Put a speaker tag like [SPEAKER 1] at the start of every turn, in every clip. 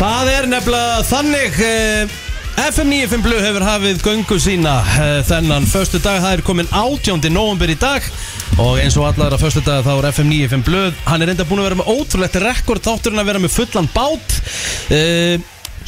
[SPEAKER 1] Það er nefnilega þannig eh, FM 95 Blu hefur hafið göngu sína eh, þennan förstu dag, það er komin 18. november í dag og eins og allar að förstu dag þá er FM 95 Blu hann er enda búin að vera með ótrúlegt rekord þátturinn að vera með fullan bát eh,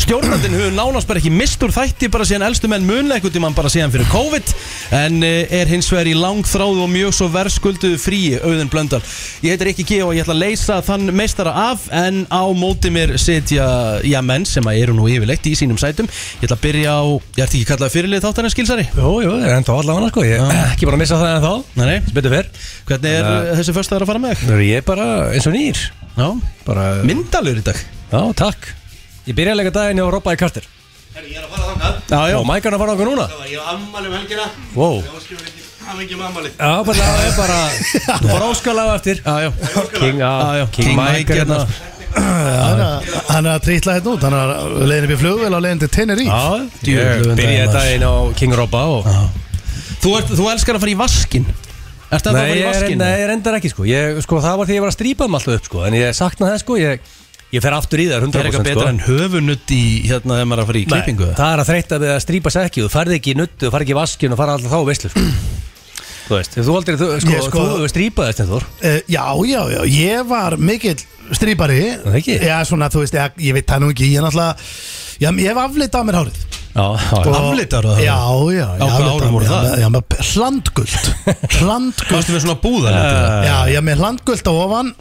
[SPEAKER 1] Stjórnandinn hefur nánast bara ekki mistur þætti bara síðan elstu menn muna einhvern tímann bara síðan fyrir COVID en eh, er hins vegar í langþráðu og mjög svo verðskulduðu fríi auðin blöndal. Ég heitir ekki G og ég ætla að leysa þann meistara af en á móti mér sitja já menn sem að eru nú yfirleitt í sínum sætum. Ég ætla að byrja á, ég ert ekki kallað fyrirlið þáttarinn skilsari?
[SPEAKER 2] Jú, jú, það er ennþá allavega sko, ég er ekki bara að missa það ennþá
[SPEAKER 1] Nei, nei.
[SPEAKER 2] Sem betur fyrr
[SPEAKER 1] Hvernig er
[SPEAKER 2] Nei.
[SPEAKER 1] uh, þessi föstaðar að fara með?
[SPEAKER 2] Nú er ég bara eins og nýr
[SPEAKER 1] Já,
[SPEAKER 2] Bara,
[SPEAKER 1] myndalur í dag.
[SPEAKER 2] já, takk Ég byrja að leika daginn hjá Robba í kartir
[SPEAKER 3] Herri, ég er að fara þangað
[SPEAKER 1] Já, já.
[SPEAKER 2] Og mækarna fara okkur núna
[SPEAKER 3] Það var ég á ammali um helgina
[SPEAKER 2] Wow
[SPEAKER 3] Ég óskilur ekki hann ekki um ammali
[SPEAKER 2] Já, bara, það er bara, þú bara óskalega eftir
[SPEAKER 1] Já, já.
[SPEAKER 2] King,
[SPEAKER 1] Já, Ah, já.
[SPEAKER 2] á, Ah, King Mike
[SPEAKER 1] hérna.
[SPEAKER 2] hérna
[SPEAKER 4] Hann er- hann er að trítla hérna út Hann er að leiðin upp í flugvel og leiðin til Tenerife
[SPEAKER 2] Já, ég
[SPEAKER 1] Djöfullinn
[SPEAKER 2] byrjaði
[SPEAKER 1] daginn,
[SPEAKER 2] daginn á King Robba og
[SPEAKER 1] Þú, ert, þú elskar að fara í vaskin. Ertu að fara
[SPEAKER 2] Nei,
[SPEAKER 1] í
[SPEAKER 2] ég er,
[SPEAKER 1] vaskin?
[SPEAKER 2] nei, ég reyndar ekki sko. Ég, sko Það var því ég var að strípa um alltaf upp sko. En ég sakna það sko Ég, ég fer aftur í það 100%
[SPEAKER 1] Það er eitthvað betra
[SPEAKER 2] sko.
[SPEAKER 1] en höfunutt í hérna þegar maður er að fara í klippingu
[SPEAKER 2] Nei, Það er að þreytta við að strípa sig ekki Þú farði ekki í nuttu, þú farði ekki í vaskin og farði alltaf þá veistlu sko. Þú veist, ef þú aldrei þú, sko,
[SPEAKER 4] Ég, sko-
[SPEAKER 2] þú hefur strípað þess Þenþór
[SPEAKER 4] Eh, Já, já, já, ég var mikill strýpari
[SPEAKER 2] Það ekki?
[SPEAKER 4] Já, svona, þú veist, ég, ég veit það nú ekki Ég er náttúrulega, já, ég hef aflitað á mér hárið
[SPEAKER 2] Já, já,
[SPEAKER 1] Aflitaðu það?
[SPEAKER 4] Já, já,
[SPEAKER 1] Á hvað árum voru það?
[SPEAKER 4] Já, með hlandgult Hlandgult
[SPEAKER 1] Varstu með svona búðar? Uh,
[SPEAKER 4] Já, ég er með hlandgult á ofan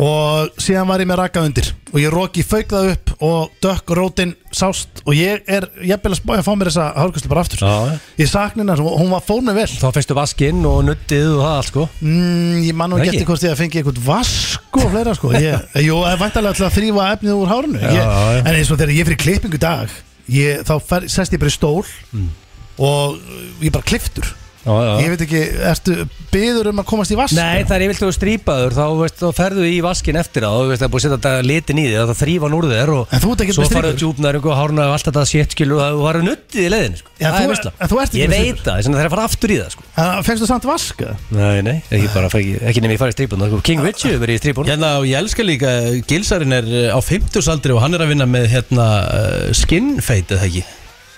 [SPEAKER 4] og síðan var ég með rakað undir og ég roki fauk það upp og dökk rótin sást og ég er ég er að spája að fá mér þessa hárkvæslu bara aftur
[SPEAKER 2] Já, já.
[SPEAKER 4] ég sakna hennar, hún- hún var fórnu vel
[SPEAKER 2] Þá fyrstu vaskin og nuttið og það allt sko.
[SPEAKER 4] mm, ég man nú
[SPEAKER 2] Ekki?
[SPEAKER 4] ekki eftir hvort ég að fengi eitthvað vask og fleira sko ég, jú, það er væntalega til að þrýfa efnið úr hárinu ég,
[SPEAKER 2] Já, já.
[SPEAKER 4] en eins og þegar ég er fyrir klippingu í dag ég, þá fer, sest ég bara í stól og uh, ég er bara kliftur
[SPEAKER 2] já, Mm. já.
[SPEAKER 4] ég veit ekki, ertu byður um að komast í vask
[SPEAKER 2] Nei, það er yfirlega þú strípaður þá, veist, þá ferðu í vaskin eftir það Þú veist, það er búið að setja litin í þig Það þrýfa núr þér og
[SPEAKER 4] En þú ert ekkert
[SPEAKER 2] Svo
[SPEAKER 4] með
[SPEAKER 2] farðu
[SPEAKER 4] strípur.
[SPEAKER 2] djúpnar og hárna og allt þetta sétt skilu og það var nuttið í leiðin sko.
[SPEAKER 4] Já,
[SPEAKER 2] Það
[SPEAKER 4] þú-
[SPEAKER 2] er veistla.
[SPEAKER 4] en þú ert ekki
[SPEAKER 2] Ég
[SPEAKER 4] með
[SPEAKER 2] veit það, þess að það er að fara aftur í það sko.
[SPEAKER 4] Það fengstu samt vask eða?
[SPEAKER 2] Nei, nei, ekki bara, ekki, ekki nefnir ég farið í strípun sko. King Richie hefur verið í strípun
[SPEAKER 1] Hérna og ég elska líka Gilsarinn er eh, á 50 aldri og hann er að vinna með hérna eh, skin fade eða ekki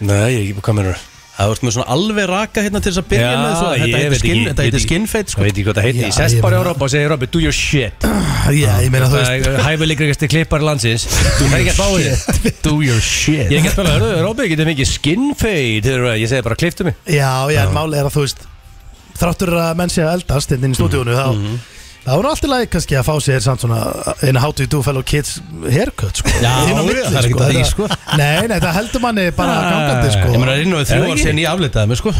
[SPEAKER 2] Nei, ég ekki, hvað mennur
[SPEAKER 1] Það vart með svona alveg raka hérna til þess að byrja með svo, þetta heitir skin, þetta heitir skin fade
[SPEAKER 2] Ég
[SPEAKER 1] sko.
[SPEAKER 2] veit ekki hvað það heitir,
[SPEAKER 4] Já,
[SPEAKER 2] ég sest bara
[SPEAKER 4] ég
[SPEAKER 2] í
[SPEAKER 4] meina-
[SPEAKER 2] Europa og segir Robby, do your shit
[SPEAKER 4] Já, ég meina þú veist
[SPEAKER 2] Hæfileikriðasti klippar landsins Þú er ekki að fá þig
[SPEAKER 1] Do your shit
[SPEAKER 2] Ég er ekki að spila, hörðu, Robby, getur mikið skin fade þegar þú- Ég segi bara, klipptu mig
[SPEAKER 4] Já, já, en máli er að þú veist Þráttur að menn sé að eldast hérna inn í stúdíónu þá,
[SPEAKER 1] Mhm.
[SPEAKER 4] þá er allt í lagi kannski að fá sér samt svona In how do you do fellow kids haircut sko.
[SPEAKER 1] Já,
[SPEAKER 4] Inn á
[SPEAKER 1] já, það er ekkert að því, sko.
[SPEAKER 4] Nei, nei, það heldur manni bara gangandi sko.
[SPEAKER 1] Ég meina inn og
[SPEAKER 2] Er
[SPEAKER 1] þrjú
[SPEAKER 2] það
[SPEAKER 1] ár
[SPEAKER 2] ekki?
[SPEAKER 1] sen ég aflitaði mig sko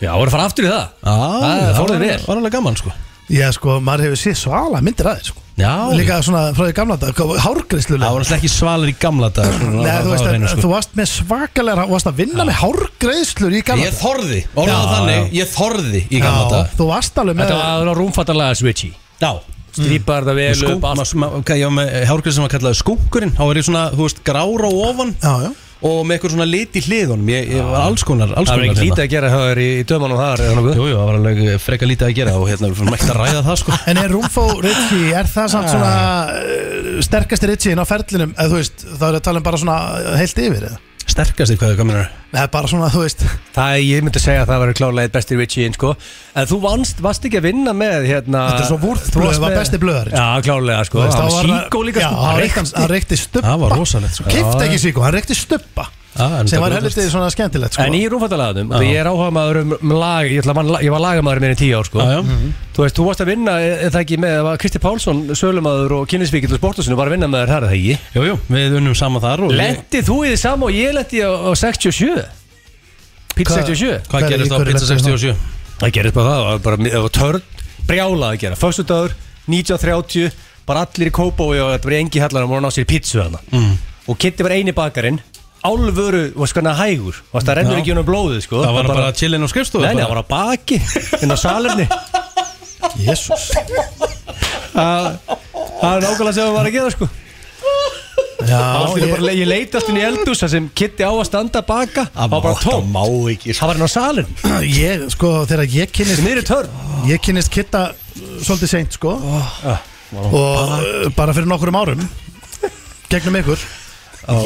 [SPEAKER 1] Já,
[SPEAKER 2] Já, voru að fara aftur í það Ah, það
[SPEAKER 1] var
[SPEAKER 2] fór þér
[SPEAKER 1] alveg-
[SPEAKER 2] vel
[SPEAKER 1] var alveg gaman sko
[SPEAKER 4] Já, sko, maður hefur séð svala myndir aðeins sko.
[SPEAKER 1] Já, líka
[SPEAKER 4] Líka svona frá því gamla dag Hárgreislu
[SPEAKER 1] Það var alltaf ekki svalir í gamla dag sko.
[SPEAKER 4] Nei,
[SPEAKER 1] Það
[SPEAKER 4] þú
[SPEAKER 1] var
[SPEAKER 4] veist,
[SPEAKER 1] á
[SPEAKER 4] en,
[SPEAKER 1] hreinu, sko.
[SPEAKER 4] þú varst með svakalega Þú varst að vinna með hárgreislur í gamla
[SPEAKER 1] Ég þorði, orðað
[SPEAKER 2] Já,
[SPEAKER 1] þannig, ég þorði í gamla
[SPEAKER 4] dag Já,
[SPEAKER 1] dag
[SPEAKER 4] Þú varst alveg með
[SPEAKER 2] Þetta var rúmfattalega switchy
[SPEAKER 1] Já,
[SPEAKER 2] Strípar það vel
[SPEAKER 1] skunk,
[SPEAKER 2] upp allt.
[SPEAKER 1] maður, maður, hvað, ég var með hárgrið sem var kallaði skunkurinn þá var ég svona, þú veist, grár á ofan
[SPEAKER 4] Já, já
[SPEAKER 1] og með eitthvað svona lit í hliðunum ég, ég var alls konar, alls
[SPEAKER 2] Það var
[SPEAKER 1] konar
[SPEAKER 2] ekki lítið
[SPEAKER 1] hérna.
[SPEAKER 2] að gera hjá þér í, í dömanum þar eða nokkuð
[SPEAKER 1] Jú, jú, það var alveg freka lítið að gera og hérna, við fyrir mægt að ræða það, sko
[SPEAKER 4] En er Rúmfó Ritchie, er það samt svona
[SPEAKER 2] Ah.
[SPEAKER 4] uh, sterkasti Ritchie inn á ferlinum eða þú veist, þá er að tala um bara svona uh, heilt yfir eða?
[SPEAKER 1] Sterkast eitthvað, hvað minnur
[SPEAKER 4] Nei, bara svona, þú veist
[SPEAKER 2] Það ég myndi segja að það var klálega eitt besti Richie inn sko En þú vannst, varst ekki að vinna með hérna
[SPEAKER 4] Þetta er svo vúrð,
[SPEAKER 2] þú varst
[SPEAKER 4] blöð var
[SPEAKER 2] með-
[SPEAKER 4] besti blöðarinn, sko.
[SPEAKER 2] Já, klálega sko
[SPEAKER 4] Þú veist,
[SPEAKER 2] Það
[SPEAKER 4] þá
[SPEAKER 2] var síkó líka
[SPEAKER 4] Já,
[SPEAKER 2] sko
[SPEAKER 4] hann
[SPEAKER 2] Reykt-
[SPEAKER 4] reykti- hann reykti stubba
[SPEAKER 1] Það var rosalegt, sko.
[SPEAKER 4] Kifti
[SPEAKER 1] Já,
[SPEAKER 4] ekki síkó, hann reykti stubba
[SPEAKER 2] Ah,
[SPEAKER 1] Já, en
[SPEAKER 4] sem
[SPEAKER 1] það
[SPEAKER 4] var
[SPEAKER 1] brotist.
[SPEAKER 4] helvitið svona skemmtilegt sko.
[SPEAKER 2] En í rúmfattalaganum, því ég er áhuga maður um, um lag, ég, ætla, að man, ég var lagamaður mér í tíu ár sko
[SPEAKER 1] Já, já.
[SPEAKER 2] Þú veist, þú varst að vinna, er er það ekki með, það var Kristi Pálsson, sölumadur og kynlisvíkild og sportasinu var að vinna með þér þar, er það ekki?
[SPEAKER 1] Jú, jú, við unnum saman þar og
[SPEAKER 2] Lendi þú í því sama og ég lendi á, á 67? Pizza
[SPEAKER 4] Hvað-
[SPEAKER 2] 67?
[SPEAKER 1] Hvað hérna?
[SPEAKER 4] Hvað er-
[SPEAKER 1] gerist á
[SPEAKER 4] hverju
[SPEAKER 1] Pizza
[SPEAKER 4] lentum við
[SPEAKER 1] 67?
[SPEAKER 2] Það gerist bara það, það var bara það var törn brjálað að gera Föstudagur, 19.30, bara allir í Kópói og þetta var í engi hellarum og hann á sér pítsu þarna mm. Og Kitty var eini bakarinn, álvöru var skoðan að hægur Og það rennur
[SPEAKER 1] Já.
[SPEAKER 2] ekki unum blóðið sko
[SPEAKER 1] Það var bara, bara chillin og skrifstofu
[SPEAKER 2] Nei, nei,
[SPEAKER 1] bara.
[SPEAKER 2] það var að baki, inn á salerni
[SPEAKER 4] Jésús
[SPEAKER 2] Það það er nákvæmlega sem það var að gera sko
[SPEAKER 4] Já,
[SPEAKER 2] Allt í einu
[SPEAKER 4] ég,
[SPEAKER 2] bara- Ég leiti alltaf inn í eldús þar sem Kitty á að standa að baka Það var bara tóm
[SPEAKER 1] má ekki
[SPEAKER 2] Það var inn á salin
[SPEAKER 4] ég, sko, þegar ég kynnist
[SPEAKER 2] Niður í törn
[SPEAKER 4] ég kynnist Kitta uh, svolítið seint, sko
[SPEAKER 2] Ah,
[SPEAKER 4] eh, og uh, bara fyrir nokkrum árum gegnum ykkur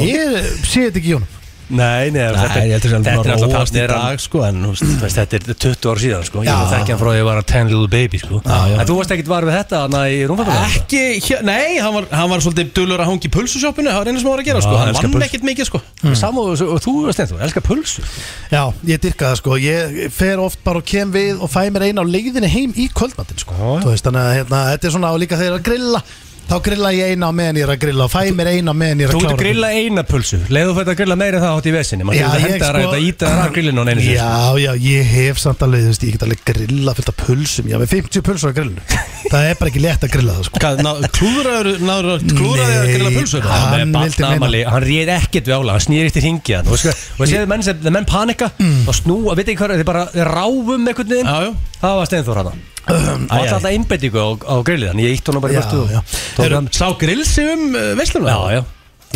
[SPEAKER 4] Ég sé þetta ekki í honum
[SPEAKER 2] Nei, nei, þetta,
[SPEAKER 1] Nei, ég heldur sem
[SPEAKER 2] þetta er alltaf
[SPEAKER 1] óvast
[SPEAKER 2] talsnir
[SPEAKER 1] í dag sko En þú veist
[SPEAKER 2] Þú veist, þetta er 20 ára síðan sko.
[SPEAKER 4] Já.
[SPEAKER 2] Ég þekki hann frá því að ég var að 10 little baby sko.
[SPEAKER 1] já.
[SPEAKER 2] En þú varst ekkert var við þetta hana, í rúmfættunum
[SPEAKER 1] Ekki, hér- nei, hann var, hann var svolítið dölur að hangi í pulsusjópinu Það var einu sem hann var að gera sko
[SPEAKER 2] Já,
[SPEAKER 1] Hann
[SPEAKER 2] elskar
[SPEAKER 1] vann
[SPEAKER 2] pulsu.
[SPEAKER 1] ekkert mikið sko
[SPEAKER 2] Sam og, og þú, Stenþú, elskar pulsu
[SPEAKER 4] Já, ég dyrka það sko Ég fer oft bara og kem við og fæ mér eina á leiðinni heim í kvöldmattin sko
[SPEAKER 2] Já.
[SPEAKER 4] Þú veist, þannig að hérna, þetta er svona og líka þegar ég er að grilla Þá grilla ég eina á meðan ég er að grilla og fæ mér eina á meðan ég er
[SPEAKER 2] Þú
[SPEAKER 4] að
[SPEAKER 2] getur
[SPEAKER 4] klára
[SPEAKER 2] grilla eina pulsu Leðu þú fætt að grilla meira en það átt í vesinni Man
[SPEAKER 4] Já,
[SPEAKER 2] getur
[SPEAKER 4] ég
[SPEAKER 2] henda
[SPEAKER 4] sko-
[SPEAKER 2] sko... að íta það að grillinu á neinu sinni,
[SPEAKER 4] Já, já, ég hef samt alveg, þú veist, ég get alveg grilla fullt af pulsum Ég hef með 50 pulsur á grillinu Það er bara ekki létt að grilla það sko
[SPEAKER 1] Hvað, ná- Klúðraður, náður, klúðraður að
[SPEAKER 4] Nei,
[SPEAKER 1] grilla pulsur
[SPEAKER 2] sko.
[SPEAKER 4] hann
[SPEAKER 2] Hann, hann,
[SPEAKER 4] vildi meina-
[SPEAKER 2] amali, hann réð ekkert við ála, hann snýr eitt í ringi hann Og sko- og ég séð menn sem, þegar menn panika mm. Og snú, veit ekki hvað, þeir bara ráfum einhvern veginn
[SPEAKER 1] Já, já.
[SPEAKER 2] Það var Stenþór hana
[SPEAKER 1] æ,
[SPEAKER 2] Og
[SPEAKER 1] æ.
[SPEAKER 2] alltaf einbettingu á, á grillið hann Ég ítt honum bara í
[SPEAKER 4] Já,
[SPEAKER 2] vörtu
[SPEAKER 4] Um, já.
[SPEAKER 2] Tók
[SPEAKER 4] Heyrðu,
[SPEAKER 2] hann
[SPEAKER 1] Sá grill sig um veisluna
[SPEAKER 2] Já, já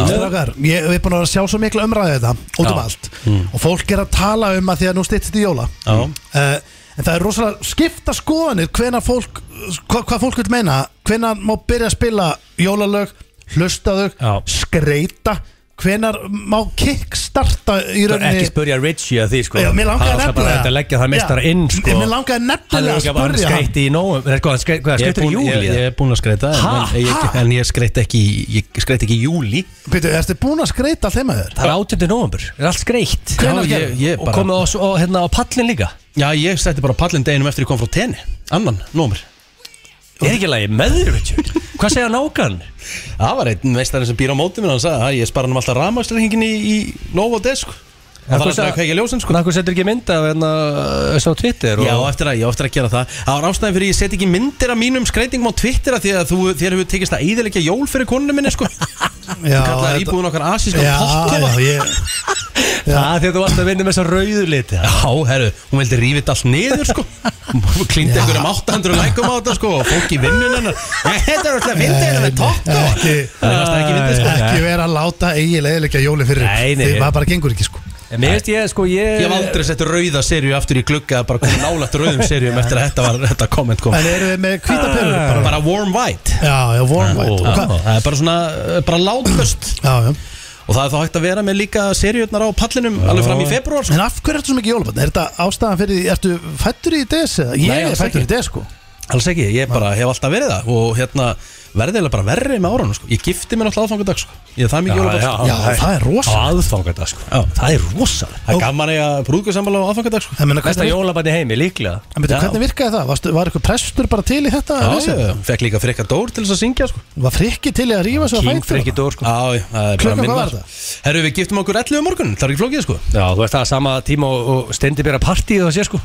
[SPEAKER 4] Strákar, ég hef búin að vera að sjá svo miklu umræðið þetta út um
[SPEAKER 2] Já. Mm.
[SPEAKER 4] allt og fólk er að tala um að því að nú styttist í jóla
[SPEAKER 1] Já.
[SPEAKER 4] uh, en það er rosalega skipta skoðanir hvena fólk, hva, hvað fólk vil meina hvenar má byrja að spila jólalög hlusta þau,
[SPEAKER 2] Já.
[SPEAKER 4] skreita hvenar má kickstarta
[SPEAKER 2] Það
[SPEAKER 4] í
[SPEAKER 2] er
[SPEAKER 4] rauninni
[SPEAKER 2] ekki spurja Richie að því sko
[SPEAKER 4] Já, mér langaði
[SPEAKER 2] Hann skal bara
[SPEAKER 4] nefnilega-
[SPEAKER 2] þetta leggja það mestara
[SPEAKER 4] Já.
[SPEAKER 2] inn sko
[SPEAKER 4] Mér langaði nefnilega
[SPEAKER 2] Hann
[SPEAKER 4] að
[SPEAKER 2] er
[SPEAKER 4] spurja
[SPEAKER 2] ekki bara
[SPEAKER 4] hann.
[SPEAKER 2] skreitt í nóum Hvað, hann skreyt-
[SPEAKER 1] Ég
[SPEAKER 2] hvað,
[SPEAKER 1] er,
[SPEAKER 2] skreitt í
[SPEAKER 1] búin, ég,
[SPEAKER 2] júli?
[SPEAKER 1] ég er búin að skreita en-
[SPEAKER 2] Ha,
[SPEAKER 1] en, ég,
[SPEAKER 4] ha?
[SPEAKER 1] en ég skreit ekki í- Ég skreit ekki í júli
[SPEAKER 4] Býtu, ertu búin að skreita þeim að þér?
[SPEAKER 2] Það er 8. november, það er allt skreitt
[SPEAKER 1] Hvenær
[SPEAKER 2] Já, ég-
[SPEAKER 1] gerðu?
[SPEAKER 2] ég Og
[SPEAKER 1] bara-
[SPEAKER 2] komið á, s- og, hérna, á pallin líka
[SPEAKER 1] Já, ég setti bara pallin deginum eftir ég kom frá tenni Annan, nómur
[SPEAKER 2] Er ekki lagi með þér, Richie? Hvað segja nákan?
[SPEAKER 1] Það var einn veistarinn sem býr á móti minn Hann sagði að ég spara hann alltaf rafmagsreikingin í, í Novo Desk Það
[SPEAKER 2] En
[SPEAKER 1] var
[SPEAKER 2] hvað
[SPEAKER 1] alltaf
[SPEAKER 2] sagði-
[SPEAKER 1] að kveikja ljósin sko
[SPEAKER 2] Nákvæm setur ekki mynd af hérna Þessu á Twitter
[SPEAKER 1] Já,
[SPEAKER 2] og
[SPEAKER 1] eftir að, já, eftir að gera það Það var ástæðan fyrir ég set ekki myndir af mínum skreitingum á Twitter af Því að þú, þér hefur tekist að íðilegja jól fyrir konunum minni sko
[SPEAKER 4] Já,
[SPEAKER 1] Kallaði íbúðun okkar asíska
[SPEAKER 4] já,
[SPEAKER 1] pottkofa
[SPEAKER 4] já, ég,
[SPEAKER 2] Það er því að þú varst að vinna með þessa rauðu liti
[SPEAKER 1] Já, herru, hún vildi rífið þetta allt niður sko Hún Klindi
[SPEAKER 4] Já.
[SPEAKER 1] einhverjum 800 lækum á þetta sko Og fólk í vinnun hennar Nei, Þetta er alltaf að fyndi hennar með tótt og
[SPEAKER 4] ekki,
[SPEAKER 1] Það er alltaf ekki fyndið sko
[SPEAKER 4] ekki vera að láta eiginlega eðilegja jóli fyrir
[SPEAKER 2] Nei, nei.
[SPEAKER 4] það bara gengur ekki sko
[SPEAKER 2] En Mér veist ég, sko, ég
[SPEAKER 1] Ég hef aldrei sett rauða serju aftur í glugga Bara komið nálægt rauðum serjum eftir að þetta var Þetta komment kom
[SPEAKER 4] En eru þið með
[SPEAKER 2] Ah.
[SPEAKER 4] hvítaperur? Bara,
[SPEAKER 1] Bara warm white
[SPEAKER 4] já, já, warm white
[SPEAKER 1] Og
[SPEAKER 4] Og hvað-
[SPEAKER 1] Það er bara svona, eh, bara látböst
[SPEAKER 4] Já, já
[SPEAKER 1] Og það er þá hægt að vera með líka serjurnar á pallinum Alveg fram í februar sko.
[SPEAKER 4] En af hverju ertu svo mikið jólabatn? Er þetta ástæðan fyrir, því- ertu fættur í DS? eða? Ég
[SPEAKER 1] Nei,
[SPEAKER 4] er
[SPEAKER 1] alls
[SPEAKER 4] fættur
[SPEAKER 1] ekki.
[SPEAKER 4] í DS sko
[SPEAKER 1] Alls ekki, ég bara hef alltaf verið það Og hérna verðilega bara verri með árunum sko. Ég gifti mér alltaf aðfangadag sko. Ég er það mikið jólabarn sko.
[SPEAKER 4] Já, það er rosa.
[SPEAKER 2] Á aðfangadag, sko
[SPEAKER 1] Já.
[SPEAKER 2] Það er rosa
[SPEAKER 1] Það er gaman að eiga brúðgjörsammála á aðfangadag sko.
[SPEAKER 4] En meina,
[SPEAKER 2] Besta
[SPEAKER 4] hvernig,
[SPEAKER 2] jólabarni heimi, líklega
[SPEAKER 4] en byrju,
[SPEAKER 1] Já.
[SPEAKER 4] hvernig virkaði það? Varstu, var eitthvað prestur bara til í þetta?
[SPEAKER 1] Já,
[SPEAKER 4] vesen?
[SPEAKER 1] ég fekk líka frekka dór til þess að syngja sko.
[SPEAKER 4] Var frikki til í að rífa svo að
[SPEAKER 2] King
[SPEAKER 4] fættur?
[SPEAKER 2] Frikki Dór, sko
[SPEAKER 1] Já, já, það er bara
[SPEAKER 4] Klukkan,
[SPEAKER 1] minn
[SPEAKER 4] hvað var
[SPEAKER 1] val.
[SPEAKER 4] það?
[SPEAKER 1] Herru, við giftum okkur 11 um morgun, það er ekki flókið sko.
[SPEAKER 2] Já, þú veist það er sama tíma og, og stendi byrja partíð og sé sko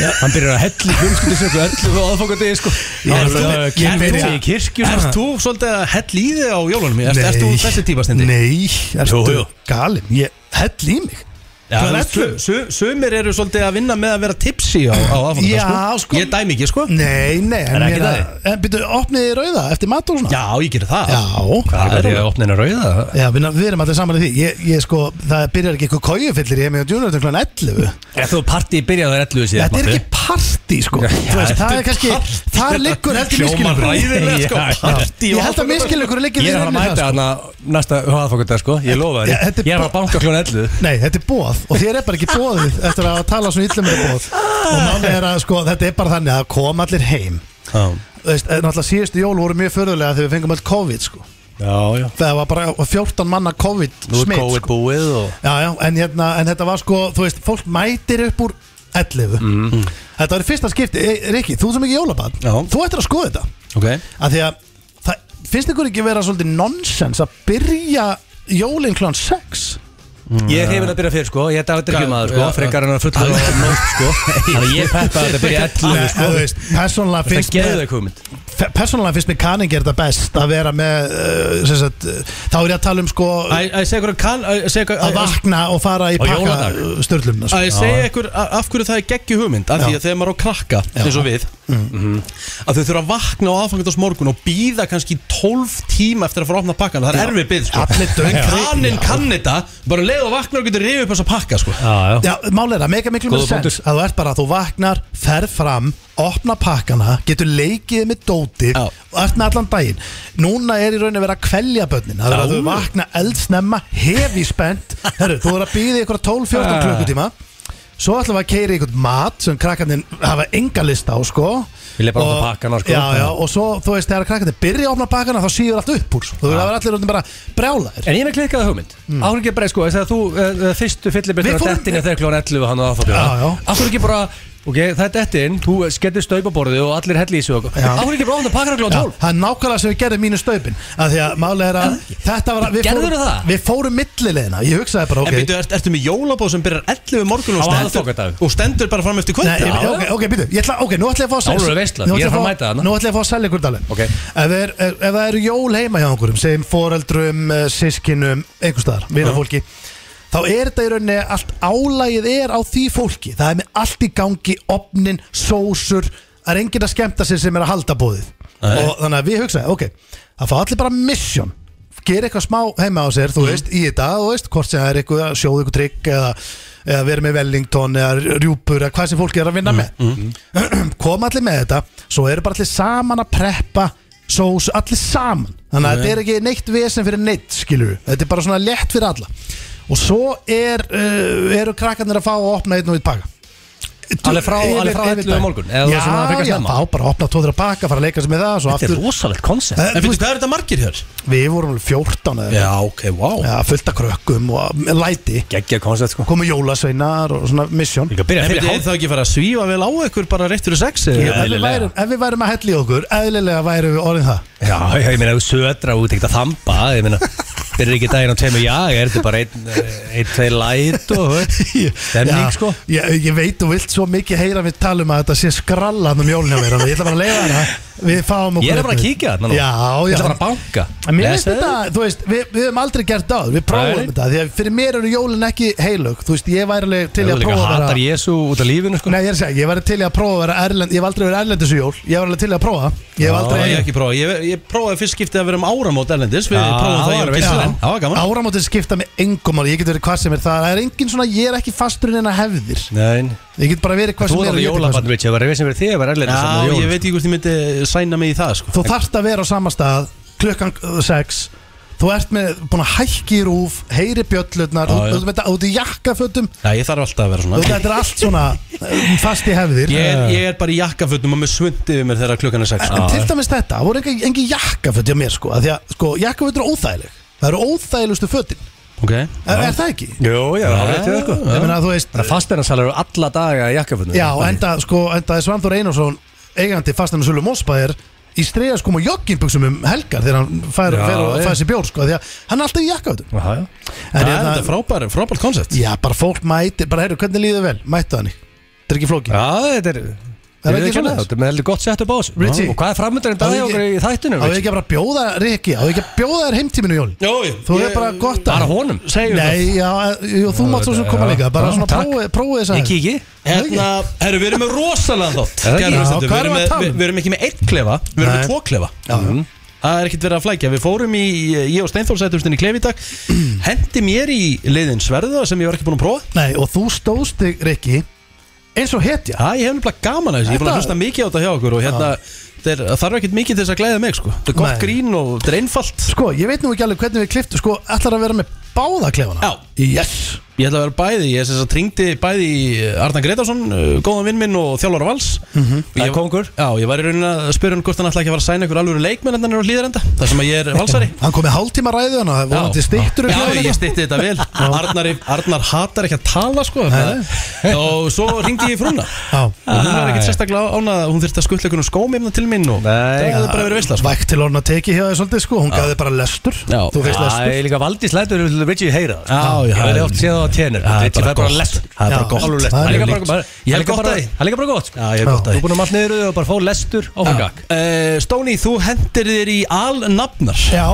[SPEAKER 2] Já. Hann byrjar að helli fjölskyldu sér og hellu og aðfangadegi sko
[SPEAKER 4] er þú- ég
[SPEAKER 2] Kjærtu í
[SPEAKER 4] byrja-
[SPEAKER 2] sko. kirkju
[SPEAKER 1] Erst þú svolítið að hell í þig á jólunum? Erst, erst þú þessi típa stendi?
[SPEAKER 4] Nei, ertu
[SPEAKER 2] Jú, jú.
[SPEAKER 4] galinn? Ég hell í mig
[SPEAKER 1] Já,
[SPEAKER 4] Klukkan
[SPEAKER 1] þú veist, sum- Sumir eru svolítið að vinna með að vera tipsi á, á aðfangadag
[SPEAKER 4] Já, sko.
[SPEAKER 1] Ég dæmi ekki sko.
[SPEAKER 4] Nei, nei, en,
[SPEAKER 2] Er ekki
[SPEAKER 4] meina- en byrju, opnið þið rauða eftir mat og svona?
[SPEAKER 1] Já, ég gerir það
[SPEAKER 4] já.
[SPEAKER 2] Það er bara í að opna hennar rauða
[SPEAKER 4] Já, við, við erum allir saman í því Ég, ég sko, það byrjar ekki eitthvað kójufillir Ég hef mig á djúnartum kl. 11
[SPEAKER 2] Ef þú partíð byrjaði að hellu sér
[SPEAKER 4] Þetta er ekki partí sko
[SPEAKER 2] Já,
[SPEAKER 4] Þú veist, Það
[SPEAKER 2] þetta
[SPEAKER 4] er
[SPEAKER 2] er
[SPEAKER 4] kannski,
[SPEAKER 2] partí.
[SPEAKER 4] þar liggur heldur miskilningur
[SPEAKER 1] ræðilega sko
[SPEAKER 2] Já, já.
[SPEAKER 1] Partí
[SPEAKER 4] Ég
[SPEAKER 1] og
[SPEAKER 4] held
[SPEAKER 1] aðfangadag.
[SPEAKER 4] að miskilningur liggur
[SPEAKER 2] Ég er að fara að
[SPEAKER 4] inni
[SPEAKER 2] mæta
[SPEAKER 4] það,
[SPEAKER 2] hana næsta aðfangadag sko Ég lofa
[SPEAKER 4] sko. Já,
[SPEAKER 2] þér
[SPEAKER 4] þetta
[SPEAKER 2] Ég
[SPEAKER 4] er
[SPEAKER 2] er að fara að banka klón hellu
[SPEAKER 4] sko. Nei, þetta er bóð og þér er bara ekki bóðið eftir að tala svona illum með bóð og máli er að sko, þetta er bara þannig að koma allir heim
[SPEAKER 1] Já.
[SPEAKER 4] Þú veist, eh, Náttúrulega síðustu jól voru mjög förðulega þegar við fengum all COVID sko.
[SPEAKER 2] Já, já
[SPEAKER 4] Það var bara 14 manna COVID
[SPEAKER 2] Nú er
[SPEAKER 4] smitt
[SPEAKER 2] COVID
[SPEAKER 4] sko.
[SPEAKER 2] búið og
[SPEAKER 4] Já, já, en, hérna, en þetta var sko, þú veist, fólk mætir upp úr 11
[SPEAKER 2] Mhm.
[SPEAKER 4] Þetta var í fyrsta skipti, e, Rikki, þú sem ekki jólabann
[SPEAKER 1] Já.
[SPEAKER 4] Þú ættir að skoða þetta
[SPEAKER 1] Ok
[SPEAKER 4] að því að það finnst ykkur ekki vera svolítið nonsens að byrja jólinn klán 6
[SPEAKER 2] Ég er hefinn að byrja fyrir sko, ég er dagdryggjum aður sko
[SPEAKER 1] Já, já.
[SPEAKER 2] Frekar en að fulla og nótt sko Þannig að ég peppa að þetta byrja
[SPEAKER 4] Nei,
[SPEAKER 2] ellu sko
[SPEAKER 4] þú veist, persónulega
[SPEAKER 2] Þetta
[SPEAKER 4] finnst
[SPEAKER 2] geðu
[SPEAKER 4] mér
[SPEAKER 2] það komind
[SPEAKER 4] fe- persónulega finnst mér kanin gerða best að vera með uh, sem sagt, uh, þá er ég að tala um sko
[SPEAKER 1] Æ, segja ykkur að kann Æ, segja ykkur
[SPEAKER 4] að vakna og fara í
[SPEAKER 2] Á jóladag.
[SPEAKER 4] pakka störlum
[SPEAKER 1] Æ,
[SPEAKER 4] sko.
[SPEAKER 1] segja ykkur a- af hverju það er geggju hugmynd Af því að þegar maður er á krakka, eins og við
[SPEAKER 2] Mm.
[SPEAKER 1] Mhm. Að þau þurfa að vakna á aðfangandas morgun Og býða kannski 12 tíma eftir að fara að opna pakkan Það er erfið bið, sko
[SPEAKER 4] Allir dauðir.
[SPEAKER 1] En kannin kann þetta Bara leið og vakna og getur rifið upp þessa pakka, sko
[SPEAKER 2] Já, já
[SPEAKER 4] Já, mál er að mega miklu
[SPEAKER 2] Góður
[SPEAKER 4] með sens
[SPEAKER 2] punktur.
[SPEAKER 4] að þú ert bara að þú vaknar, fer fram opna pakkana, getur leikið með dóti
[SPEAKER 1] Já.
[SPEAKER 4] og ert með allan daginn núna er í raun að vera að kvelja börnin það er að
[SPEAKER 1] Já.
[SPEAKER 4] þau vakna eldsnemma hefi spennt, herru, þú er að býða ykkur 12-14
[SPEAKER 2] Ah.
[SPEAKER 4] klukkutíma svo ætlum við að keira ykkur mat sem krakkarnir hafa enga list á sko
[SPEAKER 2] Vilja bara
[SPEAKER 4] Og-
[SPEAKER 2] opna pakkana, sko.
[SPEAKER 4] já, já, og svo þú veist þegar krakkarnir byrja að opna pakkana þá síður allt upp úr sko. þú verður að vera allir orðnir bara brjálaðir
[SPEAKER 2] En ég er með klikkaða hugmynd mm. Áhrif ekki bara sko Þegar þú uh, fyrstu
[SPEAKER 4] Við
[SPEAKER 2] fyllibittur á
[SPEAKER 4] fórum-
[SPEAKER 2] dettin Þegar klón 11 hann á
[SPEAKER 4] Já, já.
[SPEAKER 2] aðfabjóða Áhrif ekki bara Ok, það er dettin Þú skellir staupaborðið og allir helli í sig Áhrif
[SPEAKER 4] Já.
[SPEAKER 2] ekki bara ofnir pakkar klón
[SPEAKER 4] Já,
[SPEAKER 2] 12
[SPEAKER 4] það er nákvæmlega sem við gerðum mínu staupin að því að málega er að þetta var að við
[SPEAKER 2] Gerðirðu
[SPEAKER 4] fórum,
[SPEAKER 2] það?
[SPEAKER 4] við fórum millilegina ég hugsaði bara
[SPEAKER 1] En
[SPEAKER 4] ok
[SPEAKER 1] byrju, ert, ertu með jólabóð sem byrjar 11 morgun og
[SPEAKER 2] Á
[SPEAKER 1] stendur,
[SPEAKER 2] aðfangadag.
[SPEAKER 1] og stendur bara fram eftir kvöld
[SPEAKER 4] Nei, ég, ok, ok, býtu, ég ætla, ok, nú ætla ég að fá að
[SPEAKER 2] Það voru veisla,
[SPEAKER 4] nú
[SPEAKER 2] ég er
[SPEAKER 4] ætla
[SPEAKER 2] að
[SPEAKER 4] fá-
[SPEAKER 2] fara að mæta þarna.
[SPEAKER 4] Nú ætla ég að fá að selja ykkur dalinn
[SPEAKER 2] Ok.
[SPEAKER 4] ef, er, ef, ef það eru jól heima hjá einhverjum sem foreldrum, eh, sískinum, einhvers staðar, vinafólki þá er þetta í rauninni allt álægið er á því fólki það er með allt í gangi, opnin, sósur það er enginn að skemmta sér sem er að halda bóðið og þannig að við hugsaði, ok það fá allir bara mission gera eitthvað smá heima á sér,
[SPEAKER 2] Mm.
[SPEAKER 4] þú veist, í þetta þú veist, hvort sem það er eitthvað, sjóðu eitthvað trygg eða, eða verið með Wellington eða rjúpur eða hvað sem fólki er að
[SPEAKER 2] Mm,
[SPEAKER 4] vinna með koma allir með þetta svo eru bara allir saman að preppa sós, allir saman þannig að þetta er ekki neitt vesen fyrir neitt skilur þetta er bara svona lett fyrir alla og svo er, uh, eru krakkarnir að fá að opna einn og einn pakka
[SPEAKER 2] Alveg frá-
[SPEAKER 4] Yfir-
[SPEAKER 2] alveg frá
[SPEAKER 4] yfir
[SPEAKER 2] 11 um
[SPEAKER 4] dag.
[SPEAKER 2] morgun, eða þú
[SPEAKER 4] Já,
[SPEAKER 2] svona frekar
[SPEAKER 4] já,
[SPEAKER 2] snemma.
[SPEAKER 4] þá bara opna tóður að pakka, fara að leika sér með það svo
[SPEAKER 2] Þetta er
[SPEAKER 4] aftur
[SPEAKER 2] rosalegt koncept
[SPEAKER 4] Eh,
[SPEAKER 1] En byrju, hvað er þetta margir hér?
[SPEAKER 4] Við vorum alveg 14 eða
[SPEAKER 1] Já, ok, wow
[SPEAKER 4] ja, fullt af krökkum og með læti
[SPEAKER 2] Geggja koncept sko
[SPEAKER 4] komu jólasveinar og svona misjón
[SPEAKER 2] Líka byrja
[SPEAKER 1] En
[SPEAKER 2] fyrir
[SPEAKER 1] byrju, er
[SPEAKER 2] hálf
[SPEAKER 1] það ekki að fara að svífa vel á ykkur bara reitt fyrir sex?
[SPEAKER 4] Ef
[SPEAKER 1] eða?
[SPEAKER 4] við,
[SPEAKER 2] eðlilega.
[SPEAKER 4] værum, ef við værum að hella í okkur, eðlilega værum við orðin það
[SPEAKER 2] Já, já, ég meina, ef þú södra út ekkert að þamba Ég meina, byrja ekki daginn á tveimur já Er þetta bara einn, eh, einn, tveir læt og Stemning
[SPEAKER 4] Já,
[SPEAKER 2] sko
[SPEAKER 4] ég, ég veit þú vilt svo mikið heyra við talum að þetta sé skrallan um jólina mér Ég ætla bara að leiða hana Við fáum okkur
[SPEAKER 2] Ég er bara að
[SPEAKER 4] eitthvað.
[SPEAKER 2] kíkja þarna nú.
[SPEAKER 4] Já,
[SPEAKER 2] Ég
[SPEAKER 4] já
[SPEAKER 2] ætla bara að banka
[SPEAKER 4] En Mér finnst
[SPEAKER 2] Lesaðu.
[SPEAKER 4] þetta, þú veist, við, við höfum aldrei gert það Við prófum
[SPEAKER 2] Nei.
[SPEAKER 4] þetta, því að fyrir mér eru jólin ekki heilög Þú veist, ég væri alveg til í
[SPEAKER 2] Þú
[SPEAKER 4] að
[SPEAKER 2] líka
[SPEAKER 4] prófa að
[SPEAKER 2] hatar
[SPEAKER 4] vera
[SPEAKER 2] Jésu út af lífinu sko
[SPEAKER 4] Nei, ég er að segja, ég væri til í að prófa að vera erlend Ég hef aldrei verið erlendis í jól, ég var alveg til í að prófa Ég hef
[SPEAKER 1] Það
[SPEAKER 4] aldrei
[SPEAKER 1] hef ég ekki prófað, ég, ég prófaði fyrst skiptið að vera um áramót erlendis Við
[SPEAKER 2] Já,
[SPEAKER 1] prófaðum það
[SPEAKER 2] það
[SPEAKER 1] í
[SPEAKER 2] var
[SPEAKER 1] okkur
[SPEAKER 2] veislan.
[SPEAKER 1] Já, það var gaman
[SPEAKER 4] Áramótin skipta með engum máli, ég get verið hvað sem er það Það er engin svona, ég er ekki fasturinn en að hefðir
[SPEAKER 2] Nei,
[SPEAKER 4] Ég get bara verið hvað
[SPEAKER 2] þú
[SPEAKER 4] sem
[SPEAKER 2] er
[SPEAKER 4] er
[SPEAKER 2] alveg
[SPEAKER 4] og ég get hvað sem
[SPEAKER 2] jólabann Richie, það var reyðin sem verið þig, það var erlendis þarna á
[SPEAKER 1] Já,
[SPEAKER 2] jólum,
[SPEAKER 1] ég veit ekki hvort ég myndi sæna mig í það sko.
[SPEAKER 4] er. Þú þarft að vera á sama stað klukkan 6 Þú ert með búin að hækki í rúf, heyri bjöllurnar
[SPEAKER 1] Já,
[SPEAKER 4] Þú
[SPEAKER 1] já.
[SPEAKER 4] þú veit að út í jakkafötum
[SPEAKER 1] Já, ég þarf alltaf að vera
[SPEAKER 4] Þú veit
[SPEAKER 1] svona
[SPEAKER 4] þetta er allt svona um, fast í hefðir
[SPEAKER 1] Ég er, ég er bara í jakkafötnum og með svundi við mér þegar klukkan er sex
[SPEAKER 4] En til dæmis þetta, það voru engi, engi jakkaföt hjá mér sko, af Því að sko, jakkaföt eru óþægileg Það eru óþægilegustu fötin
[SPEAKER 1] Ok
[SPEAKER 4] Er, er það ekki?
[SPEAKER 2] Jú, já, það var reyndið sko
[SPEAKER 4] Ég meina þú veist
[SPEAKER 2] Það er fasteinasalur alla daga í jakkafunum
[SPEAKER 4] Já, enda, sko, enda er Svanþór Einarsson eigandi fastan og sölu Mosbæðir í streyðas kom á jogginbuxum um helgar þegar hann fær,
[SPEAKER 2] Já,
[SPEAKER 4] fer og
[SPEAKER 2] ég.
[SPEAKER 4] fær sér bjór sko, því að hann er alltaf í jakkafötum
[SPEAKER 2] Aha, já.
[SPEAKER 1] Það
[SPEAKER 4] ég-
[SPEAKER 1] er þetta frábær, frábært koncept
[SPEAKER 4] Já, bara fólk mæti, bara heyrðu, hvernig líður vel mættu hann í, þetta er ekki flóki
[SPEAKER 2] já, þetta er
[SPEAKER 4] Það er ekki
[SPEAKER 2] ekki
[SPEAKER 4] svoleiðis.
[SPEAKER 2] Þetta er með heldur gott sett upp á þessu
[SPEAKER 4] Richie.
[SPEAKER 2] Og hvað er framöndarinn dag
[SPEAKER 4] Á,
[SPEAKER 2] hjá
[SPEAKER 4] ég-
[SPEAKER 2] okkur í þættinu?
[SPEAKER 4] Á
[SPEAKER 2] Richie?
[SPEAKER 4] ekki að bara bjóða Riki, á ekki að bjóða þér heimtíminu Jón
[SPEAKER 1] Jó, jú,
[SPEAKER 4] Þú
[SPEAKER 1] ég-
[SPEAKER 4] er bara gott að
[SPEAKER 2] Bara honum
[SPEAKER 1] Segjum það
[SPEAKER 4] Nei, já, jú, þú mátt svo sem koma
[SPEAKER 2] já.
[SPEAKER 4] líka bara
[SPEAKER 2] Já,
[SPEAKER 4] svona
[SPEAKER 2] takk.
[SPEAKER 4] prófið- prófið
[SPEAKER 2] Ég
[SPEAKER 4] þess að
[SPEAKER 2] kíki
[SPEAKER 1] Hérna, herru, við erum með rosalega þátt
[SPEAKER 2] Er það ekki?
[SPEAKER 1] kæru
[SPEAKER 2] Já,
[SPEAKER 1] hlustendur.
[SPEAKER 4] hvað
[SPEAKER 1] Við erum með-
[SPEAKER 4] erum við að tala um?
[SPEAKER 1] Við við erum ekki með eitt klefa, við erum
[SPEAKER 4] Nei.
[SPEAKER 1] með tvo klefa Mhm.
[SPEAKER 4] Já,
[SPEAKER 1] Það er ekkert verið að flækja Við fórum í, ég og Steinþór sættumstinn í klefi í dag Hendi mér í liðin sverða sem ég var ekki búin að prófa
[SPEAKER 4] Nei, og þú stóðst þig, Riki eins og hetja
[SPEAKER 1] Já, ég hef nefnilega gaman að þessu, ég er búin að
[SPEAKER 4] Þetta-
[SPEAKER 1] hlusta mikið á þetta hjá okkur og hérna, þeir, það þarf ekkert mikið til þess að glæða mig, sko. Þetta er gott
[SPEAKER 4] Nei.
[SPEAKER 1] grín og þetta er einfalt.
[SPEAKER 4] Sko, ég veit nú ekki alveg hvernig við kliftum Sko, ætlar að vera með báða klefana
[SPEAKER 1] Já.
[SPEAKER 4] Yes
[SPEAKER 1] Ég ætla að vera bæði, ég sem þess að tringdi bæði í Arnar Gretarsson, uh, góðan vinn minn og þjálfur af vals.
[SPEAKER 4] Mhm.
[SPEAKER 2] Það er kóngur.
[SPEAKER 1] Já, ég var í raunin að spyrja hann hvort hann ætla ekki að fara að sæna ykkur alvöru leikmenn en hann er á hlýðarenda, þar sem að ég er valsari.
[SPEAKER 4] Hann kom með hálftíma ræðu hana Það
[SPEAKER 1] Já.
[SPEAKER 4] voru til stýttur
[SPEAKER 1] Já, ég stýtti þetta vel Arnar, Arnar hatar ekki að tala sko
[SPEAKER 4] Nei.
[SPEAKER 1] Og svo ringdi ég í frúna
[SPEAKER 4] Já
[SPEAKER 1] Og hún var ekkert sérstaklega ánað Hún þurfti að skuttla einhvern skóm efna til minn Og
[SPEAKER 2] Nei.
[SPEAKER 1] það hefði bara verið veisla sko.
[SPEAKER 4] Vægt til orðin að teki hjá þér svolítið sko Hún gaf þér bara lestur
[SPEAKER 1] Já.
[SPEAKER 4] Þú fyrst
[SPEAKER 2] Já,
[SPEAKER 4] lestur
[SPEAKER 2] ég líka valdís lætur til Richie heyra það
[SPEAKER 1] Já, já,
[SPEAKER 2] Ég
[SPEAKER 1] það
[SPEAKER 2] hef
[SPEAKER 1] er-
[SPEAKER 2] oft séð það á tjenur
[SPEAKER 1] Það er
[SPEAKER 2] Richie
[SPEAKER 1] bara
[SPEAKER 2] fær bara
[SPEAKER 1] gott.
[SPEAKER 2] lestur
[SPEAKER 1] Það er bara
[SPEAKER 4] Já,
[SPEAKER 1] gott.
[SPEAKER 4] alveg lestur.
[SPEAKER 2] Það er líka
[SPEAKER 1] Alveg
[SPEAKER 2] bara-
[SPEAKER 1] líkt.
[SPEAKER 2] bara-
[SPEAKER 1] Ég
[SPEAKER 2] það er
[SPEAKER 1] hef
[SPEAKER 2] líka
[SPEAKER 1] gott að
[SPEAKER 2] bara-
[SPEAKER 1] því
[SPEAKER 2] það er líka bara gott
[SPEAKER 1] Já, ég hef gott
[SPEAKER 4] Já.
[SPEAKER 1] að
[SPEAKER 2] Þú
[SPEAKER 1] því
[SPEAKER 2] er búin að matna yfir og bara fá lestur áfram gag
[SPEAKER 1] Eh, Stóni, þú hendir þér í alnafnar
[SPEAKER 4] Já,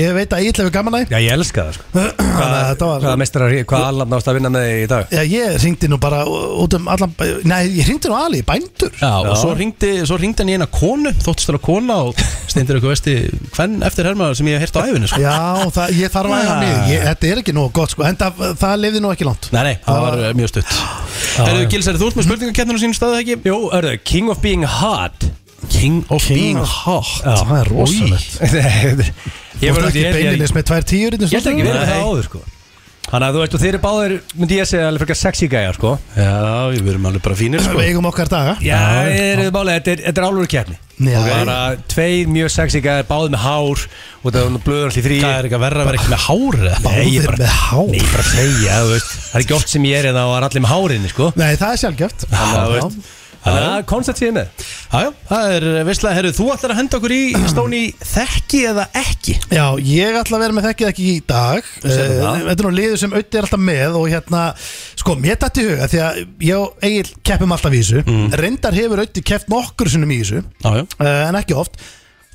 [SPEAKER 4] ég veit að ég ætla við gaman að
[SPEAKER 2] Já, ég elska það sko
[SPEAKER 4] Þannig að þetta var
[SPEAKER 2] Hvaða mestrar, hvaða allan ást að vinna með þig í dag?
[SPEAKER 4] Já, ég ringdi nú bara út um allan Nei, ég ringdi nú Ali, bændur
[SPEAKER 1] Já, og
[SPEAKER 2] Já.
[SPEAKER 1] svo ringdi, svo ringdi hann í eina konu Þóttist þér að kona og stendur eitthvað vesti Hvern eftir hermaður sem ég hef heyrt á æfinu sko.
[SPEAKER 4] Já, það, ég þarf að hægja
[SPEAKER 1] Já.
[SPEAKER 4] mig Þetta er ekki nú gott sko En það, það lifði nú ekki langt
[SPEAKER 1] Nei, nei, það var eh, mjög stutt Herðu, Gilsari, þú ert með spurningakettinu sín staðið ekki?
[SPEAKER 2] Jú, örðu, King of Being Hot
[SPEAKER 1] King of
[SPEAKER 4] King
[SPEAKER 1] Being
[SPEAKER 4] of-
[SPEAKER 1] Hot
[SPEAKER 2] Já.
[SPEAKER 4] Það er rosalegt
[SPEAKER 2] Ég
[SPEAKER 4] Þú
[SPEAKER 2] var
[SPEAKER 4] ert ekki
[SPEAKER 2] ég- ég-
[SPEAKER 4] beinilis með tvær tíur
[SPEAKER 2] Ég held ekki verið með það
[SPEAKER 1] Nei.
[SPEAKER 2] áður sko Þannig að þú veist og þeir eru báðir myndi ég að segja alveg frekar sexy gæjar sko
[SPEAKER 1] Já, við erum alveg bara fínir sko
[SPEAKER 4] Við eigum okkar daga
[SPEAKER 2] Já, þeir eru málega, þetta er, þetta er álur keppni
[SPEAKER 4] Já.
[SPEAKER 2] Bara tveir mjög sexy gæjar báðir með hár og það er blöður allir þrý
[SPEAKER 1] Það er ekki að verra að vera ekki með hárið
[SPEAKER 2] Nei, ég
[SPEAKER 4] Báðir
[SPEAKER 2] bara-
[SPEAKER 4] með hár?
[SPEAKER 2] Nei, ég bara segja, þú veist Það er ekki oft sem ég er en það var allir með hárinni sko
[SPEAKER 4] Nei, það er sjálfgjöft
[SPEAKER 2] Þannig að, þú veist Þannig að koncept séu með
[SPEAKER 1] Jájá, það er visslega, herru, þú ætlar að henda okkur í stóni þekki eða ekki
[SPEAKER 4] Já, ég ætla að vera með þekkið ekki í dag Eh,
[SPEAKER 2] segir það.
[SPEAKER 4] Þetta er nú liður sem auðvitað er alltaf með og hérna, sko, mér dætti í huga því að ég og Egil keppum alltaf í þessu
[SPEAKER 2] Mm.
[SPEAKER 4] Reyndar hefur auðvitað keppt nokkur sinnum í þessu
[SPEAKER 1] Jájá
[SPEAKER 4] eh, en ekki oft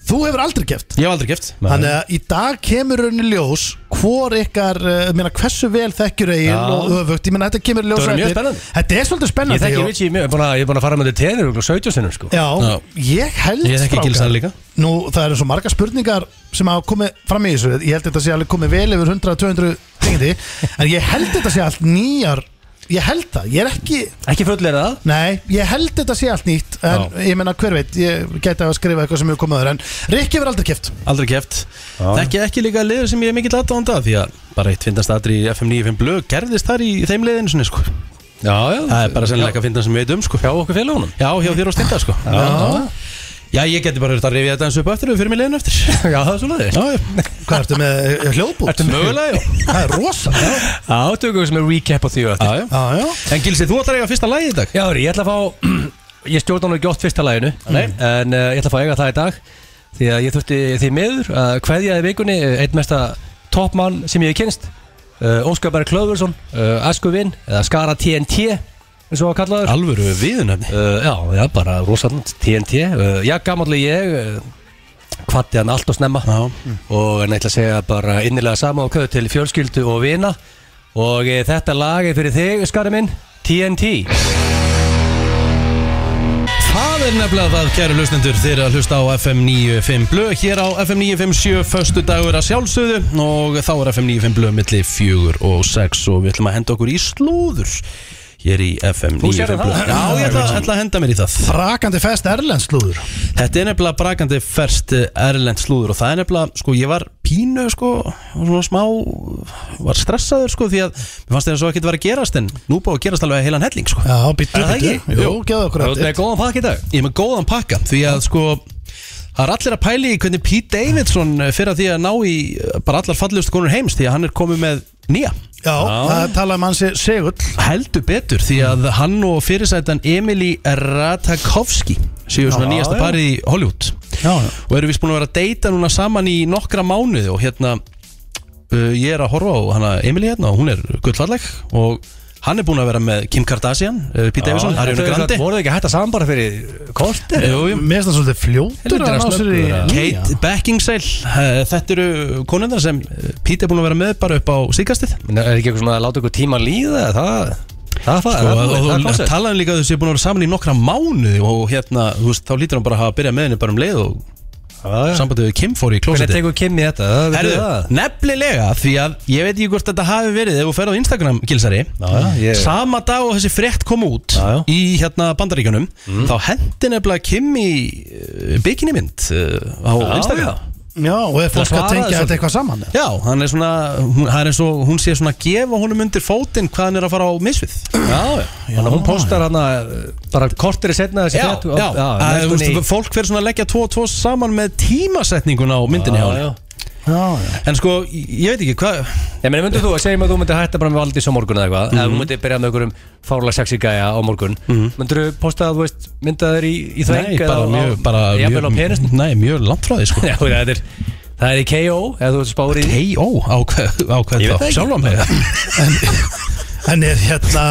[SPEAKER 4] Þú hefur aldrei keppt
[SPEAKER 1] Ég hef aldrei gift
[SPEAKER 4] Þannig að í dag kemur rauninni ljós hvor ykkar, uh, meina hversu vel þekkjur Egil
[SPEAKER 2] Já.
[SPEAKER 4] og öfugt, ég meina þetta kemur ljós
[SPEAKER 2] Það verður mjög
[SPEAKER 4] á eftir.
[SPEAKER 2] spennandi.
[SPEAKER 4] Þetta er svolítið
[SPEAKER 2] Ég
[SPEAKER 4] spennandi
[SPEAKER 2] þekki
[SPEAKER 4] og-
[SPEAKER 2] Richie mjög, ég er búin að- ég er búin að fara með þetta tenir og 17 sinnum sko
[SPEAKER 4] Já,
[SPEAKER 1] Já.
[SPEAKER 4] ég held
[SPEAKER 1] Ég þekki
[SPEAKER 4] strákar.
[SPEAKER 1] Gilsan líka.
[SPEAKER 4] Nú, það eru svo marga spurningar sem hafa komið fram í þessu Ég held þetta sé alveg komið vel yfir 100-200 tengdi En ég held þetta sé allt nýjar Ég held það, ég er ekki
[SPEAKER 2] Ekki fullera það
[SPEAKER 4] Nei, ég held þetta sé allt nýtt En ég menna, hver veit, ég gæti að skrifa eitthvað sem hefur komið aður En Rikki verður aldrei keft
[SPEAKER 1] Aldrei keft Þekki ekki líka liður sem ég er mikill aðdáðanda Því að bara eitt finnast aðri í FM 95 blög Gerðist þar í þeim liðinu sinni sko
[SPEAKER 2] Já, já
[SPEAKER 1] Það er bara sennilega að finna sem við veitum sko
[SPEAKER 2] Hjá okkur félagunum
[SPEAKER 1] Já, hjá þér á stinda sko Já, ég geti bara verið að rifja þetta eins upp eftir og fyrir mig liðinu eftir
[SPEAKER 2] Já, það er svo leiðis
[SPEAKER 1] Já, já
[SPEAKER 4] Hvað ertu með eh, hljóðbút?
[SPEAKER 2] Ertu mögulega, já
[SPEAKER 4] Það er rosa Já,
[SPEAKER 2] Já, tökum við sem er recap á því og eftir
[SPEAKER 1] Já, já
[SPEAKER 4] já,
[SPEAKER 1] En Gilsi, þú ætlar að eiga fyrsta lagi í dag
[SPEAKER 2] Já, Ari, ég ætla að fá Ég stjórna nú ekki oft fyrsta laginu En uh, ég ætla að fá eiga það í dag Því að ég þurfti því miður að kveðja í vikunni eh, Einn mesta topmann sem ég hef kynst uh, Óskar Berg Klöfursson uh, Askuvinn, eða Skara TNT eins og hann var kallaður
[SPEAKER 1] Alvöru viðunöfni
[SPEAKER 2] uh, Já, já, bara rosalant TNT uh, Já, gamalli ég uh, Kvatti hann allt og snemma
[SPEAKER 1] Já
[SPEAKER 2] og en ég ætla að segja bara innilega sama á köðu til fjölskyldu og vina og e, þetta lag er fyrir þig, skari minn TNT
[SPEAKER 1] Það er nefnilega það, kæru hlustendur, þeir eru að hlusta á FM 95 Blöð hér á FM 957, förstu dagur að sjálfsögðu og þá er FM 95 Blöð milli fjögur og sex og við ætlum að henda okkur í slúður hér í FM
[SPEAKER 2] Þú sérðu
[SPEAKER 1] 95 Blöð.
[SPEAKER 2] það?
[SPEAKER 1] Já, ég ætla, ætla að henda mér í það.
[SPEAKER 4] Brakandi fest Erlends slúður
[SPEAKER 1] Þetta er nefnilega brakandi ferst erlend slúður og það er nefnilega, sko, ég var pínu, sko, og svona smá, var stressaður, sko, því að mér fannst þetta svo ekkert vera að gerast en nú búið að gerast alveg heilan helling, sko.
[SPEAKER 4] Já, býttu,
[SPEAKER 1] Er það
[SPEAKER 4] býttu
[SPEAKER 1] ekki?
[SPEAKER 4] Jú, geðu okkur
[SPEAKER 2] Það er
[SPEAKER 4] eftir
[SPEAKER 2] góðan pakk í dag
[SPEAKER 1] Ég er með góðan pakka Því að sko Það er allir að pæli í hvernig Pete Davidson fyrir að því að ná í eh, bara allar fallegustu konur heims því að hann er komið með nýja
[SPEAKER 4] Já, það er talað um hansi segull
[SPEAKER 1] heldur betur því að hann og fyrirsætan Emily Ratajkowski séu svona
[SPEAKER 2] Já,
[SPEAKER 1] nýjasta
[SPEAKER 2] já.
[SPEAKER 1] parið í Hollywood
[SPEAKER 4] Já, já
[SPEAKER 1] og eru vist búin að vera að deyta núna saman í nokkra mánuði og hérna uh, ég er að horfa á hana Emily hérna og hún er gullfalleg og hann er búin að vera með Kim Kardashian uh, Pete Davidson, Ariana Grande
[SPEAKER 2] Voruð þið ekki hægt að saman bara fyrir kortir?
[SPEAKER 1] Jú, jú.
[SPEAKER 4] Mér finnst það svolítið fljótur
[SPEAKER 2] Helvítur að
[SPEAKER 4] að ná sér í
[SPEAKER 2] snöggur, að-
[SPEAKER 4] nýja.
[SPEAKER 1] Kate Beckinsale eh, Þetta eru konundar sem eh, Pete er búin að vera með bara upp á síkastið
[SPEAKER 2] Er ekki eitthvað svona að láta ykkur tíma líða? Það, það, það,
[SPEAKER 1] og, Sko,
[SPEAKER 2] það,
[SPEAKER 1] og,
[SPEAKER 2] það, það er
[SPEAKER 1] og
[SPEAKER 2] koncept
[SPEAKER 1] talaðum líka að þessi er búin að vera saman í nokkra mánuði og hérna, þú veist, þá lítur hann bara að hafa byrjað með henni bara um leið og sambandið við Kim fór í
[SPEAKER 2] Hvernig
[SPEAKER 1] klósetti
[SPEAKER 2] tekur Kim í þetta? Það,
[SPEAKER 1] Herðu,
[SPEAKER 2] veitu það?
[SPEAKER 1] nefnilega, því að ég veit ekki hvort þetta hafi verið ef þú ferð á Instagram, Gilsari
[SPEAKER 2] Já, já, ég-
[SPEAKER 1] sama dag og þessi frétt kom út
[SPEAKER 2] Já, Mm. já.
[SPEAKER 1] í hérna bandaríkjunum þá hendi nefnilega Kim í uh, bikinimynd uh, á
[SPEAKER 2] Já,
[SPEAKER 1] Instagram
[SPEAKER 2] já.
[SPEAKER 4] Já, og er
[SPEAKER 2] Það
[SPEAKER 4] fólk að
[SPEAKER 2] svaraði
[SPEAKER 4] tengja
[SPEAKER 2] þessu.
[SPEAKER 4] þetta eitthvað saman eða?
[SPEAKER 1] Já, hann er svona, hún, hann er svo, hún sé svona að gefa honum undir fótinn hvað hann er að fara á misvið
[SPEAKER 2] Já, já. Þannig að hún postar hana eh, bara kortir í setna þessi
[SPEAKER 1] Já,
[SPEAKER 2] frétt-
[SPEAKER 1] já,
[SPEAKER 2] já,
[SPEAKER 1] að, þú veist, fólk fyrir svona að leggja tvo og tvo saman með tímasetningun á myndinni hjá
[SPEAKER 2] já, já.
[SPEAKER 1] hann
[SPEAKER 4] Já, já
[SPEAKER 1] En sko, ég veit ekki hvað
[SPEAKER 2] Ég meina, myndir þú að segja mig að þú myndir hætta bara með Valdís á morgun eða eitthvað
[SPEAKER 1] Mhm.
[SPEAKER 2] Ef þú myndir byrja með einhverjum fárlega sexy gæja á morgun Myndir þú posta að þú veist mynda þér í, í þveng
[SPEAKER 1] Nei, bara mjög, bara
[SPEAKER 2] Jafnvel á penist
[SPEAKER 1] mjög, nei, mjög langt frá því sko
[SPEAKER 2] Já, það er, það er í KO eða þú veist spári í
[SPEAKER 1] Hei, ó, á hvað, á hvað þá?
[SPEAKER 2] Ég veit það ekki.
[SPEAKER 1] Sjálfan mig
[SPEAKER 4] En er hérna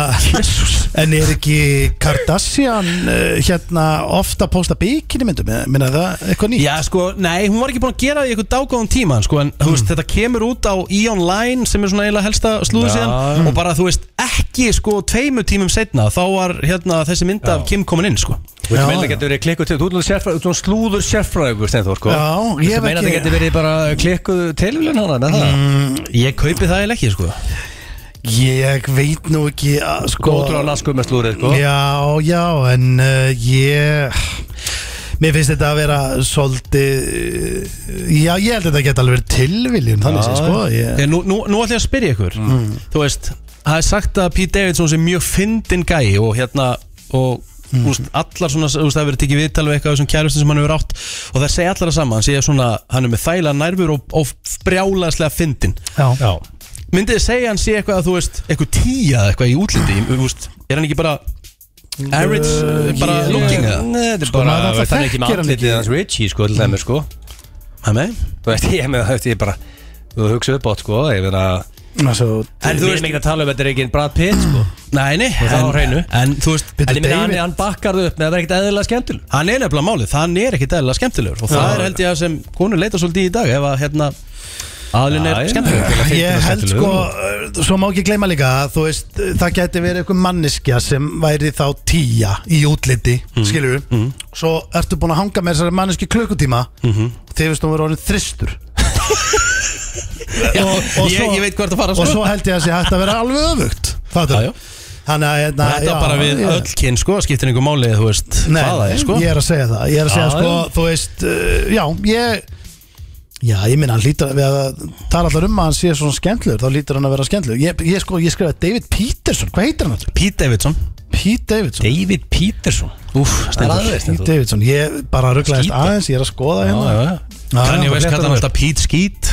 [SPEAKER 4] En er ekki Kardashian uh, Hérna ofta að posta bikini myndum Minna það eitthvað nýtt
[SPEAKER 1] Já, sko, nei, hún var ekki búin að gera það í eitthvað dágóðan tíma sko, En, þú veist, þetta kemur út á E-Online sem er svona eiginlega helsta slúðu
[SPEAKER 2] Já.
[SPEAKER 1] síðan Og bara, þú veist, ekki, sko, tveimu tímum setna Þá var, hérna, þessi mynd af Kim komin inn, sko
[SPEAKER 2] Þú veist,
[SPEAKER 4] Já,
[SPEAKER 2] meina
[SPEAKER 4] já.
[SPEAKER 2] það getur verið klikkuð til Þú ert nú sérfræðingur- þú ert nú slúður sérfræðugur, Steinþór, sko
[SPEAKER 4] Já,
[SPEAKER 2] Þú
[SPEAKER 4] ég hef
[SPEAKER 2] meina
[SPEAKER 4] ekki- Mm,
[SPEAKER 2] það getur verið bara klikkuð tilvílun hana, með það
[SPEAKER 1] Ég kaupi það eiginlega ekki, sko
[SPEAKER 4] Ég veit nú ekki að sko
[SPEAKER 2] Góður á lasku með slúrið sko
[SPEAKER 4] Já, já, en uh, ég Mér finnst þetta að vera svolítið eh, Já, ég held að þetta geta alveg verið tilviljun Þannig
[SPEAKER 2] Já,
[SPEAKER 4] sem sko ég,
[SPEAKER 1] Þegar nú, nú, nú ætlum ég að spyrja ykkur Þú veist, það er sagt að Pete Davidson sé mjög fyndin gæi og hérna og úst, allar svona, þú veist, það hefur verið tekið viðtal við eitthvað af þessum kærustin sem hann hefur átt og það segja allar að sama, hann segja svona hann er með þæla nærfur og, og brjálaðslega fyndin
[SPEAKER 4] já.
[SPEAKER 2] Já
[SPEAKER 1] Myndið þið segja hann sé eitthvað að þú veist eitthvað tíja eða eitthvað í útliti, þú veist er hann ekki bara average, bara
[SPEAKER 4] ég-
[SPEAKER 1] looking eða?
[SPEAKER 2] Nei, þetta er
[SPEAKER 4] Sko,
[SPEAKER 2] bara
[SPEAKER 4] maður náttúrulega
[SPEAKER 2] Það er ekki með
[SPEAKER 4] þekkir hann
[SPEAKER 2] andlitið hans Richie sko Til þeim sko
[SPEAKER 1] Það með?
[SPEAKER 2] Þú veist, ég með það Ég bara Þú hugsa upp átt sko Ég meina
[SPEAKER 4] Svo,
[SPEAKER 2] En þú veist ekki að tala um Þetta er ekki einn Brad Pitt sko
[SPEAKER 1] Nei, nei,
[SPEAKER 2] það á
[SPEAKER 1] en,
[SPEAKER 2] hreinu.
[SPEAKER 1] en þú veist
[SPEAKER 4] Bíddu,
[SPEAKER 2] En ég meina hann,
[SPEAKER 4] Mm. David-
[SPEAKER 2] hann bakkar þau upp Með að vera ekkit eðlilega skemmtil
[SPEAKER 1] Hann er nefnilega málið, hann er ekkit eðlilega skemmtilegur og það
[SPEAKER 2] Já.
[SPEAKER 1] er held ég að sem konur leita svolítið í dag ef að hérna aðlun er
[SPEAKER 2] Já, já.
[SPEAKER 1] skemmtilegur
[SPEAKER 4] Ég held sko, uh, svo má ekki gleyma líka að þú veist, uh, það geti verið einhver manneskja sem væri þá tíja í útliti, mm. skilur við svo ertu búin að hanga með þessari manneski klukkutíma
[SPEAKER 1] Mhm.
[SPEAKER 4] þegar veist hún verið orðin þristur
[SPEAKER 1] Já,
[SPEAKER 4] og, og,
[SPEAKER 1] ég,
[SPEAKER 4] svo,
[SPEAKER 1] ég veit hvað það fara
[SPEAKER 4] og
[SPEAKER 1] sko
[SPEAKER 4] svo held ég að sé hægt að vera alveg öfugt
[SPEAKER 1] Já,
[SPEAKER 4] fattur
[SPEAKER 1] já.
[SPEAKER 4] Þannig að hérna,
[SPEAKER 1] Þetta
[SPEAKER 4] já,
[SPEAKER 1] bara við
[SPEAKER 4] ég-
[SPEAKER 1] öll kyn sko, skiptir einhver máli þú veist
[SPEAKER 4] Nei,
[SPEAKER 1] hvað það er sko
[SPEAKER 4] ég er að segja það Ég er að segja
[SPEAKER 2] Já,
[SPEAKER 4] sko,
[SPEAKER 2] já.
[SPEAKER 4] þú veist uh, Já, ég Já, ég minna, hann lítur við að tala alltaf um að hann sé svona skemmtlur, þá lítur hann að vera skemmtlur Ég, ég sko, ég skrifaði David Peterson Hvað heitir hann alltaf?
[SPEAKER 1] Pete Davidson
[SPEAKER 4] Pete Davidson
[SPEAKER 2] David Peterson
[SPEAKER 1] Úf, stendur
[SPEAKER 2] aðeins,
[SPEAKER 4] Pete Davidson, ég bara rugglaðist
[SPEAKER 2] Skítur.
[SPEAKER 4] aðeins Ég er að skoða hérna
[SPEAKER 2] já,
[SPEAKER 4] Já,
[SPEAKER 1] Kann ég
[SPEAKER 4] já,
[SPEAKER 1] veist
[SPEAKER 2] réttar
[SPEAKER 1] hvað hann
[SPEAKER 2] mér.
[SPEAKER 1] alltaf Pete Skeet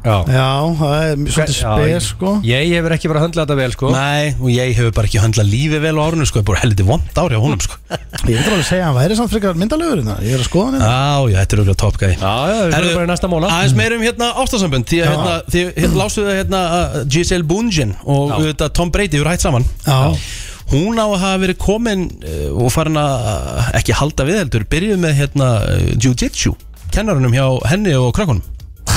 [SPEAKER 2] já.
[SPEAKER 4] já, það er mjög svolítið
[SPEAKER 2] Já, ég-
[SPEAKER 4] spes sko
[SPEAKER 2] Ég hefur ekki verið að höndla þetta vel sko
[SPEAKER 1] Nei, og ég hefur bara ekki höndlað lífið vel á árunum sko, ég er bara heldur vond ári á honum sko
[SPEAKER 4] Ég veit alveg að segja að hann væri samt frekar myndalegur hérna. Ég er að skoða hann hérna.
[SPEAKER 1] Já, já, þetta er auðvitað top guy
[SPEAKER 2] Já, já, við
[SPEAKER 1] Herðu,
[SPEAKER 2] verðum bara í næsta móla
[SPEAKER 1] Aðeins meirum hérna ástasambönd Því að hérna, því hérna lásuðu það hérna að Giselle Bundchen og auðvitað Tom Brady eru hætt saman
[SPEAKER 4] Já,
[SPEAKER 1] Hún á að hafa verið komin eh, og farin að eh, ekki halda við heldur Byrjuð með hérna eh, Jiu-Jitsu Kennarunum hjá henni og krakkunum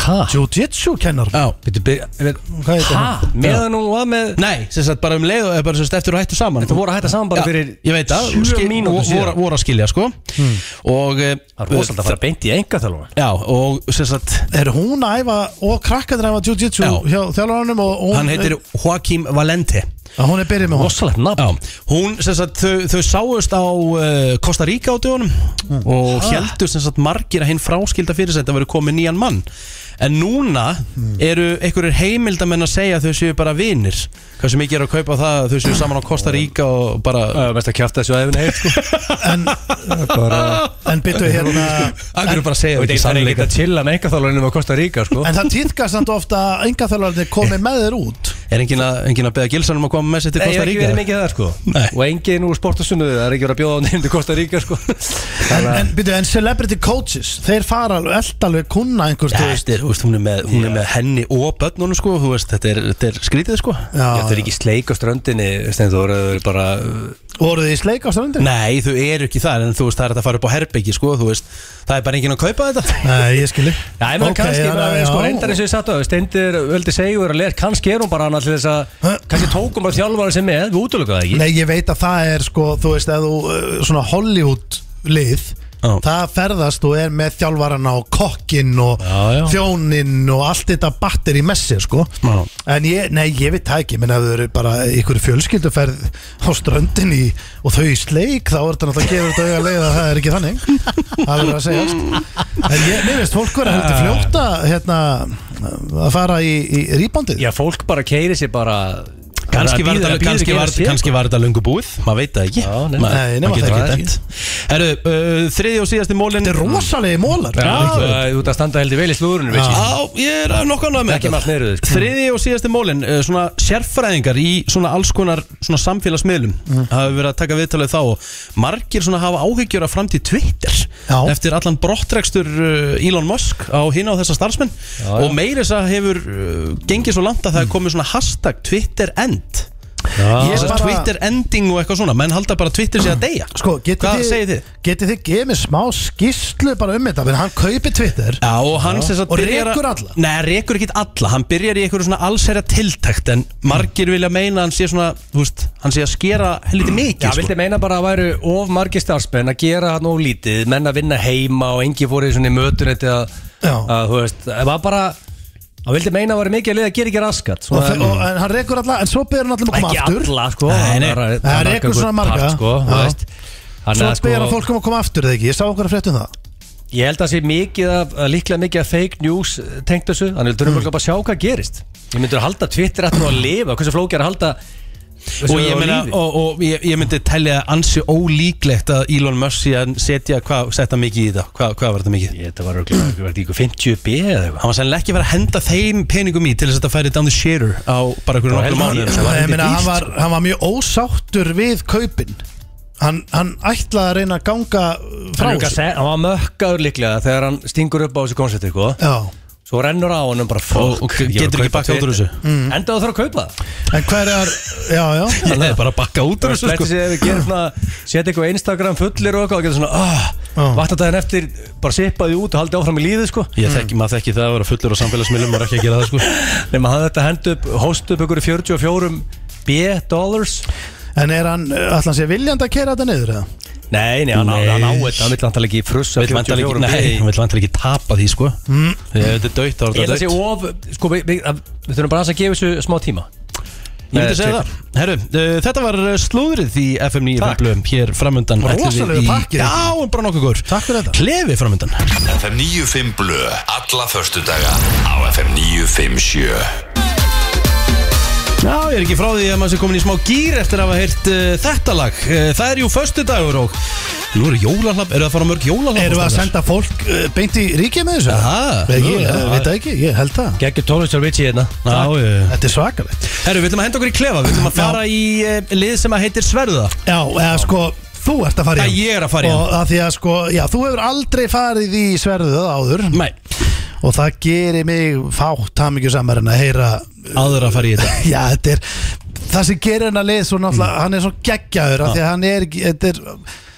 [SPEAKER 2] Hæ?
[SPEAKER 4] Jiu-Jitsu kennar
[SPEAKER 1] Já
[SPEAKER 2] Býttu byrja
[SPEAKER 4] Hvað heitir
[SPEAKER 2] Hæ?
[SPEAKER 4] hann?
[SPEAKER 2] Meðan hún var með
[SPEAKER 1] Nei, sem sagt bara um leið og eh, bara sem sagt eftir að hættu saman
[SPEAKER 2] Þetta voru að hætta saman bara fyrir
[SPEAKER 1] Já, Ég veit að,
[SPEAKER 2] sjö mínútum
[SPEAKER 1] voru,
[SPEAKER 2] síðan. Hmm.
[SPEAKER 1] voru, voru að skilja sko Og eh,
[SPEAKER 2] Það er rosalega að fara beint í enga þjálfuna
[SPEAKER 1] Já, og sem sagt
[SPEAKER 4] Er hún að æfa og krakkaður að æfa Jiu-Jitsu
[SPEAKER 1] Já.
[SPEAKER 4] hjá þjálfarunum og hún,
[SPEAKER 1] Hann heitir Joaquim Valente
[SPEAKER 4] að hún er byrjuð með hún
[SPEAKER 2] Rosalegt nafn
[SPEAKER 1] Já, hún sem sagt þau, þau sáust á uh, Costa Rica á dögunum
[SPEAKER 2] Hmm.
[SPEAKER 1] og heldur sem sagt margir að hinn fráskilda fyrir þetta verið komið nýjan mann en núna
[SPEAKER 2] Hmm.
[SPEAKER 1] eru einhverjir heimildamenn að segja að þau séu bara vinir hversu mikið er að kaupa það að þau séu saman á Costa Rica og bara
[SPEAKER 2] Það er mest að kjæfta þessu aðeins heilt sko
[SPEAKER 4] en, en byttu hérna
[SPEAKER 1] Akkur er bara að segja
[SPEAKER 2] Ég veit
[SPEAKER 1] ekki
[SPEAKER 2] ekki það er ekkert
[SPEAKER 1] sannleika
[SPEAKER 2] að chilla með enga þjálfunum á Kosta Ríka sko
[SPEAKER 4] En það týðkast samt ofta að engaþjálfarnir komi með þér út
[SPEAKER 1] Er engin að, engin að beða gilsanum að koma með sér til
[SPEAKER 2] Nei, ég
[SPEAKER 1] Costa
[SPEAKER 2] hef ekki
[SPEAKER 1] Rica?
[SPEAKER 2] verið mikið þar sko
[SPEAKER 1] Nei.
[SPEAKER 2] Og engin úr sportasunnuðu Það er ekki verið að bjóða á nefndu Kosta Ríka sko
[SPEAKER 4] En,
[SPEAKER 2] Þannig að-
[SPEAKER 4] en, byrju, en celebrity coaches, þeir fara alveg elda alveg kunna einhvers
[SPEAKER 1] Ja,
[SPEAKER 4] þú veist
[SPEAKER 1] þetta er, þú veist, hún, er með, hún er með henni og börnunum sko, þú veist, þetta er, þetta er skrítið sko
[SPEAKER 4] Já,
[SPEAKER 2] Þetta er ekki sleik á ströndinni Steindur, það er bara
[SPEAKER 4] voruð þið í sleik á strandinu?
[SPEAKER 1] Nei, þau eru ekki þar en þú veist, það er hægt að fara upp á herbyggi sko, þú veist, það er bara enginn að kaupa þetta
[SPEAKER 4] Nei, ég skilji
[SPEAKER 2] Já, ég meina kannski, ja, ja, sko, reyndar eins og ég satt á Steindur völdi segjur að leir Kannski er hún bara annars til þess að Kannski tókum bara þjálfari sem með Við útlökuðu það ekki
[SPEAKER 4] Nei, ég veit að það er sko, þú veist, eða þú uh, svona Hollywood lið
[SPEAKER 1] Já.
[SPEAKER 4] Það ferðast og er með þjálfarana og kokkinn og
[SPEAKER 2] Já, já.
[SPEAKER 4] þjóninn og allt þetta batter í messi sko.
[SPEAKER 1] Já.
[SPEAKER 4] En ég, nei, ég veit það ekki menn ef þau eru bara ykkur fjölskylduferð á ströndin í, og þau í sleik þá er þetta náttúrulega gefur þetta auga leið að það er ekki þannig Það verður að segja En ég, mér veist, fólk verður heldur fljóta hérna, að fara í, í rýbandið
[SPEAKER 2] Já, fólk bara keiri sér bara
[SPEAKER 1] Kanski var
[SPEAKER 2] Bara bíður-
[SPEAKER 1] þetta
[SPEAKER 2] bíður
[SPEAKER 1] kannski
[SPEAKER 2] ekki
[SPEAKER 1] var,
[SPEAKER 2] að sé.
[SPEAKER 1] kannski var þetta löngu búið maður veit það ekki
[SPEAKER 2] Já, nei.
[SPEAKER 1] Maður-
[SPEAKER 4] Nei, nema
[SPEAKER 1] maður getur
[SPEAKER 4] það
[SPEAKER 1] ekki
[SPEAKER 4] ekki.
[SPEAKER 1] dæmt. Herru, uh, þriði og síðasti mólin
[SPEAKER 4] Þetta er rosalegi mólar
[SPEAKER 2] Já, Þú ert að standa heldur vel í slúðurinu
[SPEAKER 4] Já.
[SPEAKER 1] Já, ég er nokkan að með
[SPEAKER 2] Ah. Ekki margt niður, sko.
[SPEAKER 1] Þriði og síðasti mólin uh, Svona sérfræðingar í svona alls konar Svona samfélagsmiðlum
[SPEAKER 2] Mhm.
[SPEAKER 1] Hafa verið að taka viðtalið þá og Margir svona hafa áhyggjur af framtíð Twitter
[SPEAKER 4] Já.
[SPEAKER 1] Eftir allan brottrekstur uh, Elon Musk Á hinn á þessa starfsmenn Og meiri þess að hefur uh, gengið svo langt að það er komið svona hashtag Twitter end
[SPEAKER 4] Ég
[SPEAKER 1] Þess að
[SPEAKER 4] bara-
[SPEAKER 1] Twitter ending og eitthvað svona Menn halda bara að Twitter sé að deyja
[SPEAKER 4] Sko, getið
[SPEAKER 1] Hvað segið
[SPEAKER 4] þið,
[SPEAKER 1] þið?
[SPEAKER 4] getið þið gefið mér smá skýrslu bara um þetta, menn hann kaupi Twitter
[SPEAKER 1] Já, og hann sem sagt
[SPEAKER 4] Og
[SPEAKER 1] byrjar að-
[SPEAKER 4] rekur alla?
[SPEAKER 1] Nei, rekur ekki alla, hann byrjar í einhverju svona allsherja tiltækt En margir vilja meina að hann sé svona, þú veist, hann sé að skera helviti mikið
[SPEAKER 2] Já,
[SPEAKER 1] sko.
[SPEAKER 2] vildi meina bara að væru of margi starfsmenn að gera hann og lítið, menn að vinna heima og engi fór í svona mötunetti að,
[SPEAKER 4] Já.
[SPEAKER 2] að, þú veist, það var bara Hann vildi meina að það var mikið að liða að gera ekki raskat
[SPEAKER 4] og,
[SPEAKER 2] svona-
[SPEAKER 4] fe- og, en hann rekur alla, en svo byrjar hann allir um að koma
[SPEAKER 2] Ekki
[SPEAKER 4] aftur
[SPEAKER 2] alla sko
[SPEAKER 1] Nei, nei.
[SPEAKER 2] Það er- er
[SPEAKER 4] Það er
[SPEAKER 2] margur
[SPEAKER 4] einhver svona marga.
[SPEAKER 2] part, sko, þú
[SPEAKER 4] Já.
[SPEAKER 2] veist. Þannig
[SPEAKER 4] Svo
[SPEAKER 2] að,
[SPEAKER 4] byrjar hann
[SPEAKER 2] sko,
[SPEAKER 4] fólk um að koma aftur eða ekki, ég sá okkur að fréttum það
[SPEAKER 2] Ég held að það sé mikið af, að líklega mikið af fake news eh, tengt þessu Þannig að þurfum mm. bara að sjá hvað gerist Ég myndur að halda Twitter að nú að lifa Hversu flókið er að halda þessu
[SPEAKER 1] sko. Og ég,
[SPEAKER 2] á
[SPEAKER 1] meina,
[SPEAKER 2] lífi?
[SPEAKER 1] og, og ég, ég myndi telja ansi ólíklegt að Elon Musk sé að setja, hvað setja mikið í þetta? Hvað, hvað var þetta mikið?
[SPEAKER 2] Ég, þetta var örugglega- þetta var ekki ykkur 50B eða eitthvað
[SPEAKER 1] Hann var sennilega ekki að vera að henda þeim peningum í til þess að þetta færi down the shitter á bara einhverjum
[SPEAKER 2] heldur
[SPEAKER 1] nokkrum mánuðum
[SPEAKER 2] hann-
[SPEAKER 1] sko.
[SPEAKER 2] var
[SPEAKER 4] Ég
[SPEAKER 2] heldur
[SPEAKER 4] meina, hann
[SPEAKER 2] dýrt,
[SPEAKER 4] var, hann var mjög ósáttur við kaupin hann, hann ætlaði að reyna að ganga frá
[SPEAKER 2] Hann er líka að
[SPEAKER 4] þessu
[SPEAKER 2] segja- hann var mökkaður líklega þegar hann stingur upp á þessu konserti sko.
[SPEAKER 4] Já,
[SPEAKER 2] Svo rennur á honum bara
[SPEAKER 1] Og-
[SPEAKER 2] fólk
[SPEAKER 1] og getur ekki bakkað út úr þessu?
[SPEAKER 2] Enda þú þarf að kaupa það
[SPEAKER 4] en hverjar Já, já,
[SPEAKER 1] Ég er bara að bakka út úr
[SPEAKER 2] Það
[SPEAKER 1] þessu
[SPEAKER 2] er
[SPEAKER 1] sko.
[SPEAKER 2] þessi ef við gerum svona Setja eitthvað á Instagram fullir og eitthvað og getur svona ah,
[SPEAKER 4] Já.
[SPEAKER 2] Vatnadaginn eftir bara sippa því út og haldi áfram í líði sko
[SPEAKER 1] Ég þekki, maður þekki það að vera fullur á samfélagsmiðlum og er ekki að gera það sko
[SPEAKER 2] Nefnum að hann þetta hendu upp, host upp ykkur 44 B-dollars
[SPEAKER 4] en er hann ætla hann sé viljandi að kera þetta niður eða?
[SPEAKER 2] Nei, nei, hann á
[SPEAKER 1] Nei.
[SPEAKER 2] hann á þetta Hann vill hann tala ekki frussa
[SPEAKER 1] Vill vantar ekki,
[SPEAKER 2] 44
[SPEAKER 1] nei,
[SPEAKER 2] B
[SPEAKER 1] hann vill vantar ekki tapa því sko Þegar þetta er döitt, þá er
[SPEAKER 2] Ég held að
[SPEAKER 1] þetta
[SPEAKER 2] sé
[SPEAKER 1] döitt
[SPEAKER 2] of Sko, við, við, að- við þurfum bara aðeins að gefa þessu smá tíma
[SPEAKER 1] Ég myndi segja það Herru, uh, þetta var uh, slúðrið í FM 9
[SPEAKER 2] Takk.
[SPEAKER 1] Blöðum hér framundan ætlum við
[SPEAKER 4] Rosalegur
[SPEAKER 1] í-
[SPEAKER 4] pakki.
[SPEAKER 1] Já, en bara nokkuð gór
[SPEAKER 4] hérna. Takk fyrir þetta.
[SPEAKER 1] Klefi framundan
[SPEAKER 5] FM 95 Blö Alla förstudaga á FM 957
[SPEAKER 1] Já, ég er ekki frá því að maður sé komin í smá gýr eftir að hafa heyrt uh, þetta lag uh, Það er jú föstudagur og Nú eru jólahlapp, eru það að fara á mörg jólahlapp
[SPEAKER 4] Erum við að senda fólk uh, beint í ríkið með þessu?
[SPEAKER 1] Aha,
[SPEAKER 4] Ég, ég,
[SPEAKER 1] mögulega.
[SPEAKER 4] ég veit það ekki, ég held það
[SPEAKER 2] Gekki tónlistar vitsi hérna
[SPEAKER 1] Já, já, já.
[SPEAKER 4] Þetta er svakalegt
[SPEAKER 1] Herru, við ætlum að henda okkur í klefa Við ætlum að
[SPEAKER 4] Já.
[SPEAKER 1] fara í uh, lið sem að heitir Sverða
[SPEAKER 4] Já, eða sko, þú ert að fara í
[SPEAKER 1] Já, ég er að fara í hann.
[SPEAKER 4] Og að því að sko, já, þú hefur aldrei farið í sverðuð áður
[SPEAKER 1] Nei,
[SPEAKER 4] Og það gerir mig fátt hamingjusamar en að heyra
[SPEAKER 1] aðra að fara í þetta
[SPEAKER 4] Já, þetta er Það sem gerir hennar lið svo
[SPEAKER 1] Mm.
[SPEAKER 4] náttúrulega Hann er svo geggjaður af því að hann er ekki- Þetta er,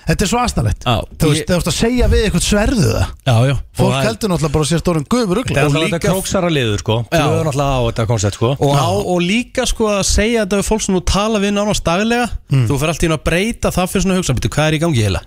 [SPEAKER 4] þetta er svo astanlegt
[SPEAKER 1] Já, ég-
[SPEAKER 4] Þú veist, þú veist að segja við eitthvað sverðuða
[SPEAKER 1] Já, já Og
[SPEAKER 4] Fólk
[SPEAKER 1] það-
[SPEAKER 4] heldur náttúrulega bara að sér stórum gufur
[SPEAKER 2] Það er
[SPEAKER 4] ugla
[SPEAKER 2] alltaf þetta króksara liður sko Blöður alltaf á þetta koncept sko
[SPEAKER 1] og, á, og líka sko að segja þetta við fólk sem þú tala við nánast daglega
[SPEAKER 4] Mm.
[SPEAKER 1] þú fer allt í hún að breyta það fyrir svona hugsa býttu, hvað er í gangi heila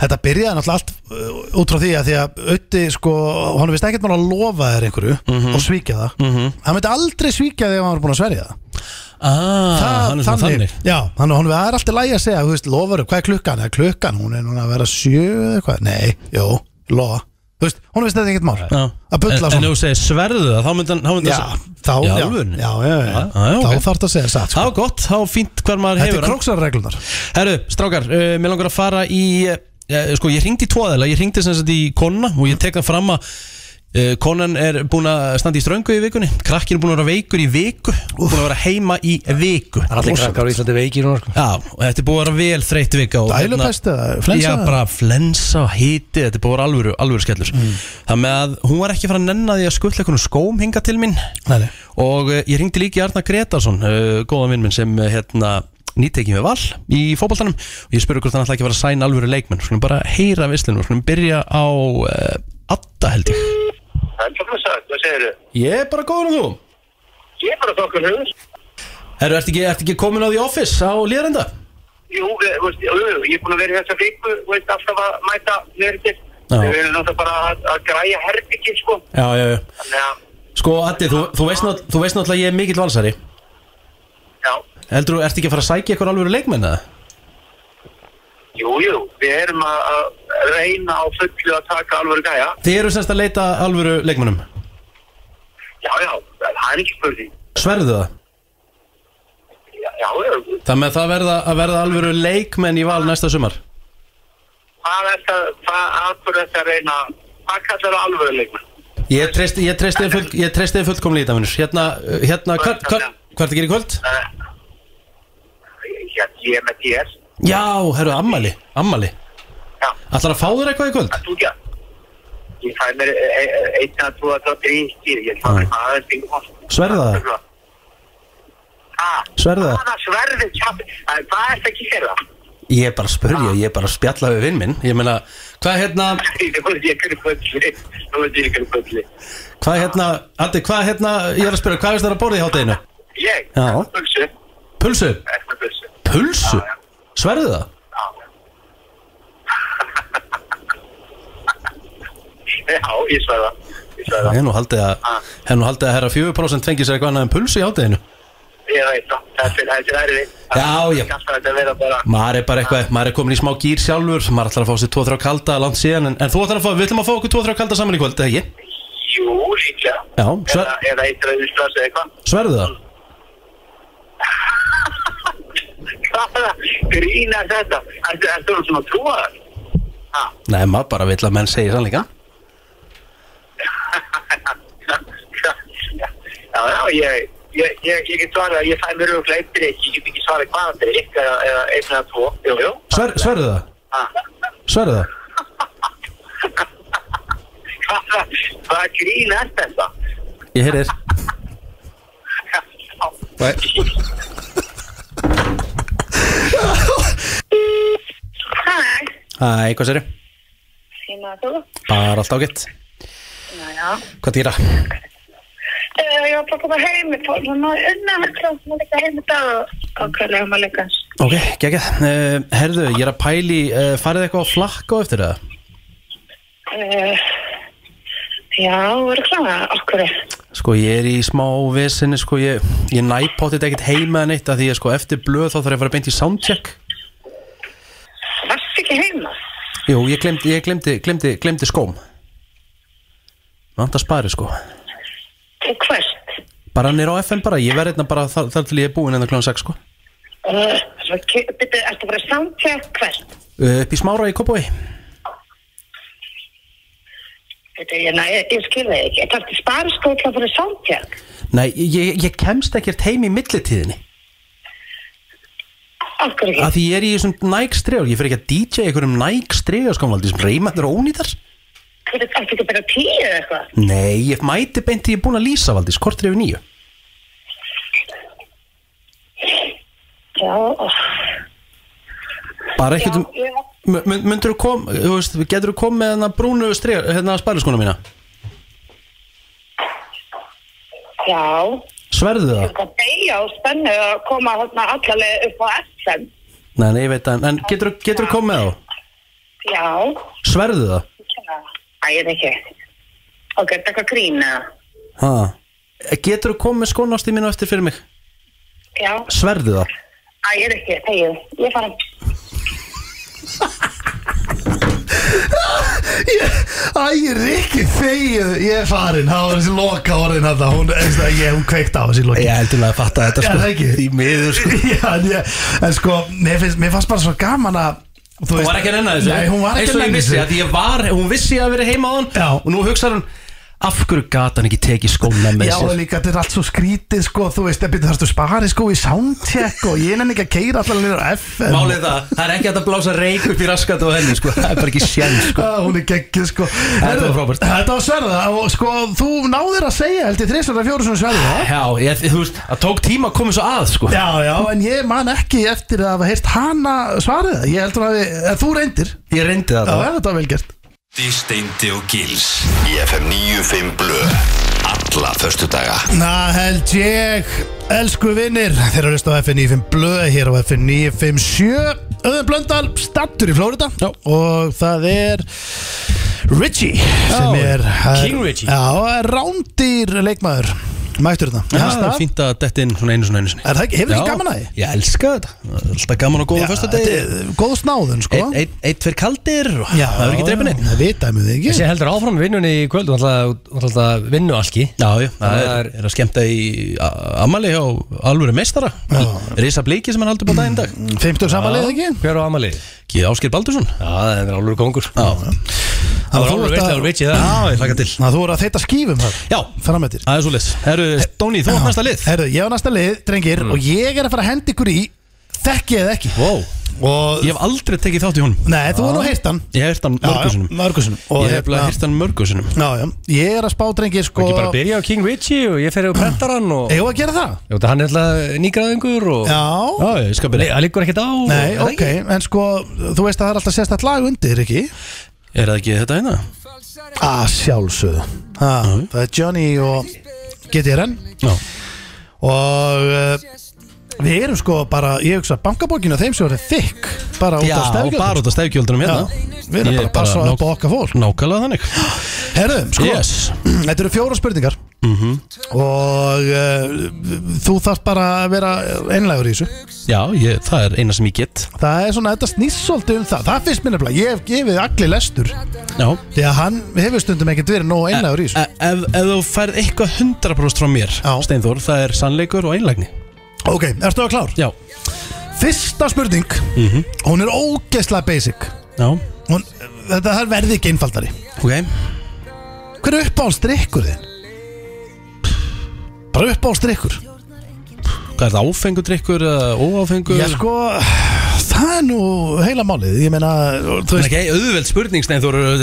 [SPEAKER 4] Þetta byrjaði náttúrulega allt uh, út frá því að því að Ötti sko, hann veist ekkert mál að lofa þér einhverju
[SPEAKER 1] Mhm.
[SPEAKER 4] og svíkja það Hann myndi aldrei svíkja þig ef hann var búin að sverja það
[SPEAKER 1] ah, hann er svona þannig
[SPEAKER 4] Já, hann, hann er alltaf lægi að segja, þú veist, lofar hvað er klukkan? Er klukkan, hún er núna að vera sjö eða eitthvað? Nei, jú, lofa Þú veist, hún veist þetta ekkert mál
[SPEAKER 1] Já.
[SPEAKER 4] Að
[SPEAKER 1] en,
[SPEAKER 4] bulla
[SPEAKER 1] en
[SPEAKER 4] svona
[SPEAKER 1] ef þú segir sverðu það þá myndi hann þá myndi
[SPEAKER 4] Já,
[SPEAKER 1] hann segja-
[SPEAKER 4] þá,
[SPEAKER 1] í
[SPEAKER 4] já, já,
[SPEAKER 1] alvörunni? Ah,
[SPEAKER 4] já, já, já.
[SPEAKER 1] já, ok.
[SPEAKER 4] Þá þarf það að segja satt
[SPEAKER 1] það
[SPEAKER 4] sko.
[SPEAKER 1] var gott, þá fínt hver maður
[SPEAKER 4] Þetta er
[SPEAKER 1] hefur hann.
[SPEAKER 4] króksarreglunar
[SPEAKER 1] Herru, strákar, uh, mér langar að fara í uh, sko, ég ringdi í tvoðela, ég ringdi sem sagt í konna og ég tek það fram að uh, konan er búin að standa í ströngu í vikunni krakkin er búin að vera veikur í viku búin að vera heima í viku
[SPEAKER 2] Það er allir krakkar á Íslandi veikir núna sko
[SPEAKER 1] Já, og þetta er búið að vera vel þreytt vika og hérna-
[SPEAKER 4] Dælupest eða flensa?
[SPEAKER 1] Já, bara flensa og hiti, þetta er búið að vera alvöru, alvöru skellur
[SPEAKER 4] Mm.
[SPEAKER 1] Það með að hún var ekki að fara að nenna því að skuttla einhvern skóm hinga til mín
[SPEAKER 4] Nei, nei.
[SPEAKER 1] Og eh, ég ringdi líka í Arna Gretarsson, uh, góðan vinn minn sem eh, hérna nýttekin við val í fótboltanum Og ég spurði hvort hann ætla ekki að vera að sæna alvöru leikmenn Skulum bara heyra vislinum, skulum byrja á uh, Adda held ég
[SPEAKER 6] Heldur þú sagt, hvað segirðu?
[SPEAKER 1] Ég er bara góður en þú
[SPEAKER 6] Ég er bara þokkar höfus.
[SPEAKER 1] Herru, ertu ekki, ertu ekki komin á því office á liðarenda?
[SPEAKER 6] Jú, við- þú veist, jú, jú, ég er búin að vera í þessa viku, þú veist, alltaf að mæta nöður til.
[SPEAKER 1] Já.
[SPEAKER 6] Við erum náttúrulega bara að, að græja herbyggin, sko.
[SPEAKER 1] Já, já, já
[SPEAKER 6] Þannig að,
[SPEAKER 1] Sko, Addi, þú, þú, veist, nátt- þú veist náttúrulega að ég er mikill valsari
[SPEAKER 6] já,
[SPEAKER 1] Heldur þú, ertu ekki að fara að sækja ykkur alveg leikmenn eða?
[SPEAKER 6] jú, jú, við erum að, að reyna á fullu að taka alveg gæja.
[SPEAKER 1] Þið eru semst að leita alvöru leikmennum
[SPEAKER 6] Já, já, það er ekki spurning.
[SPEAKER 1] Sverðu það?
[SPEAKER 6] Já, já, jú,
[SPEAKER 1] Það með það verða að verða alvöru leikmenn í val næsta sumar
[SPEAKER 6] hvað er það, hvað aðfyrir þetta að reyna, hvað kallar það alveg leikmenn?
[SPEAKER 1] Ég treysti ég treysti þér full, ég treysti þér fullkomlega í þetta minnur Hérna, uh, hérna, hvað hva, hva, er að gera í kvöld?
[SPEAKER 6] Uh, já, ég er með DS,
[SPEAKER 1] Já, herru, ammali, ammali
[SPEAKER 6] já,
[SPEAKER 1] Ætlar að fá þér eitthvað í kvöld?
[SPEAKER 6] þú ekki að. Ég fæ mér e- e- einn að þú að það drikkir, ég fæ mér aðeins bingum.
[SPEAKER 1] Sverða það? Sverðu það?
[SPEAKER 6] Hvaða sverði? kjafti? Æ, Hvað er það ekki hérna?
[SPEAKER 1] Ég er bara að spurja, ég er bara að spjalla við vinn minn Ég meina, hvað hérna,
[SPEAKER 6] Nú er ég ykkur fulli. Nú er ég ykkur fulli.
[SPEAKER 1] hvað hérna Addi, hvað hérna, ég er að spyrja, hvað er það að borða í hátæginu?
[SPEAKER 6] Ég?
[SPEAKER 1] Já.
[SPEAKER 6] Bulsu.
[SPEAKER 1] Pulsu?
[SPEAKER 6] Eftir bulsu.
[SPEAKER 1] Pulsu? Sverðu það?
[SPEAKER 6] Já, Eh, ég sverða. fengislega
[SPEAKER 1] Ég hef nú haldið að,
[SPEAKER 6] Ha.
[SPEAKER 1] hef nú haldið að herra 4% fengi sér eitthvað annað en pulsu í áteginu
[SPEAKER 6] Ég veit það, þetta er- þetta er erfið
[SPEAKER 1] Já, já.
[SPEAKER 6] Kannski að þetta vera bara
[SPEAKER 1] Maður er bara eitthvað, maður er komin í smá gýr sjálfur Maður ætlar að fá sér 2-3 kalda langt síðan En, en þú ætlar að fá, við ætlum að fá okkur 2-3 kalda saman í kvöld, eða ekki?
[SPEAKER 6] Jú, líklega
[SPEAKER 1] Já, sver,
[SPEAKER 6] Eða- Eða eitt rauður strass eða eitthvað
[SPEAKER 1] sverðu það?
[SPEAKER 6] Hvaða grín er þetta? Ertu er, er svona trúar?
[SPEAKER 1] Nei, maður bara vill að menn segja sannleika
[SPEAKER 6] já, já, ég, ég, ég, ég get svarað að ég fæ mér auðvitað eitt drikk, ég get ekki svarað hvaða drikk eða eða einn eða tvo, jú, jú.
[SPEAKER 1] Sver, Sverðu það?
[SPEAKER 6] Ha.
[SPEAKER 1] Sverðu það?
[SPEAKER 6] Hvaða hvaða grín er þetta?
[SPEAKER 1] Ég heyri þér
[SPEAKER 7] Hæ,
[SPEAKER 1] Æ, hvað sér
[SPEAKER 7] síma þú?
[SPEAKER 1] Bara allt ágætt
[SPEAKER 7] Já, já.
[SPEAKER 1] Hvað dýra?
[SPEAKER 7] Eh, Ég var bara að koma heim í tólf og náði unna hættu og maður líka heim í dag og ákveðlega um maður líka.
[SPEAKER 1] Ok, gegja uh, Herðu, ég er að pæli, uh, farið eitthvað á flakk á eftir það?
[SPEAKER 7] Eh, Já, verður kláða okkur.
[SPEAKER 1] Sko, ég er í smá vesinni, sko Ég, ég næpáttið ekkert heima en eitt af Því ég sko eftir blöð þá þarf ég að fara beint í soundcheck
[SPEAKER 7] Varst ekki heima?
[SPEAKER 1] Jú, ég glemdi, ég glemdi, glemdi, glemdi skóm Vanda spari sko
[SPEAKER 7] Til hvert?
[SPEAKER 1] Bara hann er á FM bara, ég verð hérna bara þar, þar til ég er búinn en það kljóðan 6 sko
[SPEAKER 7] Eh, svo ke- Byrju, ertu bara samtja hvert?
[SPEAKER 1] Uh, Upp í smára í Kópói
[SPEAKER 7] Byrju, ég, næ- ég, ég skilði ekki. Það ertu spara sko til að fara samtja.
[SPEAKER 1] Nei, ég, ég kemst ekkert heim í millitíðinni
[SPEAKER 7] Okkur ekki.
[SPEAKER 1] Af því ég er í þessum Nike stregar Ég fer ekki að DJ einhverjum Nike stregar sko Valdi, þessum reymandur og ónýtar
[SPEAKER 7] Byrju, ertu ekki bara tíu eða eitthvað?
[SPEAKER 1] Nei, ég mæti beint því ég er búinn að lýsa Valdi Kortir yfir nýju
[SPEAKER 7] Já, ó,
[SPEAKER 1] Bara
[SPEAKER 7] já,
[SPEAKER 1] ekkert um
[SPEAKER 7] já.
[SPEAKER 1] Myndur þú kom, þú veist, getur þú kom með hennar brúnu stregar Hennar spariskona mína
[SPEAKER 7] Já,
[SPEAKER 1] Sverðu það?
[SPEAKER 7] það beigja og spennu að koma hérna allalega upp á SM.
[SPEAKER 1] Nei, nei, ég veit að En getur þú kom með þá?
[SPEAKER 7] Já,
[SPEAKER 1] Sverðu það?
[SPEAKER 7] Æ, ég veit ekki. Ok, þetta er eitthvað grín eða?
[SPEAKER 1] Ha. Getur þú komið með skónast í mínu eftir fyrir mig?
[SPEAKER 7] Já,
[SPEAKER 1] Sverðu það?
[SPEAKER 7] Æ, ég veit ekki, þegið. Ég fara.
[SPEAKER 4] Æ, Rikki þegið, ég er farin Það var þessi loka orðin þetta Hún, veist það, ég, hún kveikt á þessi loki
[SPEAKER 1] Ég heldur að það fatta þetta
[SPEAKER 4] Já, það ekki.
[SPEAKER 1] miður
[SPEAKER 4] Já, en, ég, en sko, mér finnst, mér fannst bara svo gaman að Þú
[SPEAKER 1] Hún var ekki að nenna þessu
[SPEAKER 4] Nei, hún var
[SPEAKER 1] Eins
[SPEAKER 4] ekki
[SPEAKER 1] og ég
[SPEAKER 4] nenna
[SPEAKER 1] vissi að ég var Hún vissi að vera heima á hann
[SPEAKER 4] Já.
[SPEAKER 1] Og nú hugsar hún Af hverju gat hann ekki tekið skóna með
[SPEAKER 4] Já, og
[SPEAKER 1] sér?
[SPEAKER 4] líka þetta er allt svo skrítið sko, þú veist, það þarfst að spara sko í soundcheck og ég nenni ekki að keira allar nýra á FM
[SPEAKER 1] Málið það, það er ekki hægt að blása reik upp í raskat á henni sko. Það er bara ekki sjæn sko.
[SPEAKER 4] Ah, hún er geggið sko
[SPEAKER 1] Þetta var frábært.
[SPEAKER 4] Þetta var sverða og sko þú náðir að segja held ég þrisar að fjóru svona sverða
[SPEAKER 1] Já, ég, þú veist, það tók tíma að koma svo að sko.
[SPEAKER 4] Já, já, en ég man ekki eftir að hafa heyrt hana svarið það. Ég heldur að, við, að þú reyndir Já,
[SPEAKER 1] Ég reyndi það þá.
[SPEAKER 4] þetta var vel gert
[SPEAKER 5] Í Steindi og Gils Í FM 95 Blö Alla förstu daga
[SPEAKER 4] Na, held ég, elsku vinnir Þeir eru að hlusta á FN95 Blöð hér á FN957 Öðum Blöndal, stattur í Flórida
[SPEAKER 2] Já.
[SPEAKER 4] Og það er Richie sem
[SPEAKER 2] Já,
[SPEAKER 4] er það er-
[SPEAKER 2] King Richie.
[SPEAKER 4] Já, er rándir leikmaður Mættur þetta
[SPEAKER 1] Já, það er fínt að detta inn svona einu svona einu sinni
[SPEAKER 4] Er það ekki, hefur ekki gaman að því?
[SPEAKER 1] Ég elska þetta, alltaf gaman og góða fyrsta degi
[SPEAKER 4] þetta er Góð snáðun, sko
[SPEAKER 1] Einn, ein, ein, tver kaldir og það verður ekki dreipinni
[SPEAKER 4] Það vitaðum við þig
[SPEAKER 2] Þessi
[SPEAKER 4] ekki
[SPEAKER 2] heldur áfram í vinnunni í kvöld og alltaf vinnu alki
[SPEAKER 1] Já, já, það
[SPEAKER 2] Það
[SPEAKER 1] er,
[SPEAKER 2] er-
[SPEAKER 1] er að skemmta í a- ammali hjá alvöru meistara Risa Bliki sem hann haldur bara daginn í dag
[SPEAKER 4] 50 samanlega ekki
[SPEAKER 2] Hver á amalið?
[SPEAKER 1] Gíð Áskir Baldursson
[SPEAKER 2] Já, það er álur kongur
[SPEAKER 1] Já,
[SPEAKER 2] Það var
[SPEAKER 4] þú
[SPEAKER 2] álur
[SPEAKER 4] ert að-
[SPEAKER 2] veitlega Richie það
[SPEAKER 1] já ég hlaka til
[SPEAKER 4] Ná, Þú voru að þeita skífum þar
[SPEAKER 1] Já,
[SPEAKER 4] Framöttir
[SPEAKER 1] það er svo leys Herru, Stóni, þú átt næsta lið Mm.
[SPEAKER 4] Herru, ég á næsta lið, drengir Og ég er að fara að henda ykkur í Þekki eða ekki
[SPEAKER 1] Wow,
[SPEAKER 4] Og
[SPEAKER 1] ég hef aldrei tekið þátt í honum
[SPEAKER 4] Nei, þú er nú heyrt hann
[SPEAKER 1] Ég hef hirt hann mörgusunum
[SPEAKER 4] Mörgusunum
[SPEAKER 1] Ég hef hefla hirt hann mörgusunum
[SPEAKER 4] hérna- Já, já Ég er að spá, drengir, sko
[SPEAKER 2] Ekki bara byrja á King Richie og ég fer og prentar hann og
[SPEAKER 4] Eigum við að gera það?
[SPEAKER 2] Jú, það hann er alltaf nýgraðingur og
[SPEAKER 4] Já
[SPEAKER 1] Já, ég skal
[SPEAKER 2] Nei,
[SPEAKER 1] byrja
[SPEAKER 2] það liggur ekkert á
[SPEAKER 4] Nei,
[SPEAKER 2] Er það
[SPEAKER 4] ok,
[SPEAKER 2] ekki?
[SPEAKER 4] en sko, þú veist að það er alltaf sérstætt lag undir, ekki?
[SPEAKER 1] Er það ekki þetta hérna?
[SPEAKER 4] Að sjálfsögðu Ha, Það er Johnny og GTRN
[SPEAKER 1] Já,
[SPEAKER 4] og uh, við erum sko bara, ég hugsa bankabókinu þeim sem eru þykk, bara út
[SPEAKER 1] já
[SPEAKER 4] af
[SPEAKER 1] og bara
[SPEAKER 4] stefgjöldum
[SPEAKER 1] út af stefgjöldunum hérna
[SPEAKER 4] við
[SPEAKER 1] Ég
[SPEAKER 4] erum bara
[SPEAKER 1] er
[SPEAKER 4] að passa
[SPEAKER 1] bara
[SPEAKER 4] upp á okkar fólk
[SPEAKER 1] Nákvæmlega þannig
[SPEAKER 4] Herðu, sko,
[SPEAKER 1] Yes.
[SPEAKER 4] þetta eru fjóra spurningar og uh, þú þarft bara að vera einlægur í þessu
[SPEAKER 1] Já, ég, það er eina sem ég get
[SPEAKER 4] Það er svona, þetta snýst svolítið um það Það finnst mér nefnilega, ég hef gefið allir lestur
[SPEAKER 1] Já
[SPEAKER 4] Því að hann hefur stundum ekkert verið nógu einlægur í þessu
[SPEAKER 1] E- Ef, ef þú færð eitthvað 100% frá mér
[SPEAKER 4] Já.
[SPEAKER 1] Steinþór, það er sannleikur og einlægni
[SPEAKER 4] Ok, ertu að klár?
[SPEAKER 1] Já,
[SPEAKER 4] Fyrsta spurning, hún er ógeðslega basic
[SPEAKER 1] já,
[SPEAKER 4] hún, Þetta það verði ekki einfaldari
[SPEAKER 1] ok
[SPEAKER 4] Hver er uppáhaldsdrykkur þinn? Bara uppáhaldsdrykkur
[SPEAKER 1] Hvað er það, áfengur drikkur eða óáfengur?
[SPEAKER 4] Já sko, það er nú heila málið Ég meina,
[SPEAKER 1] Það
[SPEAKER 4] þú
[SPEAKER 1] er
[SPEAKER 4] veist
[SPEAKER 1] ekki auðveld spurning, Steinþór uh,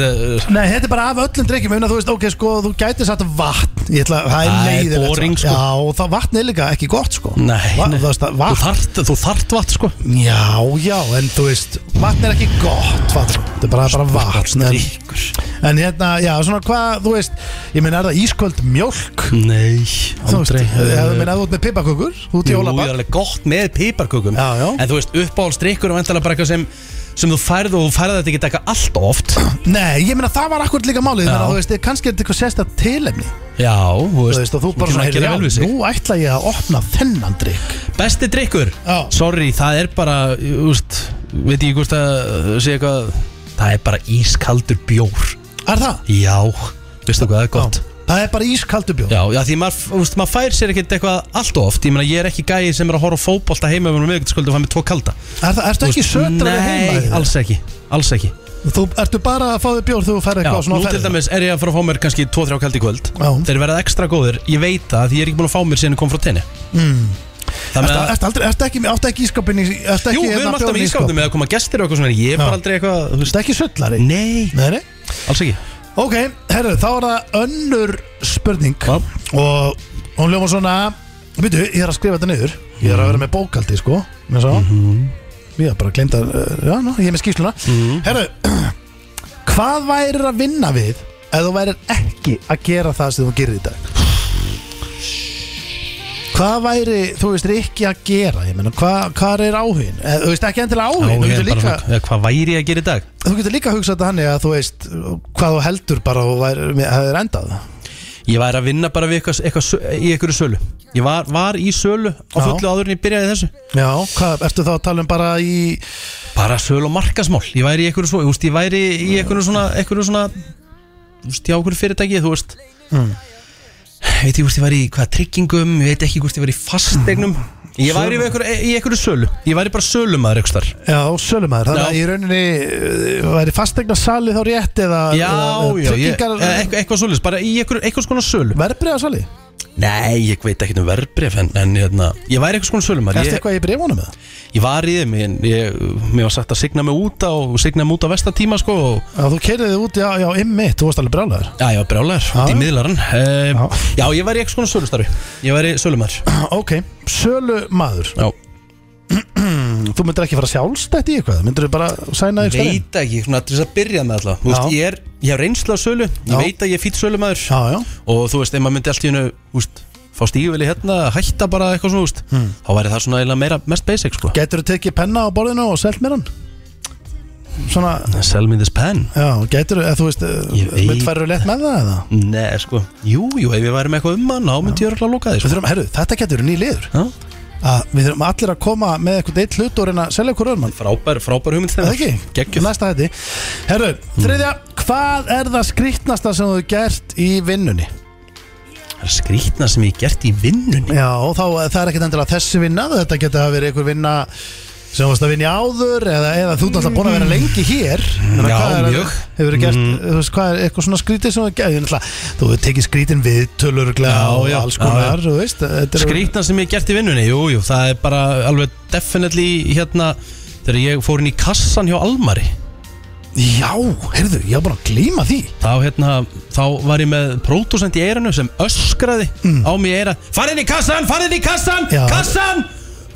[SPEAKER 4] Nei, þetta er bara af öllum drykkjum Una, þú veist, ok, sko, þú gæti satt vatn Ég ætla, það er
[SPEAKER 1] Það er
[SPEAKER 4] leiðilegt
[SPEAKER 1] boring,
[SPEAKER 4] sko.
[SPEAKER 1] sko.
[SPEAKER 4] Já, og það vatn er líka ekki gott, sko
[SPEAKER 1] Nei,
[SPEAKER 4] Va,
[SPEAKER 1] nei.
[SPEAKER 4] Þú veist, það-
[SPEAKER 1] Þú
[SPEAKER 4] vatn
[SPEAKER 1] þart, þú þart vatn, sko
[SPEAKER 4] Já, já, en þú veist, vatn er ekki gott vatn, Þetta er bara, bara vatn en,
[SPEAKER 1] Drikkur
[SPEAKER 4] en hérna, já, svona hvað, þú veist Ég meina, er það ísköld mjólk?
[SPEAKER 1] Nei,
[SPEAKER 4] Þú veist,
[SPEAKER 1] aldrei
[SPEAKER 4] eh, þú meina, þú ert með pipakökur Þú ert
[SPEAKER 1] Jú,
[SPEAKER 4] jólabad
[SPEAKER 1] það er alveg gott með piparkökum
[SPEAKER 4] Já, já.
[SPEAKER 1] En þú veist, uppáhaldsdrykkur er vantilega bara eitthvað sem sem þú færð og þú færð þetta ekki eitthvað allt of oft
[SPEAKER 4] Nei, ég meina það var akkurat líka
[SPEAKER 1] Já.
[SPEAKER 4] málið þannig að þú veist, kannski er þetta eitthvað sérstætt tilefni
[SPEAKER 1] Já, þú
[SPEAKER 4] Þú veist, og þú bara
[SPEAKER 1] getur
[SPEAKER 4] svona,
[SPEAKER 1] að gera
[SPEAKER 4] heyrðu,
[SPEAKER 1] vel við
[SPEAKER 4] já,
[SPEAKER 1] sig
[SPEAKER 4] nú ætla ég að opna þennan drikk
[SPEAKER 1] Besti drykkur,
[SPEAKER 4] Já.
[SPEAKER 1] sorry, það er bara þú veist, veit ég hvort að sé eitthvað, það er bara ískaldur bjór
[SPEAKER 4] Er það?
[SPEAKER 1] Já, veistu hvað, það er gott
[SPEAKER 4] Já. Það er bara ískaldur bjór
[SPEAKER 1] Já, já, því maður, þú veist, maður fær sér ekkert eitthvað allt of oft Ég meina, ég er ekki gæi sem er að horfa á fótbolta heima með mjög ekkert skvöldu og fæ mér tvo kalda
[SPEAKER 4] Er það, ertu ekki sötur að vera heima í
[SPEAKER 1] Nei,
[SPEAKER 4] þér?
[SPEAKER 1] alls ekki, alls ekki
[SPEAKER 4] Þú ertu bara að fá þér bjór þegar þú ferð
[SPEAKER 1] Já,
[SPEAKER 4] eitthvað
[SPEAKER 1] nú
[SPEAKER 4] svona á
[SPEAKER 1] til
[SPEAKER 4] ferðina?
[SPEAKER 1] dæmis er ég að fara að fá mér kannski 2-3 kaldi í kvöld
[SPEAKER 4] Já.
[SPEAKER 1] Þeir verða ekstra góðir, ég veit það því ég er ekki búin að fá mér síðan ég kom frá tenni mm. Þannig
[SPEAKER 4] Hmm. Ertu,
[SPEAKER 1] að,
[SPEAKER 4] ertu, aldrei, ertu ekki, áttu ekki ískapin í ertu
[SPEAKER 1] jú,
[SPEAKER 4] ekki, hérna
[SPEAKER 1] við erum alltaf með ískapnum með að koma gestir og eitthvað svona Ég er bara aldrei eitthvað, þú veist,
[SPEAKER 4] Ertu ekki sötlari?
[SPEAKER 1] nei,
[SPEAKER 4] Nei, nei
[SPEAKER 1] alls ekki
[SPEAKER 4] Ok, herru, þá er það önnur spurning
[SPEAKER 1] Já.
[SPEAKER 4] Og hún ljóma svona Veitu, ég er að skrifa þetta niður Ég er að vera með bókaldi, sko Mér sá
[SPEAKER 1] Mhm.
[SPEAKER 4] Ég er bara að glemta uh, Já, ná, ég er með skýsluna Herru, hvað værir að vinna við Ef þú værir ekki að gera það sem þú gerir í dag Hvað væri, þú veist, ekki að gera Ég meina, hvað, hvað er áhugin Eh, Þú veist, ekki endilega
[SPEAKER 1] Já,
[SPEAKER 4] áhugin Þú
[SPEAKER 1] ég er bara
[SPEAKER 4] getur líka,
[SPEAKER 1] svona, ja, Hvað væri ég að gera í dag?
[SPEAKER 4] þú getur líka að hugsa þetta hannig að þú veist Hvað þú heldur bara og hefur endað
[SPEAKER 1] Ég væri að vinna bara við eitthvað, eitthvað, sö- í einhverju sölu Ég var, var í sölu á
[SPEAKER 4] Já.
[SPEAKER 1] fullu áður en ég byrjaði í þessu
[SPEAKER 4] Já, hvað, ertu þá að tala um bara í
[SPEAKER 1] bara söl og markasmál ég væri í einhverju svo, úst, ég væri í einhverju svona einhverju svona, úst, já, einhverju fyrirtæki þú veist
[SPEAKER 4] Mm.
[SPEAKER 1] ég veit ekki hvort ég væri í hvaða tryggingum ég veit ekki hvort ég væri í fastegnum ég væri í einhverju, í einhverju sölu ég væri bara sölumæður einhverju þar
[SPEAKER 4] Já, sölumæður, þannig að
[SPEAKER 1] Já.
[SPEAKER 4] í rauninni uh, væri fastegna salið þá rétt eða
[SPEAKER 1] já, já, ég, eða
[SPEAKER 4] eh, tryggingar,
[SPEAKER 1] eitthvað, eitthvað svoleiðis bara í einhverju, einhvers konar sölu
[SPEAKER 4] verbrið að salið
[SPEAKER 1] nei, ég veit ekki um verbref en, en hérna, ég væri einhvers konar sölumæður
[SPEAKER 4] Ertu
[SPEAKER 1] ég,
[SPEAKER 4] eitthvað í brefunum með það?
[SPEAKER 1] ég var í þeim, ég, ég, mér var sagt að signa mig út á, signa mig út á vestatíma sko, og
[SPEAKER 4] Já, þú keiriði út, já, já, ymmið, þú varst alveg brálaður
[SPEAKER 1] Já, ég var brjálæður,
[SPEAKER 4] Já.
[SPEAKER 1] út í miðlaran
[SPEAKER 4] Já.
[SPEAKER 1] uh, Já, ég var í eitthvað svona sölustarfi Ég var í sölumar
[SPEAKER 4] Ok, sölumæður,
[SPEAKER 1] Já,
[SPEAKER 4] þú myndir ekki fara sjálfstætt í eitthvað, myndir þú bara sæna þig stærinn?
[SPEAKER 1] Mm. veit ekki, svona til þess að byrja með alltaf Þú
[SPEAKER 4] Já.
[SPEAKER 1] veist, ég er, ég hef reynsla af sölu Ég
[SPEAKER 4] Já.
[SPEAKER 1] veit að ég er fýtt sölumæður
[SPEAKER 4] Já, já,
[SPEAKER 1] Og þú veist, ef maður myndi allt í hennu, úst Fá stígvili hérna, hætta bara eitthvað svona, úst
[SPEAKER 4] Hmm.
[SPEAKER 1] Þá væri það svona eiginlega meira, mest basic, sko
[SPEAKER 4] getur þú tekið penna á borðinu og selt mér hann? Svona,
[SPEAKER 1] Sell me this pen
[SPEAKER 4] já, getur þú, þú veist, uh,
[SPEAKER 1] Ég veit-
[SPEAKER 4] mynd færðu lett með það eða?
[SPEAKER 1] Nei, sko, jú, jú, ef ég væri með eitthvað um hann Þá myndi ég örugglega að loka því,
[SPEAKER 4] Við
[SPEAKER 1] sko
[SPEAKER 4] þurfum, herru, þetta getur ný liður
[SPEAKER 1] Já,
[SPEAKER 4] að Við þurfum allir að koma með eitthvað eitt hlut og reyna að selja ykkur öðrum hann
[SPEAKER 1] Frábær, frábær hugmynd
[SPEAKER 4] Er
[SPEAKER 1] þeim
[SPEAKER 4] Það ekki?
[SPEAKER 1] Gekkjöf
[SPEAKER 4] Næsta hætti Herru,
[SPEAKER 1] Mm.
[SPEAKER 4] þriðja Hvað er það skrýtnasta sem þú hefur gert í vinnunni?
[SPEAKER 1] Skrítna sem ég hef gert í vinnunni
[SPEAKER 4] Já, þá eh, það er ekkit endilega þessi vinna Þetta getur að vera einhver vinna sem þú varst að vinna í áður eða, eða þú ert alltaf búin að vera lengi hér Þannig að
[SPEAKER 1] Já,
[SPEAKER 4] hvað er að-
[SPEAKER 1] mjög. Mhm.
[SPEAKER 4] Hefur gert, þú veist, hvað er eitthvað svona skrítið sem þú hefur gert Ég náttúrulega, Þú hefur tekið skrítin við töluruglega
[SPEAKER 1] Já,
[SPEAKER 4] og
[SPEAKER 1] já,
[SPEAKER 4] alls
[SPEAKER 1] já,
[SPEAKER 4] konar Þú veist, þetta er
[SPEAKER 1] Skrítna sem ég hef gert í vinnunni, jú, jú, það er bara alveg definitely hérna þegar ég fór inn í kassan hjá Almari
[SPEAKER 4] Já, heyrðu, ég var bara að glíma því
[SPEAKER 1] þá hérna, þá var ég með pródúsent í eiranu sem öskraði á mig í eira, farinn í kassan, farinn í kassan
[SPEAKER 4] Mm. Já.
[SPEAKER 1] kassan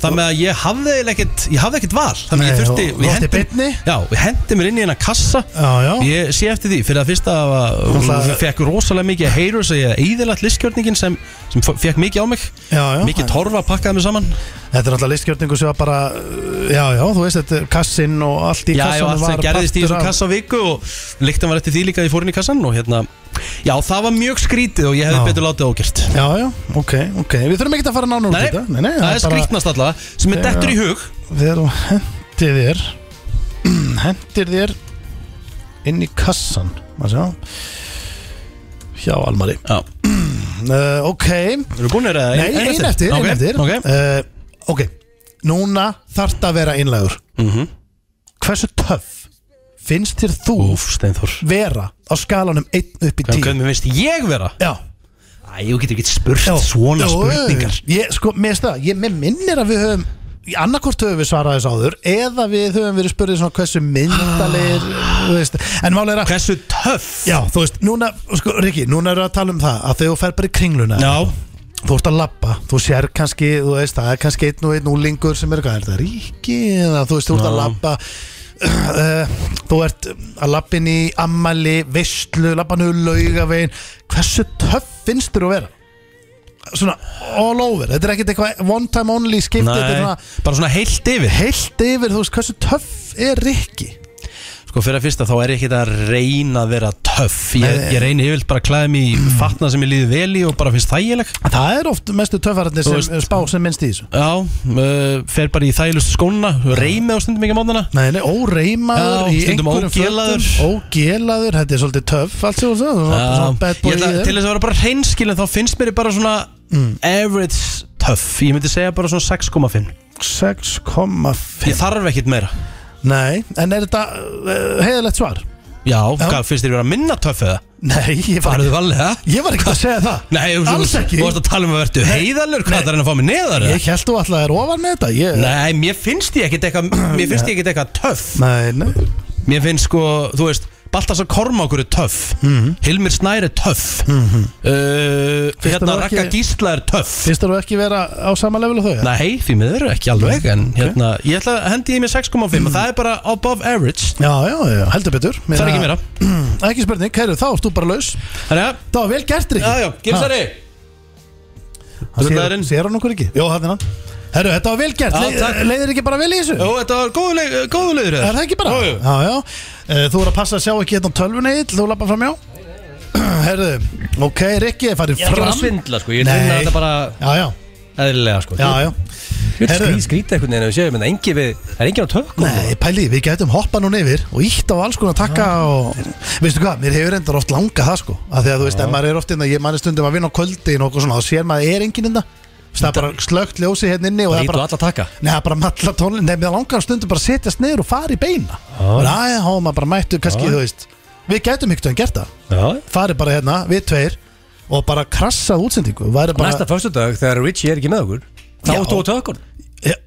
[SPEAKER 1] þannig að ég hafði eiginlega ekkert, ég hafði ekkert val þannig að ég
[SPEAKER 4] Nei,
[SPEAKER 1] þurfti,
[SPEAKER 4] og- og átti beinni?
[SPEAKER 1] já, við hendi mér inn í hérna kassa
[SPEAKER 4] Já, já.
[SPEAKER 1] ég sé eftir því, fyrir að fyrsta var,
[SPEAKER 4] Náttúrulega-
[SPEAKER 1] hún fekk rosalega mikið að heyru sig að eðilat listkjörningin sem, sem f- fékk mikið á mig
[SPEAKER 4] Já, já.
[SPEAKER 1] mikið torfa pakkaði mig saman
[SPEAKER 4] Þetta er alltaf listgjörningu sem var bara uh, Já, já, þú veist, þetta er kassinn og allt í
[SPEAKER 1] Já, já,
[SPEAKER 4] kassanum
[SPEAKER 1] allt sem
[SPEAKER 4] var
[SPEAKER 1] gerðist í
[SPEAKER 4] partur
[SPEAKER 1] þessum
[SPEAKER 4] af-
[SPEAKER 1] kassa á viku og líktan var eftir því líka að ég fór inn í kassan og hérna, Já, það var mjög skrítið og ég hefði
[SPEAKER 4] Já.
[SPEAKER 1] betur látið ógjert
[SPEAKER 4] Já, já, ok, ok Við þurfum ekki að fara nánar út í
[SPEAKER 1] Nei,
[SPEAKER 4] þetta
[SPEAKER 1] það er skrítnast alltaf sem er
[SPEAKER 4] Já.
[SPEAKER 1] dettur í hug
[SPEAKER 4] Þegar þú hendir þér Hendir þér Inn í kassan Má sjá Hjá Almari
[SPEAKER 1] Já.
[SPEAKER 4] uh, Ok
[SPEAKER 1] Eru búinir að
[SPEAKER 4] Nei, ein eftir, ein eftir.
[SPEAKER 1] Ok,
[SPEAKER 4] Uh, ok, núna þarft að vera einlægur
[SPEAKER 1] Mhm.
[SPEAKER 4] Hversu töff finnst þér þú
[SPEAKER 1] Úf, Steinþór
[SPEAKER 4] vera á skalanum 1 upp í 10
[SPEAKER 1] Hvernig veist ég vera?
[SPEAKER 4] Já,
[SPEAKER 1] Æ, þú getur ekki spurt
[SPEAKER 4] já
[SPEAKER 1] svona
[SPEAKER 4] Já,
[SPEAKER 1] spurningar
[SPEAKER 4] Ég, sko, mér finnst það, ég mér minnir að við höfum annarkort höfum við svarað þess áður eða við höfum verið spurðið svona hversu myndalir veist, en málega er að
[SPEAKER 1] Hversu töff
[SPEAKER 4] Já, þú veist, núna, sko, Riki, núna erum við að tala um það að þegar þú fer bara í kringluna
[SPEAKER 1] Já.
[SPEAKER 4] þú ert að labba, þú sér kannski þú veist, það er kannski einn og einn úlingur sem er eitthvað, er það Riki, eða þú veist, þú ert að labba uh, þú ert að labba inn í ammali, veistlu, labba nú laugavegin, hversu töff finnst þér að vera? Svona all over, þetta er ekkert eitthvað one time only skiptið, þetta
[SPEAKER 1] Nei,
[SPEAKER 4] er svona
[SPEAKER 1] bara svona heilt yfir
[SPEAKER 4] heilt yfir, þú veist, hversu töff er Riki?
[SPEAKER 1] Sko fyrir að fyrsta þá er ég ekki að reyna að vera töff Ég,
[SPEAKER 4] Nei. Mm.
[SPEAKER 1] ég reyni yfirlt bara að klæða mig í fatna sem ég líði vel í og bara finnst þægileg
[SPEAKER 4] Það er oft mestu töffararnir
[SPEAKER 1] Þú
[SPEAKER 4] sem spá sem minnst í þessu
[SPEAKER 1] Já, uh, fer bara í þægilegustu skóna Reymi á stundum ekki á mótnana
[SPEAKER 4] Nei, nei, óreimaður
[SPEAKER 1] Já,
[SPEAKER 4] í
[SPEAKER 1] stundum
[SPEAKER 4] einhverjum
[SPEAKER 1] ógelaður.
[SPEAKER 4] fötum, Ógelaður, þetta er svolítið töff Allt sem þú sagði, þú var svona bad
[SPEAKER 1] Ég
[SPEAKER 4] boy
[SPEAKER 1] ætla, til
[SPEAKER 4] í þér Mm.
[SPEAKER 1] þess að vera bara hreinskilin þá finnst mér ég bara svona average tough Ég myndi segja bara svona 6,5 Ég
[SPEAKER 4] 6,5
[SPEAKER 1] þarf ekkit meira
[SPEAKER 4] Nei, en er þetta uh, heiðalegt svar?
[SPEAKER 1] Já, hvað finnst þér vera minna tough eða?
[SPEAKER 4] Nei, ég var,
[SPEAKER 1] Farðu valið, ha?
[SPEAKER 4] ég var ekki að segja það
[SPEAKER 1] Nei, þú-
[SPEAKER 4] Alls
[SPEAKER 1] þú-
[SPEAKER 4] ekki.
[SPEAKER 1] Þú varst að tala um að verðu heiðalur, hvað það er að fá mig neðar eða?
[SPEAKER 4] Ég held þú alltaf er ofan með þetta ég,
[SPEAKER 1] Nei, mér finnst ég ekkit eitthvað Mér finnst ég ekkit eitthvað tough
[SPEAKER 4] nei, nei.
[SPEAKER 1] Mér finnst sko, þú veist Baltasar Kormákur er töff
[SPEAKER 4] Mhm.
[SPEAKER 1] Hilmir Snær er töff uh,
[SPEAKER 4] Finnst
[SPEAKER 1] Hérna
[SPEAKER 4] þér það
[SPEAKER 1] Raka
[SPEAKER 4] ekki-
[SPEAKER 1] Gísla er töff
[SPEAKER 4] Finnst þú ekki vera á sama level og þau? eða?
[SPEAKER 1] Nei, því miður ekki alveg En hérna, ég ætla að hendi í mig 6,5 Og það er bara above average
[SPEAKER 4] Já, já, já, heldur betur
[SPEAKER 1] Það er ekki meira
[SPEAKER 4] Ekki spurning, kæru, þá ert þú bara laus
[SPEAKER 1] Þannig að,
[SPEAKER 4] Það var vel gert, Riki
[SPEAKER 1] já, já, gilsari
[SPEAKER 4] Sér,
[SPEAKER 1] Drullarinn.
[SPEAKER 4] sér hann okkur ekki? Jó, hann er hann Herru, þetta var vel gert,
[SPEAKER 1] Já,
[SPEAKER 4] Le,
[SPEAKER 1] takk.
[SPEAKER 4] leiðir ekki bara vel í þessu?
[SPEAKER 1] Jó, þetta var eh, góðu leik- góðu leiður
[SPEAKER 4] Er það ekki bara?
[SPEAKER 1] Jú, jú.
[SPEAKER 4] Já, já Eh, Þú er að passa að sjá ekki hérna á tölvunni eitt Þú lappa fram hjá Herðu, ok, Rikki er farið
[SPEAKER 2] Ég er ekki
[SPEAKER 4] fram
[SPEAKER 2] að svindla sko, ég er
[SPEAKER 4] Nei.
[SPEAKER 2] að þetta bara
[SPEAKER 4] Já, já,
[SPEAKER 2] eðlilega sko
[SPEAKER 4] já, já Herðu.
[SPEAKER 2] Skrýt, skrýt eitthvað neina við séum en engi við, það er engin á tökum
[SPEAKER 4] Nei, pæli, við getum hoppað núna yfir og ítt á alls konar takka og veistu hvað, mér hefur endar oft langa það sko að því að þú veist, ef maður er oft innan, ég manni stundum að vinna á kvöldin og eitthvað svona, þá sér maður er enginn hérna? innan það er bara slögt ljósi hérna inni
[SPEAKER 2] Það
[SPEAKER 4] og það er
[SPEAKER 2] lítur
[SPEAKER 4] bara,
[SPEAKER 2] alla taka
[SPEAKER 4] Nei, það er bara matla tónlinn Nei, mér langar stundum bara að setjast niður og fara í beina Ræja, þá er maður bara mættu, kannski, þú veist Við getum ykkur en gert það
[SPEAKER 2] Já.
[SPEAKER 4] farið bara hérna, við tveir og bara krassað útsendingu væri
[SPEAKER 2] Bara...
[SPEAKER 4] bara,
[SPEAKER 2] Næsta föstudag þegar Richie er ekki með okkur Þá
[SPEAKER 4] Já.
[SPEAKER 2] ert þú á tökum
[SPEAKER 4] ég,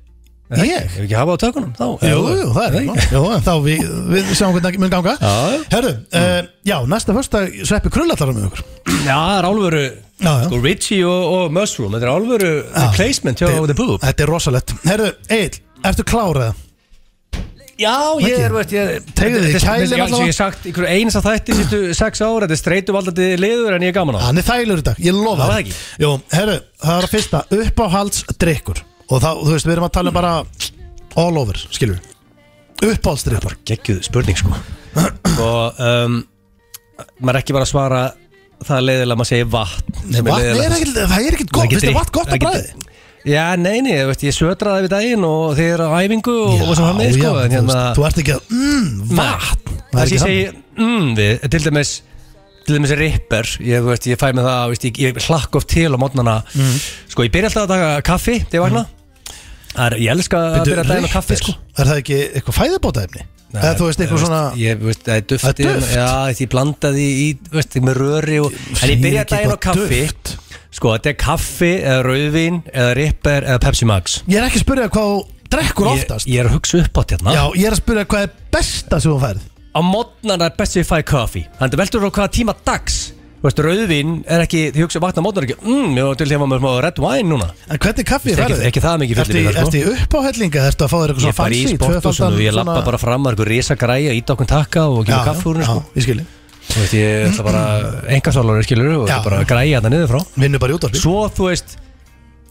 [SPEAKER 4] ég?
[SPEAKER 2] Ef ekki hafa á tökunum þá
[SPEAKER 4] Jú, jú, það er
[SPEAKER 2] Nei.
[SPEAKER 4] það Jú, en þá við, við sjáum hvernig það mun ganga
[SPEAKER 2] Já.
[SPEAKER 4] Herru, uh, já, næsta fyrsta sveppi krullallara með okkur
[SPEAKER 2] Já, það er álveru
[SPEAKER 4] Já, já.
[SPEAKER 2] Sko Richie og, og Mushroom Þetta er álveru replacement hjá The Boob
[SPEAKER 4] Þetta er rosalett Herru, Egil, ertu klárað?
[SPEAKER 2] Já, ég
[SPEAKER 4] Ekki.
[SPEAKER 2] er, veist, ég
[SPEAKER 4] Tegðu þig í kælin
[SPEAKER 2] allavega
[SPEAKER 4] allavega.
[SPEAKER 2] Ég hef sagt ykkur eins að þætti sýttu sex ára Þetta er streytum alltaf liður en ég er gaman á
[SPEAKER 4] Hann er þælur í dag, ég lofa
[SPEAKER 2] Það var það ekki.
[SPEAKER 4] Jú, herru, það er að fyrsta uppáhaldsdrykkur og þá, þú veist, við erum að tala um bara all over, skilur við uppáhaldsdrykkur
[SPEAKER 2] geggjuð spurning sko og um, maður er ekki bara að svara það er leiðilega að maður segir vatn
[SPEAKER 4] Nei, vatn er ekkert- Það er ekkert gott, finnst þið vatn gott að bræði?
[SPEAKER 2] Já, nei, nei, þú veist, ég sötraði við daginn og þeir eru á æfingu og, og sem hann með, sko,
[SPEAKER 4] já,
[SPEAKER 2] en
[SPEAKER 4] þú
[SPEAKER 2] hérna
[SPEAKER 4] veist, Þú ert ekki að, mmm, vatn
[SPEAKER 2] vatn,
[SPEAKER 4] er
[SPEAKER 2] það
[SPEAKER 4] ekki
[SPEAKER 2] sem ég segi mm, við, til dæmis til dæmis ripper, ég, þú veist, ég fæ með það veist, ég, ég hlakk oft til á mótnana
[SPEAKER 4] Mhm.
[SPEAKER 2] sko, ég byrja alltaf að taka kaffi þegar ég vakna Það er, ég elska að byrja daginn á kaffi, sko
[SPEAKER 4] Er það ekki eitthvað fæðabótaefni? Eða þú veist eitthvað svona
[SPEAKER 2] Ég veist, það er dufti
[SPEAKER 4] Það er duft?
[SPEAKER 2] Já, því ég blandaði í, veist, með röri og En ég
[SPEAKER 4] segir
[SPEAKER 2] byrja
[SPEAKER 4] ekki
[SPEAKER 2] daginn á
[SPEAKER 4] eitthvað
[SPEAKER 2] kaffi
[SPEAKER 4] duft.
[SPEAKER 2] Sko, þetta er kaffi eða rauðvín eða ripper eða Pepsi Max
[SPEAKER 4] Ég er ekki að spyrja hvað þú drekkur
[SPEAKER 2] ég,
[SPEAKER 4] oftast
[SPEAKER 2] ég er að hugsa upp átt hérna
[SPEAKER 4] Já, ég er að spyrja hvað er besta sem þú færð
[SPEAKER 2] Á mótnar er best að ég fæ kaffi Þannig að veldur á hvaða tíma dags Þú veist, rauðvín er ekki, því hugsa vakna mótnar ekki Mm, ég var til þegar maður smá red wine núna
[SPEAKER 4] En hvernig kaffi
[SPEAKER 2] Ekki-
[SPEAKER 4] færðu?
[SPEAKER 2] ekki það mikið fyllir við
[SPEAKER 4] Ertu í-
[SPEAKER 2] það, sko.
[SPEAKER 4] Ertu í uppáhellinga, ertu að fá þér
[SPEAKER 2] Ég
[SPEAKER 4] eitthvað svona
[SPEAKER 2] fari
[SPEAKER 4] fancy
[SPEAKER 2] í sporthúsinu, ég lappa bara fram að eitthvað risa græja, íta okkur takka og
[SPEAKER 4] Já,
[SPEAKER 2] kemur kaffi úr
[SPEAKER 4] já,
[SPEAKER 2] henni, sko.
[SPEAKER 4] já, ég skilji
[SPEAKER 2] Þú veist, ég ætla bara, engasálari skilur og
[SPEAKER 4] Já.
[SPEAKER 2] þetta bara græja þetta niður frá
[SPEAKER 4] Vinnu bara í útvarpi
[SPEAKER 2] Svo þú veist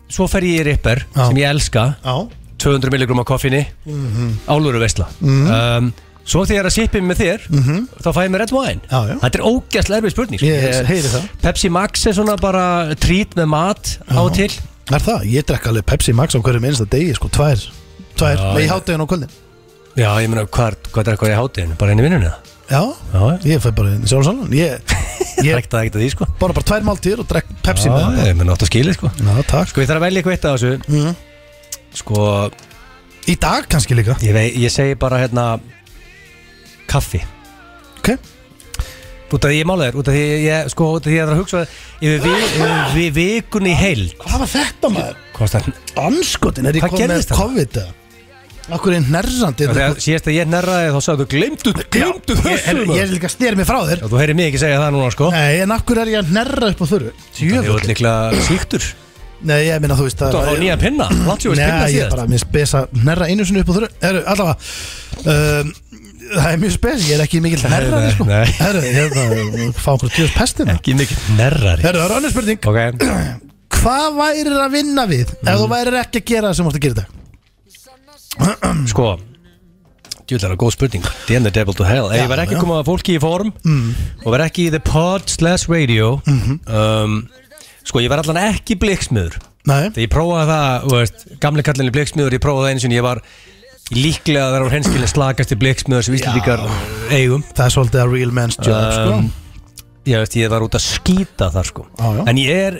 [SPEAKER 2] Svo fer ég í Ripper
[SPEAKER 4] Já.
[SPEAKER 2] sem ég elska
[SPEAKER 4] Já, Mhm.
[SPEAKER 2] 200 milligram á koffinni mm -hmm. Álveru veistla um, Svo þegar ég er að sippi með þér Þá fæ ég mér red wine
[SPEAKER 4] Mhm. Já, já.
[SPEAKER 2] Þetta er ógæslega erfið spurning sko.
[SPEAKER 4] Ég
[SPEAKER 2] Ég-
[SPEAKER 4] heyri það.
[SPEAKER 2] Pepsi Max er svona bara trít með mat á og til
[SPEAKER 4] Er það? Ég drekka alveg Pepsi Max á hverjum einsta degi sko, tvær Tvær, með í hátæðin og kvöldin
[SPEAKER 2] Já, ég meina, hvað, hvað er eitthvað í hátíðinu? Bara henni vinnunni það?
[SPEAKER 4] Já,
[SPEAKER 2] Já,
[SPEAKER 4] ég fæ bara sjálf salan Ég,
[SPEAKER 2] ég
[SPEAKER 4] ég
[SPEAKER 2] Rækta það ekkert að því, sko
[SPEAKER 4] bara bara tvær máltíður og drekk Pepsi
[SPEAKER 2] Já,
[SPEAKER 4] með það Mhm.
[SPEAKER 2] ég meina, átt að skilja, sko
[SPEAKER 4] Já, takk
[SPEAKER 2] Sko, ég þarf að velja eitthvað eitt af þessu Sko,
[SPEAKER 4] Í dag kannski líka
[SPEAKER 2] ég, vei, ég segi bara, hérna Kaffi
[SPEAKER 4] Ok,
[SPEAKER 2] Út af því ég mála þér, út af því ég, sko, út af því ég þarf að hugsa Yfir vi, yfir vi, vikunni í heil
[SPEAKER 4] hvað var þetta maður?
[SPEAKER 2] Kostan
[SPEAKER 4] Anskotin, er ég
[SPEAKER 2] Hvað
[SPEAKER 4] komið með
[SPEAKER 2] gerðist þarna?
[SPEAKER 4] COVID eða? Akkur er nerrandi
[SPEAKER 2] Þegar síðast að ég nerraði þá sagði þú Glemdu, glemdu þessu
[SPEAKER 4] Ég ég er
[SPEAKER 2] maður."
[SPEAKER 4] líka að stýra mig frá þér
[SPEAKER 2] Já, Þú heyrir mig ekki segja það núna, sko
[SPEAKER 4] Nei, en akkur er ég að nerra upp á þurru
[SPEAKER 2] Ég var
[SPEAKER 4] Tjöfull
[SPEAKER 2] líklega svíktur
[SPEAKER 4] Nei, ég minna þú veist
[SPEAKER 2] Þú var nýja pinna, látt sér að
[SPEAKER 4] Nei,
[SPEAKER 2] pinna
[SPEAKER 4] ég er
[SPEAKER 2] síðast
[SPEAKER 4] bara mjög spes að nerra einu sinni upp á þurru Eru, allavega um, Það er mjög spes, ég er ekki mikill nerra
[SPEAKER 2] nei,
[SPEAKER 4] sko.
[SPEAKER 2] nei.
[SPEAKER 4] Eru, ég er að fá okkur tjóðs pestina Eru,
[SPEAKER 2] Ekki mikið nerrari
[SPEAKER 4] það er önnur spurning
[SPEAKER 2] Ok,
[SPEAKER 4] Hvað værir að vinna við ef
[SPEAKER 2] Mm.
[SPEAKER 4] þú værir ekki að gera það sem þú ert að gera í dag?
[SPEAKER 2] Sko Djúlega góð spurning Damn the devil to hell Ef ég verð ekki að koma að fólki í form
[SPEAKER 4] Mm.
[SPEAKER 2] Og verð ekki í the pod slash radio
[SPEAKER 4] Mhm.
[SPEAKER 2] um, Sko ég verð allan ekki blikksmiður
[SPEAKER 4] Nei,
[SPEAKER 2] Þegar ég prófaði það þú veist, Gamli kallinni blikksmiður Ég prófaði það einu sinni Ég var líklega að vera á henskilin slagasti blikksmiður Sem Íslandíkar eigum
[SPEAKER 4] það er svolítið að real man's job
[SPEAKER 2] Um, ég, veist, ég var út að skýta þar sko
[SPEAKER 4] Sko? Já, já.
[SPEAKER 2] En ég er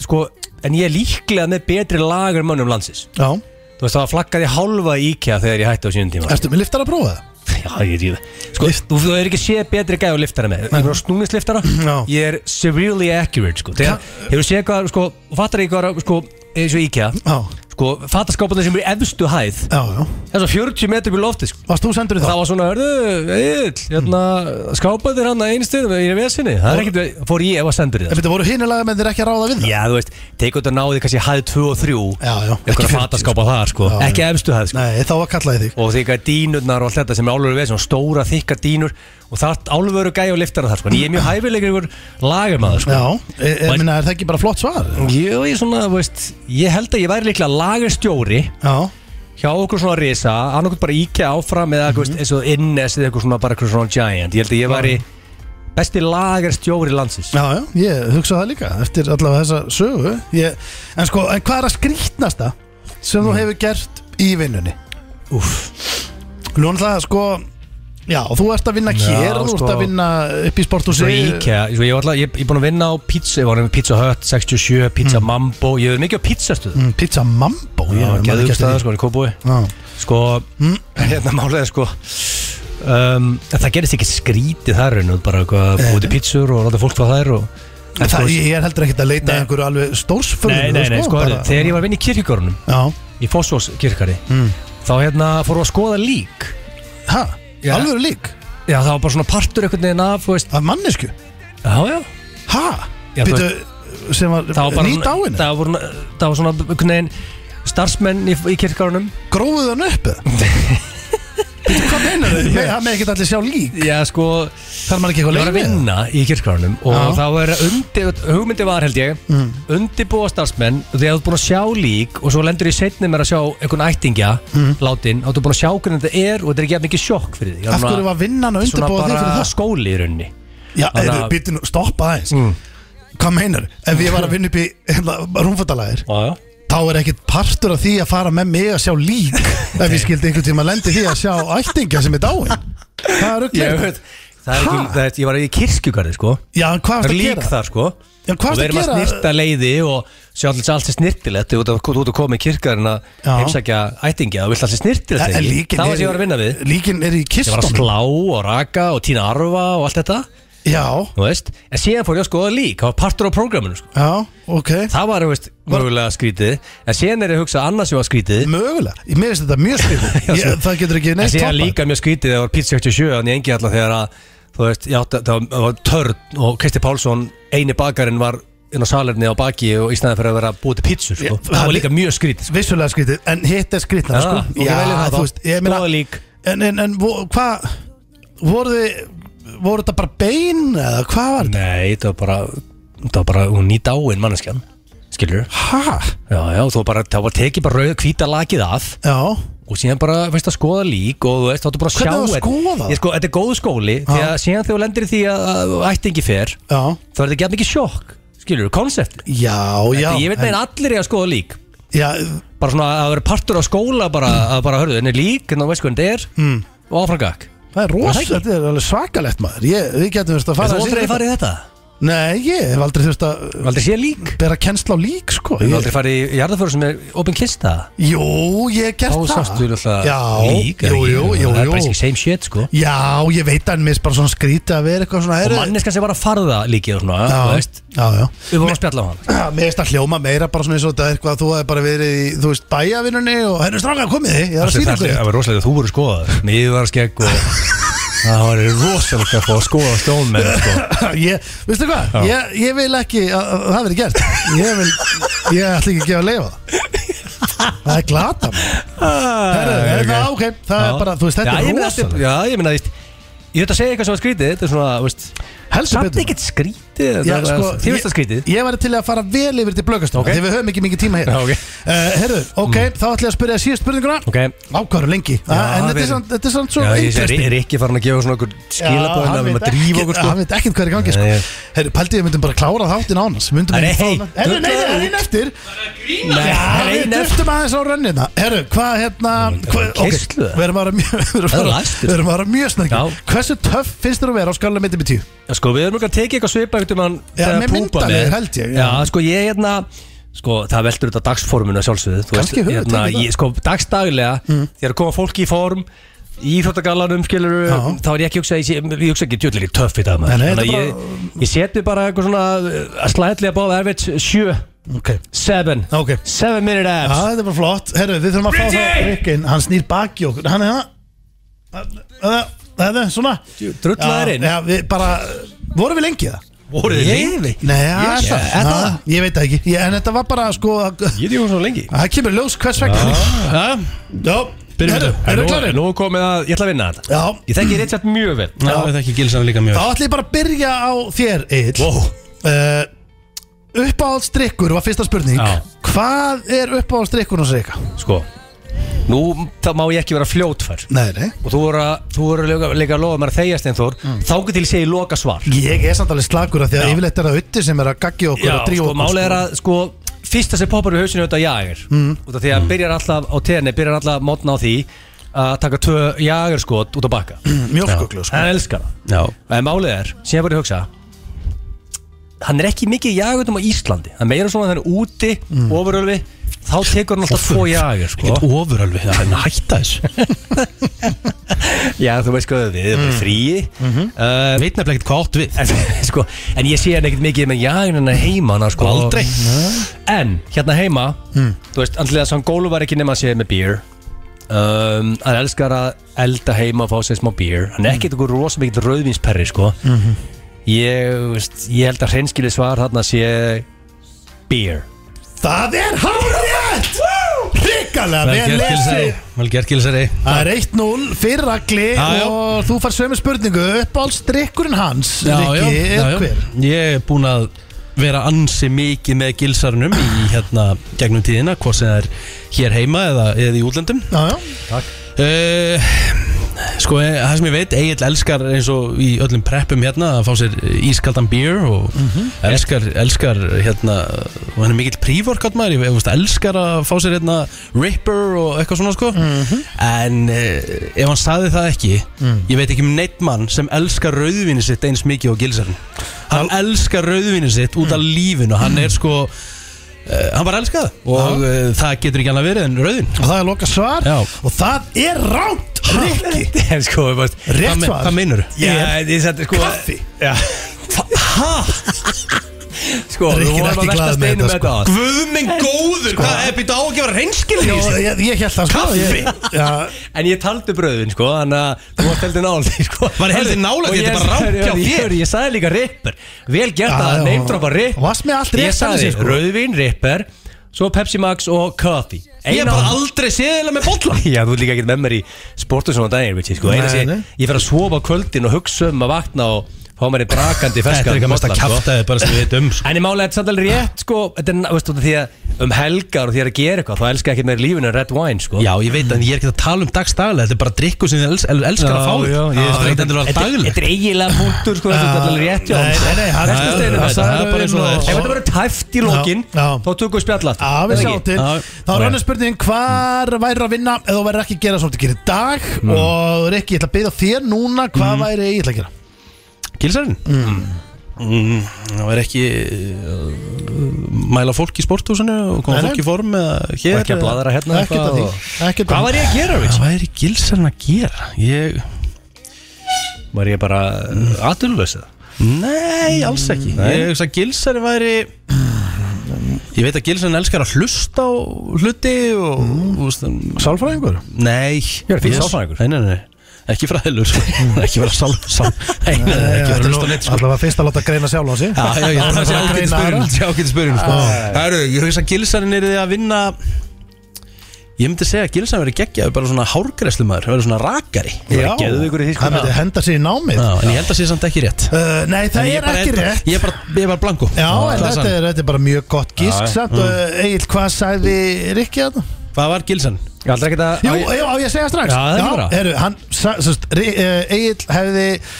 [SPEAKER 2] Sko En ég er líklega með betri lagur mönnum landsins
[SPEAKER 4] sko. Já,
[SPEAKER 2] Þú veist það var flaggaði hálfa í IKEA Þegar ég hætti á sínum tíma
[SPEAKER 4] ertu með liftar að prófa það?
[SPEAKER 2] Já, ég er í það Sko, þú, þú er ekki séð betri gæði á liftara með Ég er á snúningsliftara
[SPEAKER 4] Já.
[SPEAKER 2] Ég er severely accurate, sko Þegar hefur séð hvað, sko, fattar ekki hvað, sko eins og IKEA,
[SPEAKER 4] Já,
[SPEAKER 2] sko, fattaskápandi sem er í efstu hæð
[SPEAKER 4] já, já
[SPEAKER 2] Það er svo 40 metrum í lofti, sko
[SPEAKER 4] Varst þú sendur í
[SPEAKER 2] Það
[SPEAKER 4] það?
[SPEAKER 2] var svona, hörðu, eðill, hérna, skápaðir hann að einu stið, ég er vesinni Það er ekkert, fór ég ef að sendur í
[SPEAKER 4] En
[SPEAKER 2] það sko.
[SPEAKER 4] þetta voru hinulega með þér ekki að ráða við það?
[SPEAKER 2] Já, þú veist, tegur þetta náði kannski hæð 2 og 3
[SPEAKER 4] Já, já, ekki
[SPEAKER 2] Ekkur
[SPEAKER 4] 40,
[SPEAKER 2] fattaskápa þar, sko,
[SPEAKER 4] Já, já.
[SPEAKER 2] ekki efstu hæð, sko
[SPEAKER 4] Nei, þá var kallaði þig
[SPEAKER 2] og þykka dínurnar og allt þetta sem er álveru veð, svona stóra þykka dínur og það er álveru gæi og liftara þar sko. en ég er mjög hæfilegur ykkur lagarmaður sko.
[SPEAKER 4] Já, e, e,
[SPEAKER 2] Var-
[SPEAKER 4] minna, er það ekki bara flott svar?
[SPEAKER 2] Jú, ég, svona, þú veist, ég held að ég væri líklega lagarstjóri
[SPEAKER 4] Já,
[SPEAKER 2] hjá okkur svona risa, annarkot bara íkja áfram eða mm
[SPEAKER 4] Mhm.
[SPEAKER 2] veist, eins og innes eða eitthvað svona bara eitthvað svona giant, ég held að ég væri besti lagarstjóri landsins
[SPEAKER 4] já, já, ég hugsa það líka eftir allavega þessa sögu ég, En sko, en hvað er að skrýtnasta sem
[SPEAKER 2] Mm.
[SPEAKER 4] þú hefur gert í vinnunni? Úff Nú er það sko Já, og þú ert að vinna
[SPEAKER 2] Já,
[SPEAKER 4] hér, þú
[SPEAKER 2] sko.
[SPEAKER 4] ert að vinna upp í
[SPEAKER 2] Svo
[SPEAKER 4] sporthúsi
[SPEAKER 2] IKEA, svo ég var alltaf, ég ég er búin að vinna á pizza, ég var með Pizza Hut, 67, Pizza Mambo, ég hefði mikið á pizzastöðu
[SPEAKER 4] Mm, Pizza Mambo, ég
[SPEAKER 2] Já, geðu
[SPEAKER 4] man ekki
[SPEAKER 2] upp
[SPEAKER 4] eftir
[SPEAKER 2] staða
[SPEAKER 4] því.
[SPEAKER 2] sko, í Kópúi
[SPEAKER 4] Já.
[SPEAKER 2] Sko,
[SPEAKER 4] Mm.
[SPEAKER 2] hérna málega sko um, en Það gerist ekki skrítið þar en bara eitthvað að búið til pítsur og láta fólk fá þær og
[SPEAKER 4] Eh. En það, ég er heldur ekkert að leita
[SPEAKER 2] Nei.
[SPEAKER 4] að einhverju alveg
[SPEAKER 2] Nei,
[SPEAKER 4] stórsförðum
[SPEAKER 2] nei, nei, sko, bara, þegar ég var að vinna í kirkjugörunum
[SPEAKER 4] Já,
[SPEAKER 2] í Fossvóskirkari
[SPEAKER 4] Mm.
[SPEAKER 2] þá hérna fórum við að skoða lík
[SPEAKER 4] ha,
[SPEAKER 2] Já.
[SPEAKER 4] alveg lík
[SPEAKER 2] Já, það var bara svona partur einhvern veginn af, þú veist
[SPEAKER 4] Af mannesku,
[SPEAKER 2] Já, já
[SPEAKER 4] ha
[SPEAKER 2] Já, þú
[SPEAKER 4] Býtu, sem var
[SPEAKER 2] Það var bara
[SPEAKER 4] nýt áinu
[SPEAKER 2] Það var, bara- það var svona einhvern veginn starfsmenn í, í kirkjugörunum
[SPEAKER 4] grófuðu hann upp eða? Býttu, hvað meinar þau? Nei, það með ekkert allir sjá lík
[SPEAKER 2] Já, sko
[SPEAKER 4] Þar maður ekki
[SPEAKER 2] Ég
[SPEAKER 4] eitthvað
[SPEAKER 2] var að
[SPEAKER 4] leið með
[SPEAKER 2] vinna í kirkvarunum og
[SPEAKER 4] Já.
[SPEAKER 2] þá er undi, hugmyndi var held ég mm. undibúa starfsmenn og þegar þú ert búin að sjá lík og svo lendur ég setnið mér að sjá einhvern ættingja látin og þú ert búin að sjá hvernig þetta er og þetta er ekki jafn mikið sjokk fyrir því
[SPEAKER 4] Mm. Af hverju var vinnan að
[SPEAKER 2] Svona
[SPEAKER 4] undirbúa þig fyrir
[SPEAKER 2] bara Mm.
[SPEAKER 4] það? Mm.
[SPEAKER 2] skóli í raunni
[SPEAKER 4] Já,
[SPEAKER 2] Þannig
[SPEAKER 4] eru,
[SPEAKER 2] að-
[SPEAKER 4] býttu nú, stoppa aðeins Hvað meinar þau? Ef ég var að vinna upp í rúmfattalæðir
[SPEAKER 2] Já,
[SPEAKER 4] Þá er ekkert partur af því að fara með mig að sjá lík Ef ég skildi einhvern tíma að lendi því að sjá ættingja sem er dáin Hvað er
[SPEAKER 2] ég
[SPEAKER 4] auðvitað?
[SPEAKER 2] veit Það er ekki,
[SPEAKER 4] Ha?
[SPEAKER 2] það er, ég var í kirkjugarði sko
[SPEAKER 4] Já, en hvað
[SPEAKER 2] Það
[SPEAKER 4] varst
[SPEAKER 2] er
[SPEAKER 4] að
[SPEAKER 2] lík
[SPEAKER 4] gera?
[SPEAKER 2] þar sko
[SPEAKER 4] Já, hvað
[SPEAKER 2] Og við
[SPEAKER 4] varstu að
[SPEAKER 2] erum að
[SPEAKER 4] gera?
[SPEAKER 2] snirta leiði og sjá alltaf allt er snirtilegt Þú ert að- þú ert að koma í kirkgarinn að
[SPEAKER 4] Já.
[SPEAKER 2] heimsækja ættingja og vill allt er snirtilegt
[SPEAKER 4] En- en
[SPEAKER 2] ekki?
[SPEAKER 4] líkin
[SPEAKER 2] Það var
[SPEAKER 4] er-
[SPEAKER 2] sem ég var að vinna við
[SPEAKER 4] Líkin er í
[SPEAKER 2] Ég var að
[SPEAKER 4] kistunum
[SPEAKER 2] slá og raka og tína arfa og allt þetta
[SPEAKER 4] Já,
[SPEAKER 2] Þú veist, en síðan fór ég að skoða lík Það var partur á prógraminu sko
[SPEAKER 4] já, ok
[SPEAKER 2] Það var, þú veist, mögulega skrítið En síðan er ég að hugsa að annars sem var skrítið
[SPEAKER 4] Mögulega, ég meðist þetta mjög
[SPEAKER 2] Já,
[SPEAKER 4] skrifum
[SPEAKER 2] sko.
[SPEAKER 4] Það getur ekki
[SPEAKER 2] En
[SPEAKER 4] neitt
[SPEAKER 2] síðan
[SPEAKER 4] toppað.
[SPEAKER 2] líka mjög skrítið þegar var Pizza 67 Þannig engi allar þegar að Þú veist, já, það var, það var törn Og Kristi Pálsson, eini bakarinn var inn á salerni á baki og í staðan fyrir að vera búið til pítsur sko.
[SPEAKER 4] Já,
[SPEAKER 2] það var líka mjög skrítið sko.
[SPEAKER 4] Vissulega skrítið, en hitt er skrítna sko.
[SPEAKER 2] Ah,
[SPEAKER 4] Og ég
[SPEAKER 2] já,
[SPEAKER 4] velja það,
[SPEAKER 2] þá-
[SPEAKER 4] þú veist ég meina,
[SPEAKER 2] skoða lík.
[SPEAKER 4] En, en, en vo- hvað Voru þið Voru þetta bara bein eða hvað var þetta?
[SPEAKER 2] Nei, það var bara, það var bara hún í dáin manneskjan, skilur
[SPEAKER 4] Hæ?
[SPEAKER 2] Já, já, þú var bara, það var tekið bara rauða hvíta lakið af
[SPEAKER 4] Já,
[SPEAKER 2] og síðan bara veist, að skoða lík og þú veist, þá ertu bara að sjá
[SPEAKER 4] Hvernig á að
[SPEAKER 2] þetta.
[SPEAKER 4] skoða?
[SPEAKER 2] Ég, sko, Þetta er góð skóli því að síðan þegar þú lendir í því að, að ættingi fer
[SPEAKER 4] Já,
[SPEAKER 2] þá er þetta ekki mikið sjokk skilur þú, konsept
[SPEAKER 4] já, já
[SPEAKER 2] ég veit
[SPEAKER 4] en-
[SPEAKER 2] meina allir er að skoða lík
[SPEAKER 4] Já,
[SPEAKER 2] bara svona að vera partur á skóla bara, að bara hörðu, henni lík, en þá veist hvernig þetta er
[SPEAKER 4] Hmm.
[SPEAKER 2] mm. og áframgak
[SPEAKER 4] það er
[SPEAKER 2] Það
[SPEAKER 4] rosa,
[SPEAKER 2] er ekki.
[SPEAKER 4] þetta er alveg svakalegt maður ég, Við getum þurft að
[SPEAKER 2] Er
[SPEAKER 4] fara
[SPEAKER 2] þú
[SPEAKER 4] aðeins
[SPEAKER 2] aldrei
[SPEAKER 4] yfir
[SPEAKER 2] farið í þetta?
[SPEAKER 4] þetta. Nei, ég hef aldrei þurft að
[SPEAKER 2] Þú aldrei séð lík?
[SPEAKER 4] bera kennsla á lík, sko
[SPEAKER 2] Þú
[SPEAKER 4] ég,
[SPEAKER 2] aldrei farið í jarðaföru sem er opin kista?
[SPEAKER 4] Jú, ég hef gert
[SPEAKER 2] Þá
[SPEAKER 4] það
[SPEAKER 2] sástu alltaf
[SPEAKER 4] Já,
[SPEAKER 2] lík eða
[SPEAKER 4] jú,
[SPEAKER 2] ekki?
[SPEAKER 4] jú, jú,
[SPEAKER 2] Það er bara
[SPEAKER 4] jú.
[SPEAKER 2] ekki same shit sko
[SPEAKER 4] Já, ég veit að mér finnst bara svona skrítið að vera eitthvað svona
[SPEAKER 2] Og
[SPEAKER 4] heyrðu-
[SPEAKER 2] manneskan sem var að farða líkið og svona,
[SPEAKER 4] Já,
[SPEAKER 2] þú veist
[SPEAKER 4] já, já
[SPEAKER 2] Við vorum að spjalla á hann
[SPEAKER 4] Já, Mér finnst að hljóma meira bara svona eins og þetta er eitthvað að þú hefði bara verið í, þú veist, bæjavinnunni og hennu stráka komið þið, ég er að
[SPEAKER 2] Það
[SPEAKER 4] sýna
[SPEAKER 2] er-
[SPEAKER 4] ykkur
[SPEAKER 2] það
[SPEAKER 4] þetta.
[SPEAKER 2] var rosalega þú voru skoðað Miðvar skegg og Það var rosalega að fá að skoða stjón með sko.
[SPEAKER 4] Ég, veistu hvað,
[SPEAKER 2] Já.
[SPEAKER 4] ég, ég vil ekki að, að það verið gert Ég vil, ég ætla ekki að gefa að leifa það Það er glata maður. Herru,
[SPEAKER 2] Ah,
[SPEAKER 4] okay.
[SPEAKER 2] ok.
[SPEAKER 4] ok, það
[SPEAKER 2] Já.
[SPEAKER 4] er bara, þú veist, þetta
[SPEAKER 2] Já, ég
[SPEAKER 4] er
[SPEAKER 2] meina, þetta
[SPEAKER 4] rosalega
[SPEAKER 2] Já, ég meina, þú veist Ég veit að segja eitthvað sem var skrítið Þetta er svona, þú veist
[SPEAKER 4] Helstu
[SPEAKER 2] Samt
[SPEAKER 4] betur.
[SPEAKER 2] ekkert skrítið
[SPEAKER 4] Já,
[SPEAKER 2] það-
[SPEAKER 4] sko,
[SPEAKER 2] Þið veist það skrítið
[SPEAKER 4] Ég, ég væri til að fara vel yfir til blöggastofan
[SPEAKER 2] Ok.
[SPEAKER 4] okay. Því við höfum ekki mikið tíma hér
[SPEAKER 2] Já, ok. Mm.
[SPEAKER 4] Eh, Herru, ok, þá ætla ég að spyrja síðust spurninguna
[SPEAKER 2] Ok.
[SPEAKER 4] Ákvæður lengi Já, En þetta
[SPEAKER 2] við-
[SPEAKER 4] er samt- þetta er samt svo
[SPEAKER 2] Já, ég sé,
[SPEAKER 4] interesting.
[SPEAKER 2] er ekki farin að gefa svona okkur
[SPEAKER 4] Já,
[SPEAKER 2] skilabóðin
[SPEAKER 4] hann
[SPEAKER 2] að við erum
[SPEAKER 4] veit
[SPEAKER 2] að drífa
[SPEAKER 4] ekki-
[SPEAKER 2] okkur sko
[SPEAKER 4] Hann veit ekkert hvað er í gangi sko.
[SPEAKER 2] Nei.
[SPEAKER 4] Herru, pældi við myndum bara klára þáttinn án hans Myndum
[SPEAKER 2] Nei,
[SPEAKER 4] ekki fá hann Herru, nei, nei,
[SPEAKER 2] drullaður.
[SPEAKER 4] nei, nei, eftir
[SPEAKER 2] Nei,
[SPEAKER 4] Já,
[SPEAKER 2] það er
[SPEAKER 4] við
[SPEAKER 2] einu eftir
[SPEAKER 4] duftum aðeins á rönnina Herru, hvað hérna hva, ok,
[SPEAKER 2] keislu það.
[SPEAKER 4] Við erum að vera mjög Við erum
[SPEAKER 2] Það er
[SPEAKER 4] að
[SPEAKER 2] læstur.
[SPEAKER 4] vera- við erum að vera mjög snakki
[SPEAKER 2] Já.
[SPEAKER 4] Hversu töff finnst þér að vera á skala mitt upp í tíu?
[SPEAKER 2] Já, sko, við erum okkar að tekið eitthvað svipa eftir mann
[SPEAKER 4] Já, með myndavél, held ég,
[SPEAKER 2] Já,
[SPEAKER 4] já.
[SPEAKER 2] sko, ég hérna Sko, það veldur þetta dagsformuna sjálfsögðu þú veist,
[SPEAKER 4] Kannski höfum við
[SPEAKER 2] hérna,
[SPEAKER 4] tekið það. Mm.
[SPEAKER 2] ég, Sko, dagsdaglega Þegar koma fólki í form Í Íþróttagallanum, skilur
[SPEAKER 4] Já.
[SPEAKER 2] Þá er ég ekki hugsa Ég, sé- ég hugsa ekki djöllir í töff í dag maður.
[SPEAKER 4] Nei, nei,
[SPEAKER 2] Þannig að
[SPEAKER 4] þetta er
[SPEAKER 2] ég, ég seti bara eitthvað svona uh, Að slæðlega báða erfitt sjö
[SPEAKER 4] Ok
[SPEAKER 2] Seven
[SPEAKER 4] Ah, Ok. Ah,
[SPEAKER 2] Seven minute
[SPEAKER 4] Já,
[SPEAKER 2] abs
[SPEAKER 4] þetta er bara flott Herru, við þurfum að fá það Rikkin, hann snýr baki okkur Hann er það Það- Það er svona
[SPEAKER 2] Drullaður inn
[SPEAKER 4] Já, já, við bara Vorum við lengi það?
[SPEAKER 2] Voruð þið lengi?
[SPEAKER 4] Nei, já,
[SPEAKER 2] Ég-
[SPEAKER 4] er það?
[SPEAKER 2] Er það?
[SPEAKER 4] Já, Ég veit það ekki Ég- En þetta var bara sko
[SPEAKER 2] Ég er því hún svo lengi
[SPEAKER 4] Það kemur í ljós hvers vegna Já,
[SPEAKER 1] Byrjum
[SPEAKER 4] Herru,
[SPEAKER 1] þetta.
[SPEAKER 4] Ah, Eru
[SPEAKER 2] Nú-
[SPEAKER 4] klárir?
[SPEAKER 2] Nú er komið að, ég ætla að vinna þetta
[SPEAKER 4] Já,
[SPEAKER 2] Ég þekki Richard mjög vel
[SPEAKER 1] Já, við þekki gilsan líka mjög
[SPEAKER 4] þá ætlum ég bara að byrja á þér, Egil wow. uh, Uppáhaldsdrykkur var fyrsta spurning
[SPEAKER 2] Já.
[SPEAKER 4] Hvað er uppáhaldsdrykkur hans reyka?
[SPEAKER 2] Sko Nú þá má ég ekki vera fljótfær
[SPEAKER 4] Nei, nei
[SPEAKER 2] Og þú voru, að- þú voru líka, líka að lofa mér að þegja Steinþór mm. Þáku til ég segi loka svar
[SPEAKER 4] Ég er samt alveg slagur af því að
[SPEAKER 2] Já.
[SPEAKER 4] yfirleitt er það utti sem er að gaggi okkur og drífa
[SPEAKER 2] sko,
[SPEAKER 4] okkur
[SPEAKER 2] málið er að sko Fyrsta sem poppar í hausinu er þetta jager mm. Út af því að byrjar alltaf á tenni Byrjar alltaf mótna á því Að taka tvö jagerskot út á bakka
[SPEAKER 4] sko. Mjólkuglu, sko
[SPEAKER 2] Hann elskar það
[SPEAKER 1] Já,
[SPEAKER 2] En málið er, síðan voru ég að hugsa Hann er ekki mikið jagutum á Íslandi Hann meira svona þannig úti, mm. ofurölfi Þá tekur hann alltaf tvo jager sko.
[SPEAKER 1] ekkert ofur alveg, það er hætta þess
[SPEAKER 2] Já, þú veist hvað við erum mm. fríi
[SPEAKER 1] Mhm. Ég veit nefnilega ekkert hvað átt við
[SPEAKER 2] en, sko, en ég sé hann ekkert mikið með jægnina heima hana, sko.
[SPEAKER 1] Aldrei. Mm.
[SPEAKER 2] En hérna heima Þú veist, andlega svo hann gólu var ekki nema að sé með beer um, Hann elskar að elda heima og fá sér smá beer Hann
[SPEAKER 1] Mm.
[SPEAKER 2] er ekkert okkur rosa mikið rauðvinsperri sko.
[SPEAKER 1] Mhm.
[SPEAKER 2] ég, þú veist, ég held að hreinskili svar þarna sé beer
[SPEAKER 4] Það er hárið
[SPEAKER 1] Vel
[SPEAKER 4] Ríkalega, vel
[SPEAKER 1] gert gilsari,
[SPEAKER 4] lesið
[SPEAKER 1] vel gert gilsari
[SPEAKER 4] Það er 1-0 fyrir Ragli
[SPEAKER 1] Já, já.
[SPEAKER 4] og þú fær sömu spurningu uppáhaldsdrykkurinn hans Rikki, er hver?
[SPEAKER 1] Ég er búinn að vera ansi mikið með gilsarnum í hérna gegnum tíðina hvort sem það er hér heima eða, eða í útlöndum
[SPEAKER 4] Já, já,
[SPEAKER 1] uh, Sko, eh, það sem ég veit Egil elskar eins og í öllum preppum hérna að fá sér ískaldan beer og elskar, elskar hérna, og hann er mikill prívorkátt maður ég ég veist, elskar að fá sér hérna ripper og eitthvað svona sko en uh, ef hann saði það ekki ég veit ekki um neitt mann sem elskar rauðvinni sitt eins mikið og gilsarinn hann elskar rauðvinni sitt út af lífinu hann er sko Uh, hann bara elskar það og uh, það getur ekki annað verið en rauðin
[SPEAKER 4] og það er loka svar
[SPEAKER 1] Já.
[SPEAKER 4] og það er ránt Rikki,
[SPEAKER 2] En sko, þú veist
[SPEAKER 1] Hvað
[SPEAKER 4] rétt
[SPEAKER 1] me-
[SPEAKER 4] svar
[SPEAKER 1] Hvað meinur
[SPEAKER 2] Já, ég sætti sko Kaffi Já Hæ? Sko,
[SPEAKER 4] Rikki
[SPEAKER 2] þú
[SPEAKER 4] er
[SPEAKER 2] vorum
[SPEAKER 4] ekki
[SPEAKER 2] að velta
[SPEAKER 4] glaður með
[SPEAKER 2] steinu
[SPEAKER 4] þetta,
[SPEAKER 2] með
[SPEAKER 4] sko.
[SPEAKER 2] þetta áðan.
[SPEAKER 1] Guð minn góður, hvað er býtt á að gefa reynskilin í
[SPEAKER 4] Jó,
[SPEAKER 1] þessu?
[SPEAKER 4] ég, ég held að sko
[SPEAKER 1] Kaffi?
[SPEAKER 4] ég, já,
[SPEAKER 2] En ég taldi bröðin sko Þannig að þú varst heldur nála sko.
[SPEAKER 1] Var heldur nálægt,
[SPEAKER 2] Og
[SPEAKER 1] þetta er
[SPEAKER 2] ég-
[SPEAKER 1] bara rangt hjá
[SPEAKER 2] ég- ég-
[SPEAKER 1] þér.
[SPEAKER 2] Ég sagði líka ripper Vel gert
[SPEAKER 4] Já,
[SPEAKER 2] að
[SPEAKER 4] já,
[SPEAKER 2] neymdropa ripper
[SPEAKER 4] varst með allt rétt
[SPEAKER 2] Ég sagði
[SPEAKER 4] þannig séð, sko.
[SPEAKER 2] rauðvin, ripper Svo Pepsi Max og Coffee
[SPEAKER 1] Ég er bara aldrei séðilega með bolla
[SPEAKER 2] Já, þú ert líka ekkert með mér í sportu svona dagir, veit ég, sko.
[SPEAKER 4] Nei,
[SPEAKER 2] Eina sé,
[SPEAKER 4] nei.
[SPEAKER 2] ég fer að svofa á kvöldin og hugsa um að vakna og fá mér í brakandi
[SPEAKER 1] Þetta
[SPEAKER 2] ferskan
[SPEAKER 1] er ekki mest að
[SPEAKER 2] bollan, sko.
[SPEAKER 1] kjæfta þið bara sem við veitum sko.
[SPEAKER 2] En ég málega, þetta er samt alveg rétt sko Þetta er, veistu, því að um helgar og því að gera eitthvað Þá elska ég ekki meira lífin en red wine sko
[SPEAKER 1] Já, ég veit en ég er ekki að tala um dagstaglega Þetta er bara drikku sem þið els, el- elskar að
[SPEAKER 2] Já,
[SPEAKER 1] fá þér.
[SPEAKER 2] já,
[SPEAKER 1] Það
[SPEAKER 2] ég-
[SPEAKER 1] er ekki endur að
[SPEAKER 2] Þetta er-
[SPEAKER 1] daglega
[SPEAKER 2] þetta er eiginlega punktur sko Þetta er alveg rétt hjá honum,
[SPEAKER 4] Nei,
[SPEAKER 2] sko.
[SPEAKER 4] nei, nei, hann-
[SPEAKER 2] Þetta er steinum,
[SPEAKER 1] Já,
[SPEAKER 2] þetta
[SPEAKER 1] það er bara eins og það er.
[SPEAKER 2] Ef þetta verður tæft í lokin
[SPEAKER 4] Já, já.
[SPEAKER 2] Þá tökum við spjalla aftur.
[SPEAKER 4] Já, Ah, við
[SPEAKER 2] Eða
[SPEAKER 4] sjáum
[SPEAKER 2] ekki?
[SPEAKER 4] til
[SPEAKER 1] Já.
[SPEAKER 4] Þá er annars spurningin Hvar væri að vinna eða þú væri ekki að gera svona að gera í dag
[SPEAKER 1] Mm.
[SPEAKER 4] Og Rikki, ég ætla að byrja þér núna Hvað væri ég ætla að gera?
[SPEAKER 1] Kilsarinn? Mm. Það er ekki uh, Mæla fólk í sporthúsinu Og koma
[SPEAKER 4] Nei, nei.
[SPEAKER 1] fólk í form eða hér
[SPEAKER 2] Og ekki að
[SPEAKER 1] eða-
[SPEAKER 2] bladra hérna
[SPEAKER 4] Ekkert að
[SPEAKER 2] eitthvað
[SPEAKER 4] því
[SPEAKER 2] og-
[SPEAKER 4] Ekkert
[SPEAKER 2] Hvað
[SPEAKER 4] að
[SPEAKER 2] var ég að gera við?
[SPEAKER 1] Hvað væri gilsarinn að gera? Ég...
[SPEAKER 2] Var ég bara uh, aðurlösa?
[SPEAKER 1] Nei, alls ekki Ég hugsa að gilsarinn væri Ég veit að gilsarinn elskar að hlusta á hluti og, mm. og,
[SPEAKER 4] Sálfræðingur?
[SPEAKER 1] Nei Ég
[SPEAKER 2] er fínn sálfræðingur.
[SPEAKER 1] Nei, nei, nei Ekki fræðilur Ekki vera sál, sál Nei, nei, nei, ekki vera hlusta á neitt sko.
[SPEAKER 4] Það var fyrst að láta greina sjálf á sig
[SPEAKER 1] Já, já, já,
[SPEAKER 4] Áður en
[SPEAKER 1] það sé
[SPEAKER 4] fara að
[SPEAKER 1] ágæti
[SPEAKER 4] greina aðra.
[SPEAKER 1] spyrjun Það ágæti spyrjun sko. Herru, ég hugsa að Gilsarinn er þið að vinna Ég myndi segja að Gilsarinn verið geggjaður bara svona hárgreslumæður verið svona rakari
[SPEAKER 4] Já,
[SPEAKER 2] geðveikur í því, sko.
[SPEAKER 4] hann myndi henda sér í námið
[SPEAKER 1] Já, En ég held að sé samt ekki rétt
[SPEAKER 4] Uh, Nei, það
[SPEAKER 1] En ég
[SPEAKER 4] er
[SPEAKER 1] bara
[SPEAKER 4] ekki
[SPEAKER 1] held að-
[SPEAKER 4] rétt
[SPEAKER 1] Ég er bara, ég er bara blanko
[SPEAKER 4] Já, en
[SPEAKER 1] Það er
[SPEAKER 4] þetta
[SPEAKER 1] sann.
[SPEAKER 4] er, þetta er bara mjög gott
[SPEAKER 2] Já, já.
[SPEAKER 4] gísk
[SPEAKER 1] Mm.
[SPEAKER 4] samt, uh, Egil, hvað sagði Rikki að það?
[SPEAKER 1] Hvað var Gilsarinn?
[SPEAKER 2] Ég ætla ekki að
[SPEAKER 4] Jú, já, á ég að segja strax
[SPEAKER 2] Já, það er bara.
[SPEAKER 4] heru, hann, sa- sem sagt, Ri- eh, Egill hefði eh,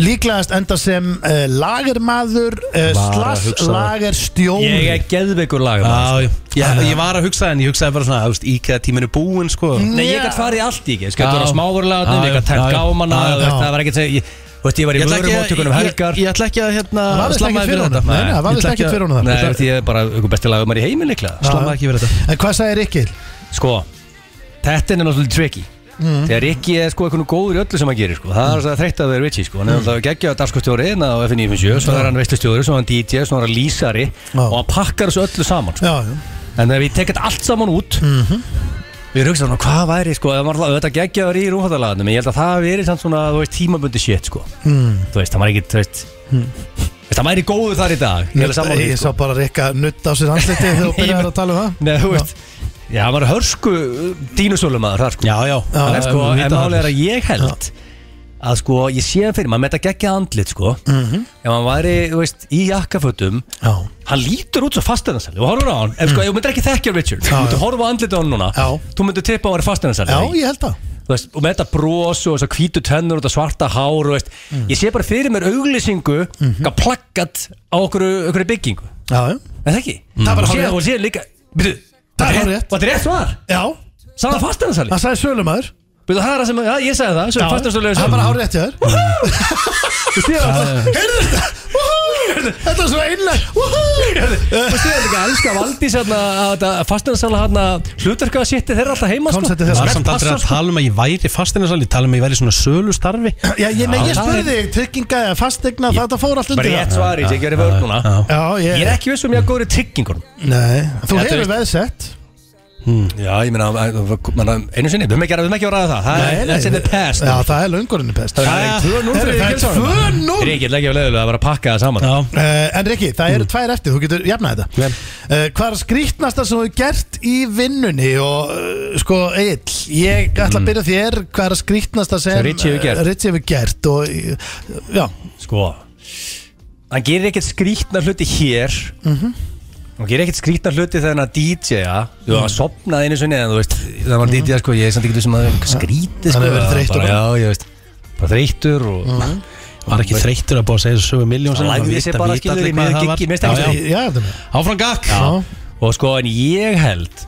[SPEAKER 4] líklegast enda sem uh, lagermaður uh,
[SPEAKER 2] Var að
[SPEAKER 4] slass
[SPEAKER 2] hugsa það.
[SPEAKER 4] lagerstjóri
[SPEAKER 2] Ég er geðveikur sko. laga
[SPEAKER 1] Já, ég, ég, ég var að hugsa en ég hugsaði bara svona, þú veist, íkæða tíminu búinn sko
[SPEAKER 2] Nei, ég
[SPEAKER 4] Já.
[SPEAKER 2] gætt farið í allt í ekki Ég gætt
[SPEAKER 1] Já.
[SPEAKER 2] vera smáverlaðin,
[SPEAKER 1] Já,
[SPEAKER 2] ég gætt
[SPEAKER 1] já,
[SPEAKER 2] tæmt
[SPEAKER 1] já.
[SPEAKER 2] gámanna
[SPEAKER 1] Já,
[SPEAKER 2] þú veist,
[SPEAKER 4] já.
[SPEAKER 2] Það var ekkert að ég Þú veist, ég var í
[SPEAKER 1] Ég ætla ekki að-
[SPEAKER 2] vörumóttökunum um
[SPEAKER 1] ég-
[SPEAKER 2] helgar
[SPEAKER 1] Ég ég ætla ekki að hérna
[SPEAKER 4] Það vafðist
[SPEAKER 1] slamma
[SPEAKER 4] ekkert
[SPEAKER 1] yfir
[SPEAKER 4] fyrir honum.
[SPEAKER 1] þetta.
[SPEAKER 4] Nei, nei, það
[SPEAKER 1] Ég
[SPEAKER 4] vafðist
[SPEAKER 1] ætla
[SPEAKER 4] ekkert
[SPEAKER 1] að-
[SPEAKER 4] fyrir honum þar.
[SPEAKER 2] Nei, þú veist, ég er bara ykkur besti laga maður í heiminn líklega
[SPEAKER 1] Slamma ekki yfir þetta
[SPEAKER 4] En hvað sagði Rikki?
[SPEAKER 2] Sko, þetta er náttúrulega tricky
[SPEAKER 1] Mm.
[SPEAKER 2] Þegar Rikki er sko eitthvað góður í öllu sem hann gerir sko. Það er alltaf þreytt að vera Rikki sko.
[SPEAKER 1] Mm.
[SPEAKER 2] Hann er alltaf geggjaða darskostjóri hérna á FNÍ57 Svo er hann veistlustjóri, svo er hann DJ, svo er hann lísari
[SPEAKER 4] Já.
[SPEAKER 2] Og hann pakkar þessu öllu saman sko.
[SPEAKER 4] Já, já.
[SPEAKER 2] En þegar við tekjum allt saman út mm -hmm. Við erum hugsað svona, hvað væri sko Það var alltaf auðvitað geggjaður í rúfaldalagarnum En ég held að það hafi verið samt svona, þú veist, tímabundi shit sko Þú veist, það var ekki, þú veist mm. Það væri góður þar í dag Ég held að sammála því,
[SPEAKER 4] Ég
[SPEAKER 2] sko.
[SPEAKER 4] sá bara Rikka nutt á sér hansliti þegar þú byrjaði að tala um það
[SPEAKER 2] Nei, þú veist Já, hann var hörsku dínusölum að það sko
[SPEAKER 1] Já, já,
[SPEAKER 4] Já,
[SPEAKER 2] En sko,
[SPEAKER 1] við
[SPEAKER 2] en
[SPEAKER 1] vitum
[SPEAKER 2] málið
[SPEAKER 1] það.
[SPEAKER 2] er að ég held Að sko, ég sé hann fyrir, maður með þetta geggja andlit sko Ef hann væri, þú veist, í jakkafötum
[SPEAKER 4] Já,
[SPEAKER 2] Hann lítur út svo fasteinasæli og horfur á hann Ef sko, ég myndir ekki þekkja Richard Þú
[SPEAKER 4] Mm. Já,
[SPEAKER 2] myndir
[SPEAKER 4] já.
[SPEAKER 2] horfa á andlit á hann núna
[SPEAKER 4] Já.
[SPEAKER 2] Þú myndir tippa að hann væri fasteinasæli
[SPEAKER 4] já ég held það
[SPEAKER 2] Þú veist, og með þetta bros og þessar hvítu tennur og þetta svarta hár og veist,
[SPEAKER 4] Mm.
[SPEAKER 2] ég sé bara fyrir mér auglýsingu mm
[SPEAKER 4] Mhm.
[SPEAKER 2] -hmm. plakkat á okkur, okkur byggingu
[SPEAKER 4] Já, já.
[SPEAKER 2] en það ekki
[SPEAKER 4] Mm. Það er bara
[SPEAKER 2] og
[SPEAKER 4] hárrétt.
[SPEAKER 2] síðan, og síðan líka byrju,
[SPEAKER 4] Það
[SPEAKER 2] var
[SPEAKER 4] er hárrétt.
[SPEAKER 2] rétt, var þetta rétt svar
[SPEAKER 4] já
[SPEAKER 2] sagði fastanarsali
[SPEAKER 4] Það sagði Sölumæður
[SPEAKER 2] byrju, það er það sem ja, ég sagði það
[SPEAKER 4] Já,
[SPEAKER 2] sem fastanarsali
[SPEAKER 4] Það er bara hár rétt hjá þér Heyrðu þetta? Woohoo! Þetta er svo einlega Woohoo!
[SPEAKER 2] og síðan líka elska Valdís hérna, að þetta fastanarsala hérna, hlutverka að sitti þeirra alltaf heima
[SPEAKER 4] Konceptið
[SPEAKER 1] Það
[SPEAKER 4] þeirra.
[SPEAKER 1] var samt aldrei
[SPEAKER 2] Passar,
[SPEAKER 1] að
[SPEAKER 2] sko.
[SPEAKER 1] tala um að ég væri fastinasal Ég tala um að ég væri í svona sölu starfi
[SPEAKER 4] Já, ég, nei, ég
[SPEAKER 2] Já,
[SPEAKER 4] spurði þig, trygginga eða fastegna, þetta fór allt
[SPEAKER 2] bara
[SPEAKER 4] undir
[SPEAKER 2] rétt
[SPEAKER 4] það
[SPEAKER 2] svar í því ekki verið vörð núna
[SPEAKER 4] Já,
[SPEAKER 2] ég
[SPEAKER 4] ég,
[SPEAKER 2] er ekki viss um ég að góður í tryggingunum
[SPEAKER 4] nei, þú
[SPEAKER 2] Þetta
[SPEAKER 4] hefur
[SPEAKER 2] veist-
[SPEAKER 4] veðsett
[SPEAKER 2] já, ég meina, einu sinni, við höfum ekki að ræða það
[SPEAKER 4] Nei, nei,
[SPEAKER 2] that's in the past
[SPEAKER 4] Já, það er löngurinn í pest
[SPEAKER 2] Það er 2-0
[SPEAKER 4] Herru,
[SPEAKER 2] fyrir
[SPEAKER 4] það er
[SPEAKER 2] Gilsson
[SPEAKER 4] 2-0.
[SPEAKER 2] Ríkir, leggja við leiðilega að vera að pakka það saman
[SPEAKER 1] Já.
[SPEAKER 4] Uh, en Rikki, það
[SPEAKER 2] Mm.
[SPEAKER 4] eru tvær eftir, þú getur jafnað þetta uh, Hvað er skrýtnasta sem þú hefur gert í vinnunni og uh, sko, Egil, ég ætla að byrja þér hvað er skrýtnasta
[SPEAKER 2] Mm.
[SPEAKER 4] sem eh,
[SPEAKER 2] Sem Ritchie hefur gert.
[SPEAKER 4] Ritchie hefur gert og, uh, Já,
[SPEAKER 2] Sko Hann gerir ekkert skrítna hluti hér Hann gerir ekkert skrítna hluti þegar hann er að DJ-a Þú var að sopnaði einu sinni En þú veist, þegar hann var að DJ-a sko Ég er samt ekki sem að skríti sko
[SPEAKER 4] Hann hefur verið þreyttur
[SPEAKER 2] bara,
[SPEAKER 4] bara.
[SPEAKER 2] Já, ég veist Bara þreyttur og
[SPEAKER 1] Var ekki þreyttur að búa að segja þessu sögu miljón
[SPEAKER 2] Hann lagði sig bara skilur í miður giggi, mér finnst ekki-
[SPEAKER 1] giggi
[SPEAKER 4] já, þetta með
[SPEAKER 1] Áfram gakk
[SPEAKER 4] Já.
[SPEAKER 2] Og sko, en ég held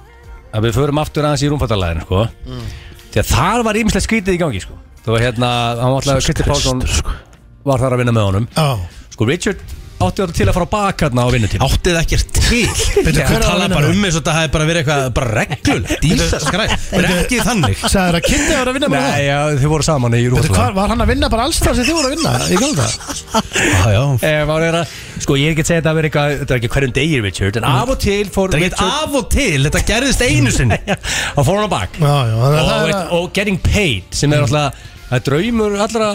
[SPEAKER 2] Að við förum aftur aðeins í rúmfattalæðin sko Því að þar var ímislega skrítið í gangi sko Þú var hérna, hann var alltaf Kristi Pálsson
[SPEAKER 4] sko.
[SPEAKER 2] var þar að vinna með honum
[SPEAKER 4] Já,
[SPEAKER 2] Sko Richard átti þetta til að fara á bak hérna á vinnutíma
[SPEAKER 1] Áttið ekkert til
[SPEAKER 4] Bíddu, hver
[SPEAKER 1] Þú
[SPEAKER 4] er að
[SPEAKER 1] talaði
[SPEAKER 4] vinna
[SPEAKER 1] bara
[SPEAKER 4] með?
[SPEAKER 1] um eins og þetta hefði bara verið eitthvað bara reglulegt Dísa skræð Bara ekki þannig
[SPEAKER 4] sagður að Kitty var að vinna með
[SPEAKER 2] Nei,
[SPEAKER 4] það
[SPEAKER 2] já, þið voru saman í
[SPEAKER 4] Veitu
[SPEAKER 2] Rúsland
[SPEAKER 4] hvað, var hann að vinna bara alls þar sem þið voru að vinna í gamla það?
[SPEAKER 1] Já, já
[SPEAKER 2] Sko, ég er ekki að segja þetta að vera eitthvað Þetta er ekki hverjum degir Richard En af og
[SPEAKER 4] Mm.
[SPEAKER 2] til fór
[SPEAKER 1] Það er ekkert
[SPEAKER 2] Richard
[SPEAKER 1] af og til Þetta gerðist einu sinni
[SPEAKER 2] Hann fór hann á bak
[SPEAKER 4] Já, já, þannig
[SPEAKER 2] og,
[SPEAKER 4] að það er
[SPEAKER 2] veist,
[SPEAKER 4] að Mm.
[SPEAKER 2] og getting paid Sem er alltaf Það er draumur allra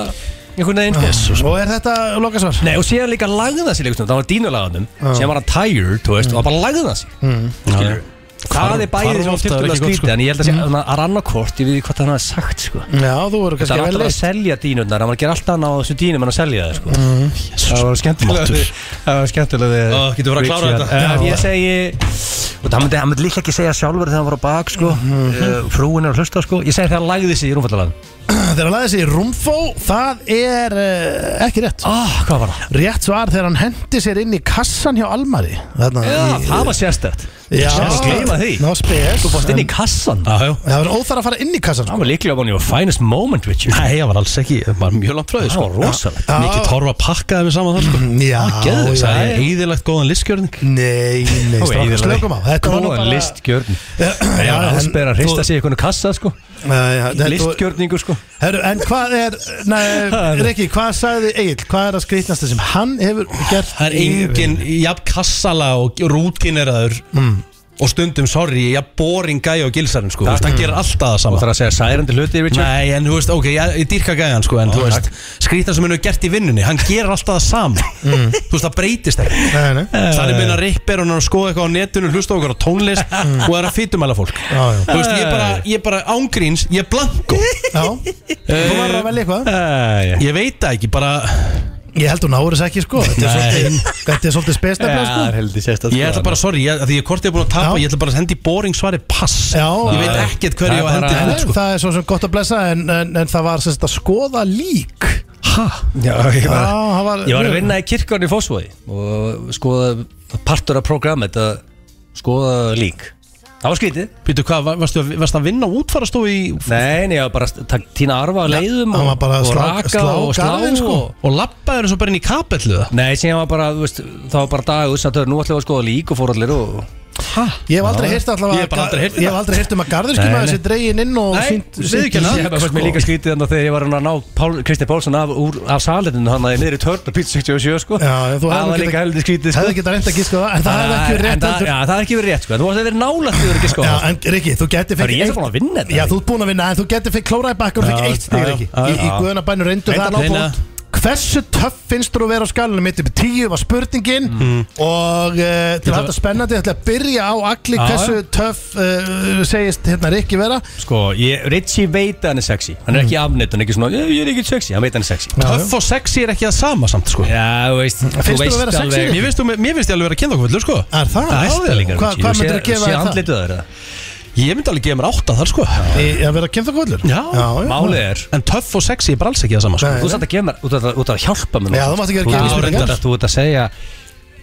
[SPEAKER 2] Einhvern veginn sko.
[SPEAKER 4] Og er þetta lokasvar?
[SPEAKER 2] Nei, og síðan líka lagði það sér líka stund Það var dínulaganum Síðan var hann tired, þú veist Og hann bara lagði það sér
[SPEAKER 1] Já, já.
[SPEAKER 2] Það er bæðið
[SPEAKER 1] hvarf oft,
[SPEAKER 2] svona
[SPEAKER 1] það er ekki
[SPEAKER 2] tiltölulega
[SPEAKER 1] gott,
[SPEAKER 2] skrítið
[SPEAKER 1] sko.
[SPEAKER 2] En ég held að það er annarkvort Ég við hvað hann hafði sagt sko
[SPEAKER 4] Já, þú voru
[SPEAKER 2] Það er
[SPEAKER 4] kannski vel
[SPEAKER 2] alltaf að
[SPEAKER 4] leist
[SPEAKER 2] selja dýnurnar Það var að gera allt annað á þessu dýnum en að selja það sko Það var skemmtilega
[SPEAKER 1] Máttur.
[SPEAKER 2] Það var skemmtilega
[SPEAKER 1] Ó, getum við verið að klára
[SPEAKER 2] Richard.
[SPEAKER 1] þetta?
[SPEAKER 2] Eh, Ég segi Og það myndi, hann myndi líka ekki segja sjálfur þegar hann var á bak sko Eh, Frúin er að hlusta sko Ég segi þegar hann lagði sig í rúmfallalag
[SPEAKER 4] Þegar hann laði sig í Rúmfó, það er uh, ekki rétt
[SPEAKER 2] Ah, hvað var það?
[SPEAKER 4] Rétt svar þegar hann hendi sér inn í kassan hjá Almari Þarna,
[SPEAKER 2] Já,
[SPEAKER 4] í-
[SPEAKER 2] það var sérstætt
[SPEAKER 4] Já,
[SPEAKER 2] Sérst gleyma því
[SPEAKER 4] Ná spes
[SPEAKER 2] Þú fórst inn í kassan
[SPEAKER 1] Já, já
[SPEAKER 4] Það var óþar að fara inn í kassan sko.
[SPEAKER 2] Það var líklega von your finest moment Richard
[SPEAKER 1] Nei, það var alls ekki, það var mjög langt frá því
[SPEAKER 2] Það
[SPEAKER 1] sko.
[SPEAKER 2] var rosalegt
[SPEAKER 4] Já.
[SPEAKER 1] Mikið torfa pakkaði við saman þar sko.
[SPEAKER 4] Já,
[SPEAKER 1] Geðveikt,
[SPEAKER 4] já,
[SPEAKER 1] Það
[SPEAKER 4] já.
[SPEAKER 1] er eðilegt góðan listgjörning
[SPEAKER 4] Nei, nei,
[SPEAKER 2] Þú
[SPEAKER 4] strákar,
[SPEAKER 2] eyðilagði.
[SPEAKER 4] slökum á Þetta var nú
[SPEAKER 2] Góðan
[SPEAKER 4] bara
[SPEAKER 2] listgjörn
[SPEAKER 4] Já,
[SPEAKER 2] Já,
[SPEAKER 4] en-
[SPEAKER 2] það spyrir að hrista sig í einhvern kassa sko
[SPEAKER 4] Já, já, þetta-
[SPEAKER 2] Listgjörningu sko
[SPEAKER 4] Herru, en hvað er, nei, Rikki, hvað sagði Egil, hvað er að skrýtnasta sem hann hefur gert?
[SPEAKER 1] Það er engin, jafn kassala og rútineraður
[SPEAKER 4] Mm.
[SPEAKER 1] Og stundum, sorry, jafn boring gæja og gilsarinn sko. Þú veist, Það gerir alltaf það
[SPEAKER 2] Og
[SPEAKER 1] sama
[SPEAKER 2] það er að segja særandi hluti Richard
[SPEAKER 1] Nei, en þú veist, ok, ég, ég dýrka gæjan sko, En þú veist, skrítan sem hann hefur gert í vinnunni Hann gerir alltaf það sama
[SPEAKER 4] Mm.
[SPEAKER 1] Þú veist, það breytist ekki
[SPEAKER 4] Nei, nei,
[SPEAKER 1] Það er meina rippir og hann er að skoða eitthvað á netinu Hlusta á okkur á tónlist og er að fytumæla fólk
[SPEAKER 4] Mm. já, já,
[SPEAKER 1] Þú veist, ég bara, ég bara ángríns, ég er blanko
[SPEAKER 4] já, þú var að velja eitthvað
[SPEAKER 2] Nei
[SPEAKER 1] Ég veit það ekki, bara
[SPEAKER 4] Ég held hún áur þess ekki, sko, þetta er
[SPEAKER 1] Nei.
[SPEAKER 4] svolítið, þetta er svolítið spesnafla, sko
[SPEAKER 2] heldur sérst
[SPEAKER 1] Ég ætla bara, sorry, ég, að því ég kortið er búin að tapa
[SPEAKER 4] Já.
[SPEAKER 1] Ég ætla bara að hendi í boring svari pass
[SPEAKER 4] Já.
[SPEAKER 1] Ég veit ekkert hverju ég á að hendi
[SPEAKER 4] En
[SPEAKER 1] út sko.
[SPEAKER 4] það er svo sem gott að blessa, en, en, en það var sem sagt að skoða lík
[SPEAKER 2] Já, ég
[SPEAKER 4] Já,
[SPEAKER 2] bara
[SPEAKER 4] það var
[SPEAKER 2] Ég var að vinna í kirkarni í Fossvogi Og skoða partur af programmet að skoða lík Það var skrítið
[SPEAKER 1] Býtu, hvað, var- varstu, að- varstu að vinna útfarastofu í
[SPEAKER 2] Nei, nei, ég var bara að tak- tína arfa að leiðum
[SPEAKER 4] hann
[SPEAKER 2] og,
[SPEAKER 4] var bara að
[SPEAKER 2] og
[SPEAKER 4] slá-
[SPEAKER 2] raka
[SPEAKER 4] slá
[SPEAKER 2] og slá
[SPEAKER 4] garðinn, sko.
[SPEAKER 2] og,
[SPEAKER 1] Og labbaður eins og bara inn í kapellu það
[SPEAKER 2] Nei, síðan var bara, þú veist, það var bara dagur sem þau nú ætlum við að skoða lík og fór allir og
[SPEAKER 4] Ég hef aldrei
[SPEAKER 1] Ég hef
[SPEAKER 4] heyrt
[SPEAKER 1] bara
[SPEAKER 4] allavega
[SPEAKER 1] aldrei heyrt
[SPEAKER 4] Ég hef aldrei heyrt um að garðurskjum
[SPEAKER 2] Nei,
[SPEAKER 4] að þessi dregin inn og
[SPEAKER 1] Nei,
[SPEAKER 4] sýnt- sko.
[SPEAKER 1] viðurkenna. Ég
[SPEAKER 4] sýnt-
[SPEAKER 2] Ég
[SPEAKER 1] hef
[SPEAKER 2] hef fannst mér líka skrítið þannig þegar ég var hann að ná Pál, Kristi Pálsson af, úr, af salinu hann að niður í törn og pizza 67 sko
[SPEAKER 4] Já, já, þú hefði
[SPEAKER 2] Það
[SPEAKER 4] nú
[SPEAKER 2] var
[SPEAKER 4] getað-
[SPEAKER 2] líka heldur skrítið sko Ah,
[SPEAKER 4] Hefði getað reynd að gíska það, en það hefði ekki verið
[SPEAKER 2] En
[SPEAKER 4] rétt
[SPEAKER 2] það-
[SPEAKER 4] heldur
[SPEAKER 2] Já, það hefði ekki verið rétt sko Þú varst að vera nálægt því þú er ekki sko
[SPEAKER 4] Já, en Rikki, þú getur
[SPEAKER 2] Það er ég búin að vinna þetta
[SPEAKER 4] Já, þú ert búinn að vinna, en þú getur fekk klóraði bakkar og fekk
[SPEAKER 1] Já,
[SPEAKER 4] eitt stig,
[SPEAKER 1] já,
[SPEAKER 4] Rikki
[SPEAKER 1] já,
[SPEAKER 4] Í,
[SPEAKER 1] já.
[SPEAKER 4] í guðanabænur reyndu
[SPEAKER 1] Reyndu að
[SPEAKER 4] það að ná
[SPEAKER 1] reyna.
[SPEAKER 4] bótt Hversu töff finnst þú að vera á skalunum mitt upp í tíu var spurningin
[SPEAKER 2] Mm.
[SPEAKER 4] og uh, til að þetta spennandi ætla að byrja á allir
[SPEAKER 2] Já,
[SPEAKER 4] hversu töff uh, segist hérna Rikki vera
[SPEAKER 2] Sko, ég, Richie veit að hann er sexy Hann er ekki afnett, hann er ekki svona "Eh, Ég er ekki sexy, hann veit að hann er sexy
[SPEAKER 1] Töff og sexy er ekki það sama samt sko
[SPEAKER 2] Já, þú veist
[SPEAKER 4] Finnst þér að vera sexy,
[SPEAKER 1] Mér finnst þú- mér finnst ég alveg vera að kynna okkur sko
[SPEAKER 4] Er
[SPEAKER 2] Það sko.
[SPEAKER 4] það? Já,
[SPEAKER 2] er
[SPEAKER 4] já.
[SPEAKER 2] stælingar
[SPEAKER 4] Hvað- Hvað myndir að gefa
[SPEAKER 2] Sér
[SPEAKER 4] þér það?
[SPEAKER 2] andlitið það er það
[SPEAKER 1] Ég myndi alveg gefa mér átta þar sko
[SPEAKER 4] Í að vera kynþakvöldur?
[SPEAKER 1] Já,
[SPEAKER 2] Málið er
[SPEAKER 1] En töff og sexy er bara alls ekki það sama sko
[SPEAKER 4] Nei.
[SPEAKER 2] Þú satt að gefa mér út af út af að hjálpa mér nú.
[SPEAKER 4] Já, þú mátt ekki vera að
[SPEAKER 2] Þú-
[SPEAKER 4] gefa
[SPEAKER 2] þú-
[SPEAKER 1] mér
[SPEAKER 2] reyndar
[SPEAKER 1] spurningar.
[SPEAKER 2] að Þú ert að segja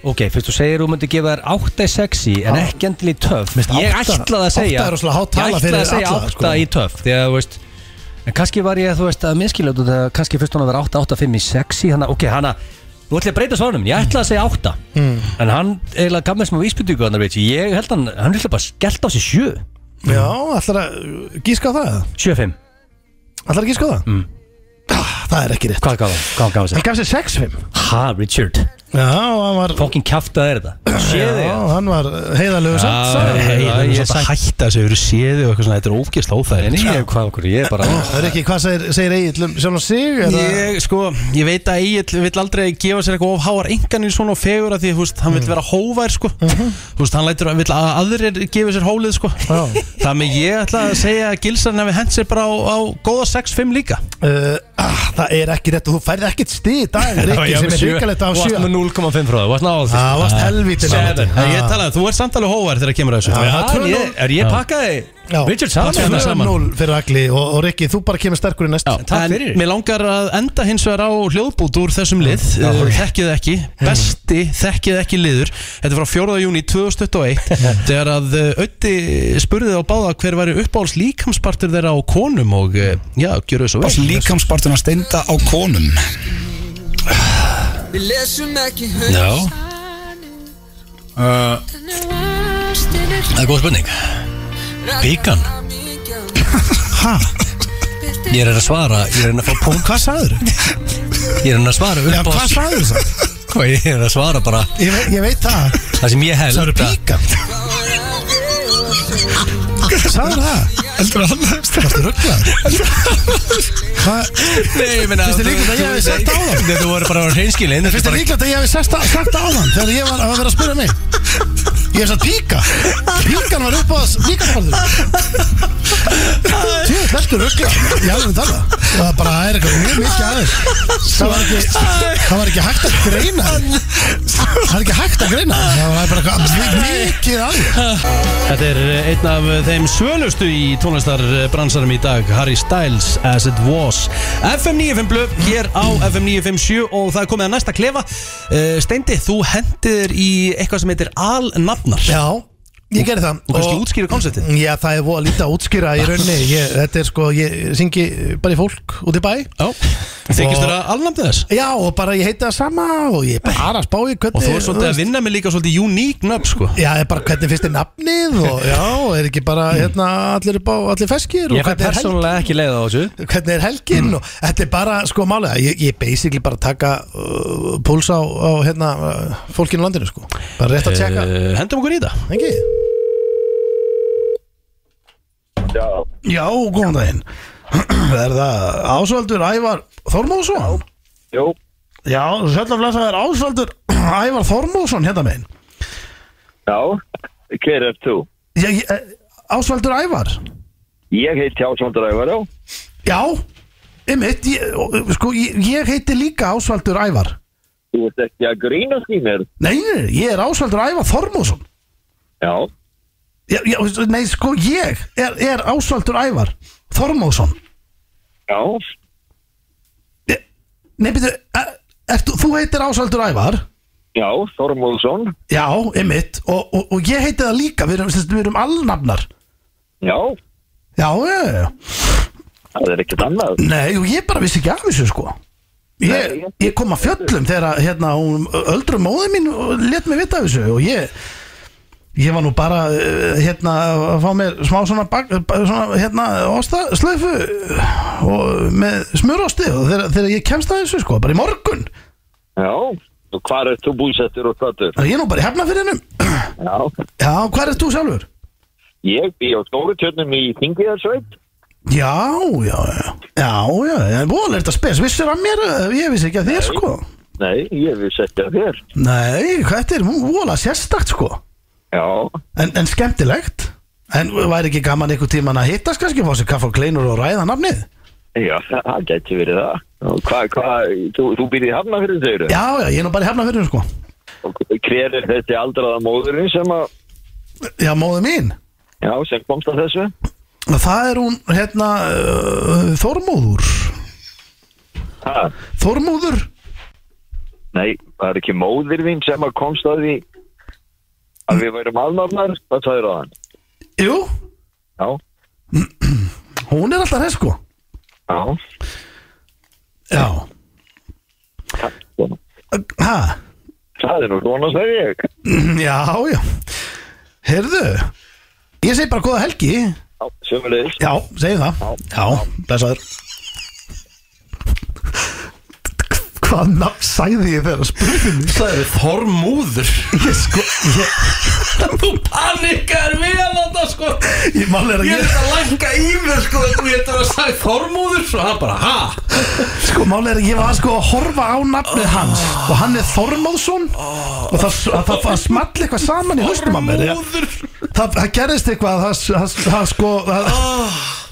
[SPEAKER 2] Ok, fyrst þú segir þú myndir gefa þér 8 í sexy en ekki endilega í töff
[SPEAKER 4] Mér finnst
[SPEAKER 2] Ég
[SPEAKER 4] átta-
[SPEAKER 2] ætlaði að segja
[SPEAKER 4] átta er rosalega há tala
[SPEAKER 2] Ég
[SPEAKER 4] fyrir
[SPEAKER 2] ætlaði að segja
[SPEAKER 4] alla,
[SPEAKER 2] 8
[SPEAKER 4] sko.
[SPEAKER 2] í töff Því að þú veist En kannski var ég, þú veist, að miskilja út af það Kannski fyrst hún að vera 8, 8, 5 í sexy Þannig að, ok, hana Nú ætla ég að breyta svarnum Ég ætlaði að segja 8
[SPEAKER 4] Hmm.
[SPEAKER 2] En hann eiginlega gaf mér smá vísbyndingu Þannig veit ég Ég held hann Hann ætla bara að skellta á sig 7
[SPEAKER 4] Já, ætlar að uh, gíska á það?
[SPEAKER 2] 7, 5
[SPEAKER 4] Ætlar að gíska á það? Ah, Það er ekki rétt
[SPEAKER 2] Hvað gaf hann? Hvað gaf Mm. hann
[SPEAKER 4] Hann
[SPEAKER 2] sér?
[SPEAKER 4] gaf sér 6-5
[SPEAKER 2] Ha, Richard
[SPEAKER 4] Já, hann var
[SPEAKER 2] Fokkin kjaftaði er þetta Séð
[SPEAKER 4] Já,
[SPEAKER 2] þig
[SPEAKER 4] hann var heiðalögur samt sagði hann.
[SPEAKER 1] Hei, það er
[SPEAKER 2] Ég
[SPEAKER 1] svolítið að
[SPEAKER 2] sætt-
[SPEAKER 1] hætta þessu Hefur séðu eitthvað svona, þetta er ógeðsla
[SPEAKER 2] En
[SPEAKER 1] óþægilegt sko.
[SPEAKER 2] ég hef hvað okkur, ég er bara
[SPEAKER 4] Það er ekki, hvað segir, segir Egil um sjálf og sig? eða-
[SPEAKER 1] Ég, sko, ég veit að Egil vill aldrei gefa sér eitthvað of háar enganir svona og fegur að því, þú veist, hann
[SPEAKER 4] Mhm.
[SPEAKER 1] vill vera hóvær, sko Þú veist, hann lætur að, vill að aðrir gefa sér hólið, sko
[SPEAKER 4] Já.
[SPEAKER 1] Þannig ég ætla að segja að gilsarinn hafi hent sér bara á, á góða 6-5 líka
[SPEAKER 4] Uh, ah, það er ekki rétt og þú færði ekkert stið í dag, Rikki, sem er hrikalegt af sjö
[SPEAKER 2] Vast með 0,5 frá það, vast náðu því
[SPEAKER 4] Það varst helvítið
[SPEAKER 2] Seven.
[SPEAKER 1] ah. Ég talaði, þú ert samtalið hóvær þegar kemur að þessu
[SPEAKER 4] Já,
[SPEAKER 2] Já, en
[SPEAKER 4] 2-0.
[SPEAKER 2] Ah, ég- Er ég pakkaði Richard
[SPEAKER 1] Tvö
[SPEAKER 2] saman
[SPEAKER 1] saman.
[SPEAKER 4] 2-0 fyrir Agli og, og Rikki, þú bara kemur sterkur í næst
[SPEAKER 1] Já, en
[SPEAKER 2] takk fyrir.
[SPEAKER 1] Mér langar að enda hins vegar á hljóðbút úr þessum lið já, Þekkið ekki, besti þekkið ekki liður Þetta er frá 4. júni 2021 Þegar að uh, Ötti spurði á báða hver væri uppáhalds líkamspartur þeirra á konum og uh, já, gjöru þessu
[SPEAKER 8] Bás
[SPEAKER 1] vel
[SPEAKER 8] líkamspartuna steinda á konum
[SPEAKER 9] Við lesum ekki
[SPEAKER 2] Já, Eh,
[SPEAKER 9] höfnir
[SPEAKER 2] það er góð spurning Píkan.
[SPEAKER 4] Hæ?
[SPEAKER 2] Ég er að svara, ég er að fá punkt
[SPEAKER 4] Hvað sagður?
[SPEAKER 2] Ég er að svara
[SPEAKER 4] Já,
[SPEAKER 2] upp á
[SPEAKER 4] hvað sagður það?
[SPEAKER 2] Hvað ég er að svara bara
[SPEAKER 4] Ég, veit- ég veit það
[SPEAKER 2] Það sem ég held
[SPEAKER 4] Sagður píkan? Sagður það?
[SPEAKER 8] Heldur að hann hefst
[SPEAKER 4] Varstu rugglaður? Hvað?
[SPEAKER 2] Nei, ég meina
[SPEAKER 4] Finnst þér líklegt að ég hafi sagt á það?
[SPEAKER 2] Nei, Þú voru bara að reynskilin
[SPEAKER 4] Finnst þér líklegt að ég hef sagt á þann þegar ég var að vera að spyrja mig? Ég hef sagt píka Píkan hann var upp á líkansvarður Tjóð, veltu ruggla Já, við tala Það var bara, það er eitthvað mjög mikið aðeins Það var ekki Það var ekki hægt að greina Það var ekki hægt að greina Það var bara eitthvað mikið aðeins
[SPEAKER 1] Þetta er eh, einn af eh, þeim svölustu í tónlistarbransarum í dag Harry Styles, As It Was FM 95 blöf, hér á FM 957 og það er komið að næsta klefa uh, Steindi, þú hendir í eitthvað sem heitir alnafnar
[SPEAKER 4] Já, ég gerði það
[SPEAKER 1] og kannski útskýra konceptið
[SPEAKER 4] Já, það er voða lítið að útskýra í rauninni ég, Þetta er sko, ég syngi bara í fólk út í bæ
[SPEAKER 1] Já, þykist þér að alnafna þess
[SPEAKER 4] Já, og bara ég heiti það sama og ég er bara að spá í hvernig
[SPEAKER 1] Og þú er svolítið að vinna með líka svolítið uník nöfn sko
[SPEAKER 4] Já, er bara hvernig finnst þér nafnið og já, er ekki bara
[SPEAKER 1] Mm.
[SPEAKER 4] hérna allir upp á allir feskir og
[SPEAKER 2] Ég fæ
[SPEAKER 4] hvernig er, helg,
[SPEAKER 2] persónulega ekki leið á þessu
[SPEAKER 4] hvernig er helgin
[SPEAKER 1] Mm.
[SPEAKER 4] og þetta er bara, sko, málega, ég, ég er basically bara að taka uh, púls á, á hérna uh, fólkinu í landinu, sko, bara rétt að tjekka,
[SPEAKER 1] uh, Hendum okkur í það
[SPEAKER 4] ekki?
[SPEAKER 6] Já,
[SPEAKER 4] Já, góðan daginn, er það Ásvaldur Ævar Þormóðsson?
[SPEAKER 6] jú,
[SPEAKER 4] Já, sjálfaflega er Ásvaldur Ævar Þormóðsson hérna meginn
[SPEAKER 6] já, hver er þú?
[SPEAKER 4] eh, Ásvaldur Ævar?
[SPEAKER 6] Ég heiti Ásvandur Ævar, já.
[SPEAKER 4] Já, einmitt, ég, sko, ég, ég heiti líka Ásvaldur Ævar
[SPEAKER 6] Þú ert ekki að grínast í mér.
[SPEAKER 4] Nei, nei, nei, ég er Ásvaldur Ævar Þormóðsson
[SPEAKER 6] Já,
[SPEAKER 4] já, já, veistu, Nei, sko, ég er, er Ásvaldur Ævar Þormóðsson
[SPEAKER 6] já,
[SPEAKER 4] Ég- Nei, betur, er, er, þú heitir Ásvaldur Ævar
[SPEAKER 6] já, Þormóðsson,
[SPEAKER 4] Já, einmitt, og, og, og ég heiti það líka, við erum, sem sagt, við erum allnafnar
[SPEAKER 6] já,
[SPEAKER 4] Já, já, já, já
[SPEAKER 6] það er ekkert annað.
[SPEAKER 4] Nei, og ég bara vissi ekki af þessu sko Ég,
[SPEAKER 6] Nei,
[SPEAKER 4] ég kom að fjöllum þegar að, hérna, hún, öldru móði mín og let mig vita af þessu og ég ég var nú bara eh, hérna að fá mér smá svona, bak, eh, bara svona hérna ostaslöfu og með smurosti og þegar, þegar ég kemst að þessu sko, bara í morgun
[SPEAKER 6] Já, og hvar ert þú búsettur og stöldur?
[SPEAKER 4] er ég nú bara í hefnafyrinum
[SPEAKER 6] Já,
[SPEAKER 4] Já, hvað er þú sjálfur?
[SPEAKER 6] ég bý á Stóritjörnum í Þingiðarsveit.
[SPEAKER 4] Já, já, já Já, já, ég er búinlega þetta spes vissir að mér, eh, ég vissi ekki að þér sko
[SPEAKER 6] Nei, ég vil setja þér.
[SPEAKER 4] Nei, hvað þetta er vola sérstakt sko
[SPEAKER 6] Já,
[SPEAKER 4] En, en skemmtilegt En væri ekki gaman einhver tíman að hittast kannski Fá sér kaffa og kleinur og ræða nafnið
[SPEAKER 6] já, það gæti verið það. Og Hvað, hvað, þú, þú býrði hafna fyrir þeirra?
[SPEAKER 4] Já, já, ég er nú bara hefna fyrir sko
[SPEAKER 6] Og hver er þessi aldraða móðurinn sem að,
[SPEAKER 4] Já, móðu mín
[SPEAKER 6] já, sem komst að þessu?
[SPEAKER 4] Það er hún, hérna, uh, Þormóður
[SPEAKER 6] Ha,
[SPEAKER 4] Þormóður?
[SPEAKER 6] nei, það er ekki móðir þín sem að komst að því að við værum alnafnar, hvað sagður á hann?
[SPEAKER 4] Jú,
[SPEAKER 6] Já,
[SPEAKER 4] hún er alltaf hér sko
[SPEAKER 6] já,
[SPEAKER 4] Já,
[SPEAKER 6] svona.
[SPEAKER 4] ha,
[SPEAKER 6] Það er nú svona segir ég.
[SPEAKER 4] já, já Heyrðu Ég segi bara góða helgi
[SPEAKER 6] Já, sömulegis.
[SPEAKER 4] Já, segjum það Já, blessaður Hvað nafn sagði ég þegar að spurði mig?
[SPEAKER 1] Það er Þormúður
[SPEAKER 4] Ég sko, ég,
[SPEAKER 1] Þú panikar vel að það sko
[SPEAKER 4] Ég mál er að
[SPEAKER 1] Ég er
[SPEAKER 4] ég,
[SPEAKER 1] þetta að lækka í mér sko Þú ég þetta að sagði Þormúður Svo hann bara, ha?
[SPEAKER 4] sko, mál er að ég var sko að horfa á nafnið hans og hann er Þormóðsson og það, það, það, það small eitthvað saman í haustum að mér ég,
[SPEAKER 1] Þormúður
[SPEAKER 4] það, það gerðist eitthvað það, það, það sko það,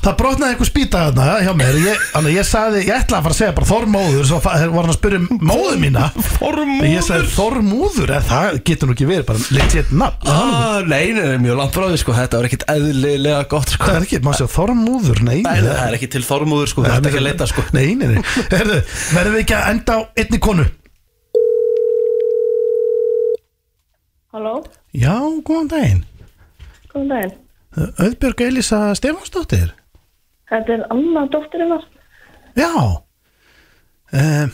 [SPEAKER 4] það brotnaði eitthvað spýta þarna hjá mér ég, þannig að ég sagði, ég ætlaði að fara að segja bara Þormóður svo fa- var hann að spyrja um móðu mína En
[SPEAKER 1] Þormúður
[SPEAKER 4] ég sagði Þormúður, en það getur nú ekki verið bara legit nafn
[SPEAKER 1] Ah, nei, nei, nei, mjög langt frá því sko Þetta var ekkit eðlilega gott sko
[SPEAKER 4] það er ekki, maður segja Þormúður, nei
[SPEAKER 1] Nei, það er ekki til Þormúður sko Það er ekki að leita sko
[SPEAKER 4] Nei, nei, nei, herðu, verðum við ekki að enda á einni konu
[SPEAKER 7] Halló,
[SPEAKER 4] Já, góðan daginn
[SPEAKER 7] góðan daginn.
[SPEAKER 4] Öðbjörg Elisa Stefánsdóttir
[SPEAKER 7] Þetta er Anna dóttirinnar.
[SPEAKER 4] Já um,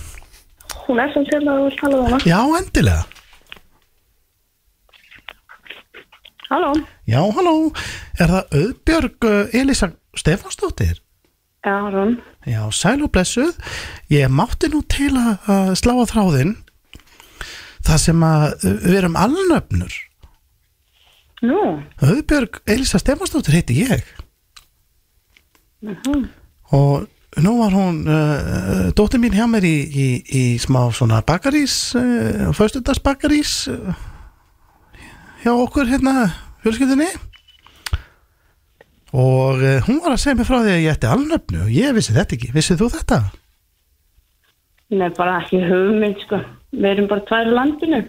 [SPEAKER 7] Hún er sem til að þú vil tala við hana.
[SPEAKER 4] Já, endilega
[SPEAKER 7] Halló.
[SPEAKER 4] Já, halló, er það Öðbjörg uh, Elisa Stefánsdóttir?
[SPEAKER 7] Já, Aron.
[SPEAKER 4] Já, sæl og blessuð Ég mátti nú til að, að slá að þráðinn Það sem að uh, við erum alnöfnur
[SPEAKER 7] Nú,
[SPEAKER 4] Öðbjörg Elisa Stefánsdóttir heiti ég og nú var hún uh, dóttir mín hjá mér í, í, í smá svona bakarís uh, föstudagsbakarís uh, hjá okkur hérna fjölskyldinni og uh, hún var að segja mér frá því að ég ætti alnöfnu og ég vissi þetta ekki, vissið þú þetta?
[SPEAKER 10] Nei, bara ekki hugmynd, sko. Við erum bara tvær í landinu.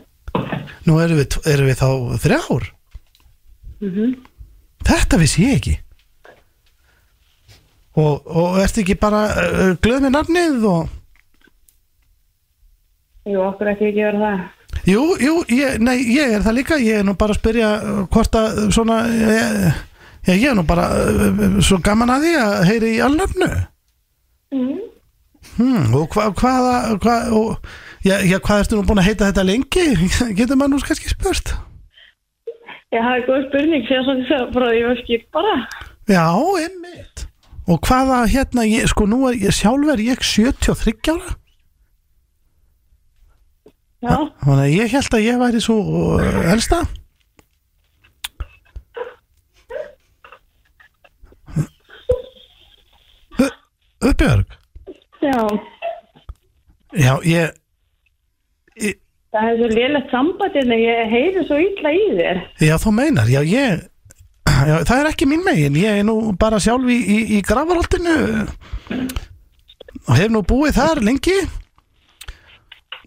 [SPEAKER 4] Nú erum við, erum við þá þrjár
[SPEAKER 10] Mm -hmm.
[SPEAKER 4] Þetta vissi ég ekki Og, og ertu ekki bara uh, glöð með nafnið og
[SPEAKER 10] Jú, okkur ekki ekki verið það.
[SPEAKER 4] Jú, jú, ég, nei, ég er það líka Ég er nú bara að spyrja uh, hvort að uh, svona Ég, ég, ég er nú bara uh, uh, svo gaman að því að heyri í alnöfnu
[SPEAKER 10] Mm.
[SPEAKER 4] hmm, Og hva, hvaða hva, og, já, já, hvað ertu nú búin að heita þetta lengi? Getur maður nú kannski spurt
[SPEAKER 10] Ég hafði góð spurning, sér svo þess að bara ég var skipt bara.
[SPEAKER 4] Já, einmitt Og hvaða hérna, ég, sko nú er ég sjálf er ég 73 ára
[SPEAKER 10] Já,
[SPEAKER 4] Þannig að ég held að ég væri svo uh, elsta Ö- Uppbjörg
[SPEAKER 10] já.
[SPEAKER 4] Já, ég
[SPEAKER 10] Það er svo lélegt samband en ég heyri svo illa í þér.
[SPEAKER 4] Já, þú meinar, já, ég já, Það er ekki mín megin, ég er nú bara sjálf í, í, í grafarholtinu og hef nú búið þar lengi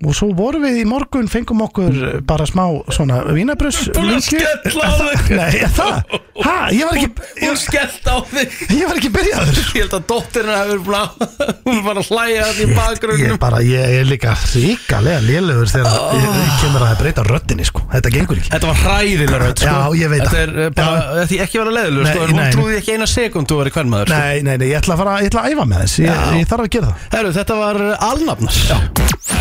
[SPEAKER 4] og svo vorum við í morgun fengum okkur bara smá svona vínabröss
[SPEAKER 1] Búin að skella á þig.
[SPEAKER 4] Nei, það, hæ, ég var ekki
[SPEAKER 1] Hún skellt á þig
[SPEAKER 4] ég var ekki byrjaður
[SPEAKER 1] Ég held að dóttirinn hefur búin að Hún var að hlæja þetta í
[SPEAKER 4] Ég,
[SPEAKER 1] bakgrunnum
[SPEAKER 4] bara, ég er líka ríkalega lélugur þegar oh. ég,
[SPEAKER 1] Ah.
[SPEAKER 4] ég kemur að breyta röddinni sko. Þetta gengur ekki
[SPEAKER 1] Þetta var hræðilega rödd sko.
[SPEAKER 4] Já, ég veit
[SPEAKER 1] Þetta er
[SPEAKER 4] það.
[SPEAKER 1] eh, bara, þetta er ekki verið leðilega sko,
[SPEAKER 4] Nei,
[SPEAKER 1] en Hún
[SPEAKER 4] nei.
[SPEAKER 1] trúði ekki eina sekund þú verið hvern maður sko.
[SPEAKER 4] Nei, nei, nei, ég ætla að fara ég ætla að æfa með þess ég,
[SPEAKER 1] Já.
[SPEAKER 4] ég þarf að gera það
[SPEAKER 1] Herru, þetta var eh, alnafnar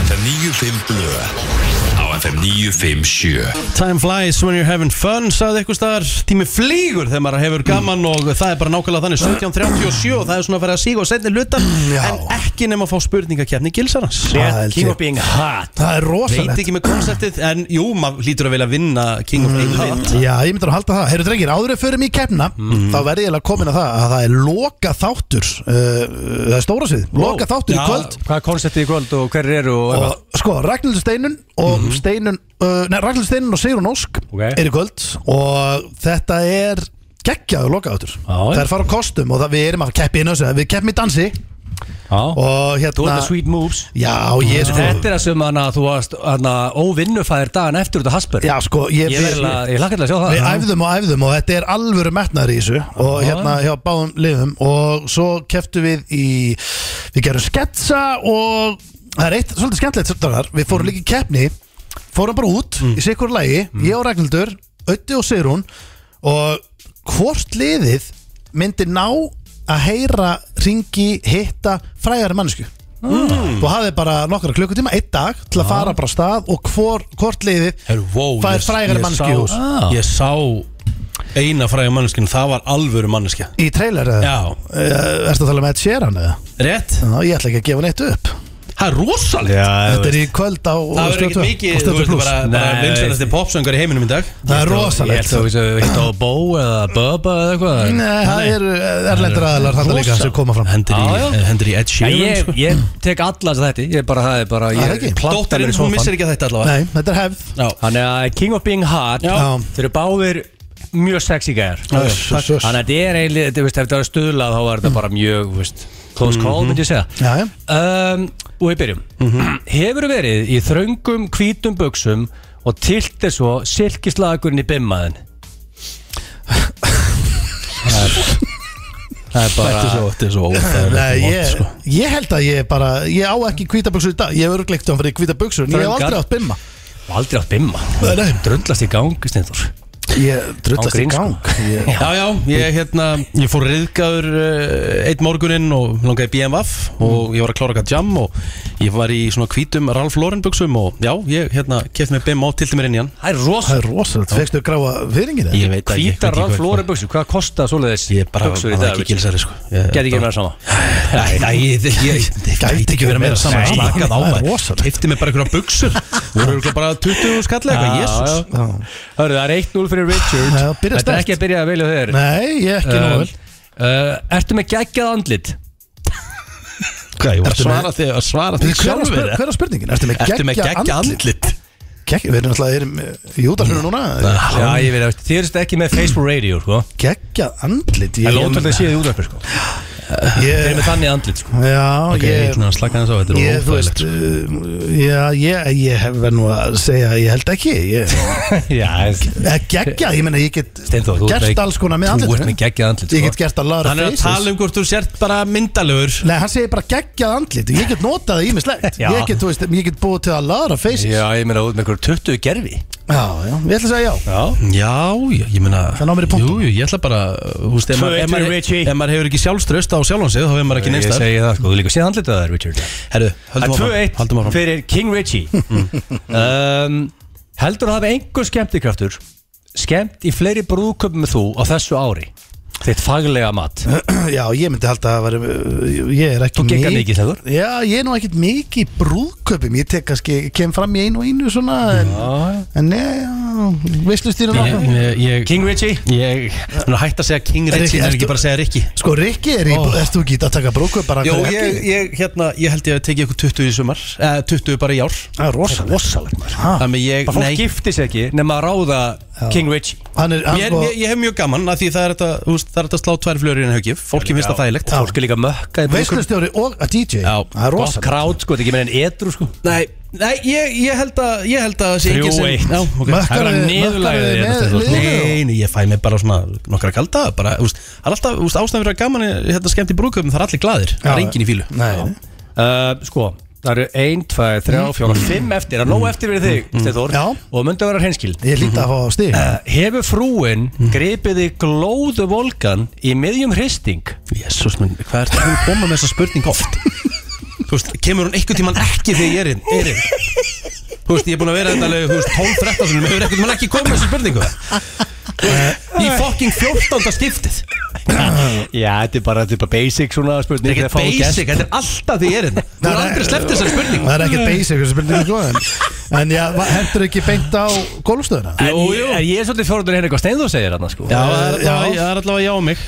[SPEAKER 5] FM 95 Blö Á FM 957
[SPEAKER 1] Time flies when you're having fun sagði eitthvað staðar, tími flýgur þegar maður hefur
[SPEAKER 4] Mm.
[SPEAKER 1] gaman og það er bara nákvæmlega þannig 1737 og það er svona að fara að síga og setja hluta
[SPEAKER 4] já.
[SPEAKER 1] en ekki nema að fá spurningakefni gilsarans
[SPEAKER 4] Það held
[SPEAKER 2] King
[SPEAKER 4] ég.
[SPEAKER 2] of being hot
[SPEAKER 4] Það er
[SPEAKER 1] veit
[SPEAKER 4] rosalegt
[SPEAKER 1] ekki með konceptið en jú, maður lítur að vilja vinna King of England
[SPEAKER 4] Mm, Já, ég myndur að halda það Heyrðu drengir, áður en förum í keppna
[SPEAKER 2] Mhm.
[SPEAKER 4] þá verði ég eiginlega komin að það að það er loka þáttur uh, það er stóra svið, loka þáttur
[SPEAKER 2] Já,
[SPEAKER 4] í kvöld
[SPEAKER 2] Hvað er konceptið í kvöld og hverjir eru og eitthvað?
[SPEAKER 4] og sko, Ragnhildur Steinun og Steinun, uh, nei, Ragnhildur Steinun og Sigrun Ósk
[SPEAKER 2] Mhm. Ok.
[SPEAKER 4] er í kvöld og þetta er geggjaðu lokaðutur
[SPEAKER 2] Já, já.
[SPEAKER 4] það er fara á kostum og það, við erum að keppi inn á þessu við keppum í dansi
[SPEAKER 2] Já,
[SPEAKER 4] og
[SPEAKER 2] þú ert
[SPEAKER 4] hérna
[SPEAKER 2] með sweet moves
[SPEAKER 4] já, ég sko,
[SPEAKER 2] Þetta er það sem hana, þú varst hana, óvinnufæðir dagan eftir út af Hasper
[SPEAKER 4] já, sko ég,
[SPEAKER 2] Ég,
[SPEAKER 4] við,
[SPEAKER 2] verðla, ég lakka til að sjá það
[SPEAKER 4] við æfðum og æfðum og þetta er alvöru metnaður í þessu og hérna hjá báðum liðum og svo keftum við í við gerum sketsa og það er eitt svolítið skemmtilegt þar, við fórum líka í keppni fórum bara út í sikur lagi ég og Ragnhildur, Ötti og Sigrun og hvort liðið myndi ná að heyra, ringi, hitta frægari mannesku Mm. og hafði bara nokkra klukkutíma, einn dag til að fara bara af stað og hvor, hvort liðið
[SPEAKER 1] Herru, wow,
[SPEAKER 4] fær
[SPEAKER 1] ég-
[SPEAKER 4] frægari
[SPEAKER 1] ég
[SPEAKER 4] mannesku
[SPEAKER 1] sá-
[SPEAKER 4] í hús
[SPEAKER 2] Ah.
[SPEAKER 1] Ég sá eina fræga manneskinu, það var alvöru manneskja
[SPEAKER 4] Í trailer eða?
[SPEAKER 1] Já,
[SPEAKER 4] Uh, Erstu að tala með Ed Sheeran eða?
[SPEAKER 1] rétt
[SPEAKER 4] Ná, ég ætla ekki að gefa neitt upp
[SPEAKER 1] Það er rosalegt
[SPEAKER 4] Þetta er í kvöld á
[SPEAKER 1] Það verður ekkert mikið, þú veist, bara, bara
[SPEAKER 2] Nei.
[SPEAKER 1] vinsanasti popsöngar í heiminum í dag
[SPEAKER 4] Það er
[SPEAKER 2] Ég held
[SPEAKER 4] rosalegt
[SPEAKER 2] að þú veist hitt á Bó eða Bubba eða eitthvað en-
[SPEAKER 4] Nei, það eru erlendur aðalar þarna líka sem koma fram
[SPEAKER 1] Hendur í,
[SPEAKER 2] Já, já.
[SPEAKER 1] eh, hendur í Ed
[SPEAKER 2] Já,
[SPEAKER 1] Sheeran
[SPEAKER 2] ég,
[SPEAKER 1] sko.
[SPEAKER 2] ég tek alla þess að þetta Ég bara, það er bara
[SPEAKER 4] Það
[SPEAKER 2] ég
[SPEAKER 4] er ekki.
[SPEAKER 2] planta mér í
[SPEAKER 1] Dóttirinn, hún
[SPEAKER 2] sófann.
[SPEAKER 1] missir ekki þetta allavega
[SPEAKER 4] Nei, þetta er hefð
[SPEAKER 1] Já.
[SPEAKER 2] Þannig að King of Being Hot
[SPEAKER 1] Já.
[SPEAKER 2] Þeir eru báðir mjög sexy gæjar
[SPEAKER 4] já,
[SPEAKER 2] Takk.
[SPEAKER 4] sus, sus.
[SPEAKER 2] Þannig að þetta er eiginlega Þetta veist, ef þetta var stuðlað þá var þetta bara mjög þú veist,
[SPEAKER 1] Mhm.
[SPEAKER 2] Close call, myndi ég segja
[SPEAKER 4] Já, já.
[SPEAKER 2] um, Og við byrjum
[SPEAKER 1] Mhm.
[SPEAKER 2] Hefur verið í þröngum hvítum buksum Og tiltir svo silkislagurinn í bimmaðin Það er bara
[SPEAKER 1] Þetta er svo, þetta er svo óþægilegt
[SPEAKER 4] Nei,
[SPEAKER 1] og vont,
[SPEAKER 4] ég,
[SPEAKER 1] sko.
[SPEAKER 4] ég held að ég bara Ég á ekki hvítaböksur í dag Ég hef örglegt um fyrir hvítaböksur En ég hef
[SPEAKER 2] Þröngar.
[SPEAKER 4] aldrei átt bimma
[SPEAKER 2] Og Aldrei átt bimma
[SPEAKER 4] Nei, nei.
[SPEAKER 2] Dröndlast í gang, Sneiður
[SPEAKER 4] Ég drullast
[SPEAKER 2] Án
[SPEAKER 4] í
[SPEAKER 2] gríns,
[SPEAKER 4] gang Ég-
[SPEAKER 1] Já, já, ég, hérna, ég fór reyðgæður uh, eitt morguninn og langaði í BMF
[SPEAKER 4] Mm.
[SPEAKER 1] og ég var að klára eitthvað jam og ég var í svona hvítum Ralph Lauren buksum og já, ég hérna kefti með BMF og tilti mér inn í hann
[SPEAKER 2] Það er rosa
[SPEAKER 4] Það er rosalegt Fekstu gráa fyrringin
[SPEAKER 1] Ég veit ekki,
[SPEAKER 2] Hvítar
[SPEAKER 1] ég veit ekki
[SPEAKER 2] Ralf
[SPEAKER 1] hvað-
[SPEAKER 2] Lauren buksur, hvað kostar svoleiðis
[SPEAKER 1] Ég bara,
[SPEAKER 2] buksur í
[SPEAKER 1] það er
[SPEAKER 2] dag?
[SPEAKER 1] ekki gilsari sko Ég-
[SPEAKER 2] Gæti ekki
[SPEAKER 1] þetta-
[SPEAKER 2] verið sama
[SPEAKER 1] Nei, nei, ég- ég- ég gæti ekki verið meira saman
[SPEAKER 4] Nei,
[SPEAKER 1] Slakað á
[SPEAKER 4] það er
[SPEAKER 1] maður,
[SPEAKER 4] rosalegt.
[SPEAKER 1] kefti mér bara einhverja buksur voru örugglega bara 20 skall
[SPEAKER 2] Já,
[SPEAKER 1] eitthvað,
[SPEAKER 2] já.
[SPEAKER 1] jésus
[SPEAKER 2] Hörru, það er 1-0 fyrir Richard
[SPEAKER 4] Já,
[SPEAKER 2] Þetta er
[SPEAKER 4] byrja sterkt.
[SPEAKER 2] ekki að byrja að velja þeir
[SPEAKER 4] Nei, ég ekki Um, nóg vel
[SPEAKER 2] Ertu með geggjað andlit?
[SPEAKER 1] Hvað, ég var að
[SPEAKER 4] Ertu með-
[SPEAKER 1] svara þig, að svara þig
[SPEAKER 4] Hver var
[SPEAKER 1] sjálfur
[SPEAKER 4] spur- hver var spurningin? Ertu með
[SPEAKER 1] Ertu með
[SPEAKER 4] geggja
[SPEAKER 1] geggja
[SPEAKER 4] andlit?
[SPEAKER 1] andlit?
[SPEAKER 4] Kekk, við erum alltaf, erum eh, í útarfinu núna
[SPEAKER 2] Já, ég veit, að þið erist ekki með Facebook Radio, sko
[SPEAKER 4] Kekja andlit
[SPEAKER 2] Það er lótalt að séu þið útvarpið, sko Þið
[SPEAKER 4] Ég,
[SPEAKER 2] erum með þannig andlit, sko
[SPEAKER 4] já,
[SPEAKER 1] Ok,
[SPEAKER 4] ég
[SPEAKER 1] svona slaka hans á, þetta
[SPEAKER 4] Ég,
[SPEAKER 1] er
[SPEAKER 4] þú veist,
[SPEAKER 1] óþægilegt
[SPEAKER 4] uh, já, ég, ég hef verið nú að segja að ég held ekki Ég,
[SPEAKER 2] Já,
[SPEAKER 4] Eh, geggjað, ég meina, ég get
[SPEAKER 2] Steindór, þú ert
[SPEAKER 4] gert
[SPEAKER 2] með-
[SPEAKER 4] alls konar með
[SPEAKER 2] þú
[SPEAKER 4] andlit eh?
[SPEAKER 2] ert með geggjað andlit, sko.
[SPEAKER 4] Ég get gert að lagra
[SPEAKER 1] Hann er að tala um hvort þú sért bara myndalögur
[SPEAKER 4] Nei, hann segir bara geggjað andlit Ég get notað það ímislegt
[SPEAKER 2] Já.
[SPEAKER 4] ég, get, þú veist, ég get búið til að lagra faces
[SPEAKER 2] já ég meina út með einhverjum 20 gerfi
[SPEAKER 4] já, já, ég ætla að segja já
[SPEAKER 2] Já
[SPEAKER 1] Já, ég, ég meina
[SPEAKER 4] Það ná mér í punktum.
[SPEAKER 1] Jú, jú, ég ætla bara Þú veist, ef
[SPEAKER 2] Tvö,
[SPEAKER 1] maður- ef
[SPEAKER 2] eitt fyrir Richie.
[SPEAKER 1] maður- ef maður hefur ekki sjálfströst á sjálfansið Þá hefur maður ekki
[SPEAKER 2] Ég
[SPEAKER 1] neins þar
[SPEAKER 2] segi það, sko, þú líka séð andlitið að það er Richard
[SPEAKER 1] Herru, höldum áfram Haldum
[SPEAKER 2] Það er 2-1
[SPEAKER 1] áfram
[SPEAKER 2] fyrir King Richie um, Heldur að hafa einhver skemmtikraftur skemmt í fleiri brúðköpum með þú á þessu ári Þitt faglega mat
[SPEAKER 4] Já, ég myndi halda að vera Ég er ekki
[SPEAKER 2] Þú geggar mikið, Sæður
[SPEAKER 4] Já, ég er nú ekkert mikið í brúðköpum Ég tek kannski, kem fram í einu og einu svona En, en neða, veistlustýrun
[SPEAKER 1] Ég,
[SPEAKER 4] áfram
[SPEAKER 1] ég, ég,
[SPEAKER 2] King Richie
[SPEAKER 1] ég Nú hætt að segja King Richie
[SPEAKER 4] Ricky,
[SPEAKER 1] Það er
[SPEAKER 4] ertu-
[SPEAKER 1] ekki bara að segja Ricky
[SPEAKER 4] Sko, Rikki, er
[SPEAKER 1] Ó.
[SPEAKER 4] oh. erst þú ekki að taka brúðköp bara
[SPEAKER 1] Jó,
[SPEAKER 4] hverja
[SPEAKER 1] ég,
[SPEAKER 4] helgi?
[SPEAKER 1] ég, hérna, ég held ég að tekið ykkur 20 í sumar eh, 20 bara í ár
[SPEAKER 4] Það er rosalegt
[SPEAKER 2] Rossalegt maður
[SPEAKER 4] Ha,
[SPEAKER 1] Þannig ég,
[SPEAKER 2] Bara fólk
[SPEAKER 1] nei
[SPEAKER 2] gifti sig ekki nema að ráða King Richie
[SPEAKER 4] Hann er, hann
[SPEAKER 1] Ég,
[SPEAKER 4] sko-
[SPEAKER 1] ég, ég hef mjög gaman að því það er þetta, þú veist, það er þetta að slá tvær flöri en haugif, fólki finnst það þægilegt
[SPEAKER 2] Og fólk er líka mökka í brúðköpum
[SPEAKER 4] Veistlustjóri og að DJ
[SPEAKER 1] Já,
[SPEAKER 4] Það er
[SPEAKER 2] Gott
[SPEAKER 4] rosalegt
[SPEAKER 2] krát, sko, þetta er ekki meira en edru, sko
[SPEAKER 1] Nei, nei ég, ég held að ég held að það sé enginn sem-
[SPEAKER 2] 3-1.
[SPEAKER 1] Já, ok.
[SPEAKER 4] Mökkar
[SPEAKER 1] Það er
[SPEAKER 4] þið-
[SPEAKER 1] bara niðurlagið
[SPEAKER 4] mökkar þið
[SPEAKER 1] hérna,
[SPEAKER 4] með
[SPEAKER 1] Steindór.
[SPEAKER 4] liðinu?
[SPEAKER 1] Nei, nei, ég fæ mér bara svona nokkra kalda bara, úst, Það er alltaf, úst, ástæðan fyrir að gaman er hérna skemmt í brúköpum, það er allir glaðir Það er
[SPEAKER 4] Já.
[SPEAKER 1] enginn í fílu
[SPEAKER 4] Nei,
[SPEAKER 2] Uh, sko, það eru 1, 2,
[SPEAKER 1] Mm.
[SPEAKER 2] 3, 4, 5 eftir, það er nóg eftir fyrir þig, Steindór
[SPEAKER 4] Já.
[SPEAKER 2] og myndi að vera hreinskild
[SPEAKER 1] Mm.
[SPEAKER 4] ég líti að fá stig
[SPEAKER 2] Uh, Hefur frúin gripið þig glóðu volgan í miðjum hristing?
[SPEAKER 1] Jésús minn, hvað er það að koma með þessa spurning oft? Þú veist, kemur hún einhvern tímann ekki þegar ég er inn? Er inn? Þú veist, ég er búin að vera þetta alveg, þú veist, 12-13 sinum, hefur einhvern tímann ekki komið með þessa spurningu? Þú veist, Í fucking 14. skiptið
[SPEAKER 2] Já, þetta er bara, þetta er bara basic svona
[SPEAKER 1] Þetta
[SPEAKER 2] spurning
[SPEAKER 1] er ekkert basic, þetta er alltaf því ég er inn Þú er aldrei sleppt þessa spurningu
[SPEAKER 4] Það er ekkert basic þessi spurning sko en, en já, va- hendur ekki beint á golfstöðuna?
[SPEAKER 2] En, jú, jú. en ég er svolítið fjórður hérna eitthvað Steindur segir hérna sko
[SPEAKER 1] Já, það er
[SPEAKER 4] Eh, Já.
[SPEAKER 1] allavega- það er allavega já á mig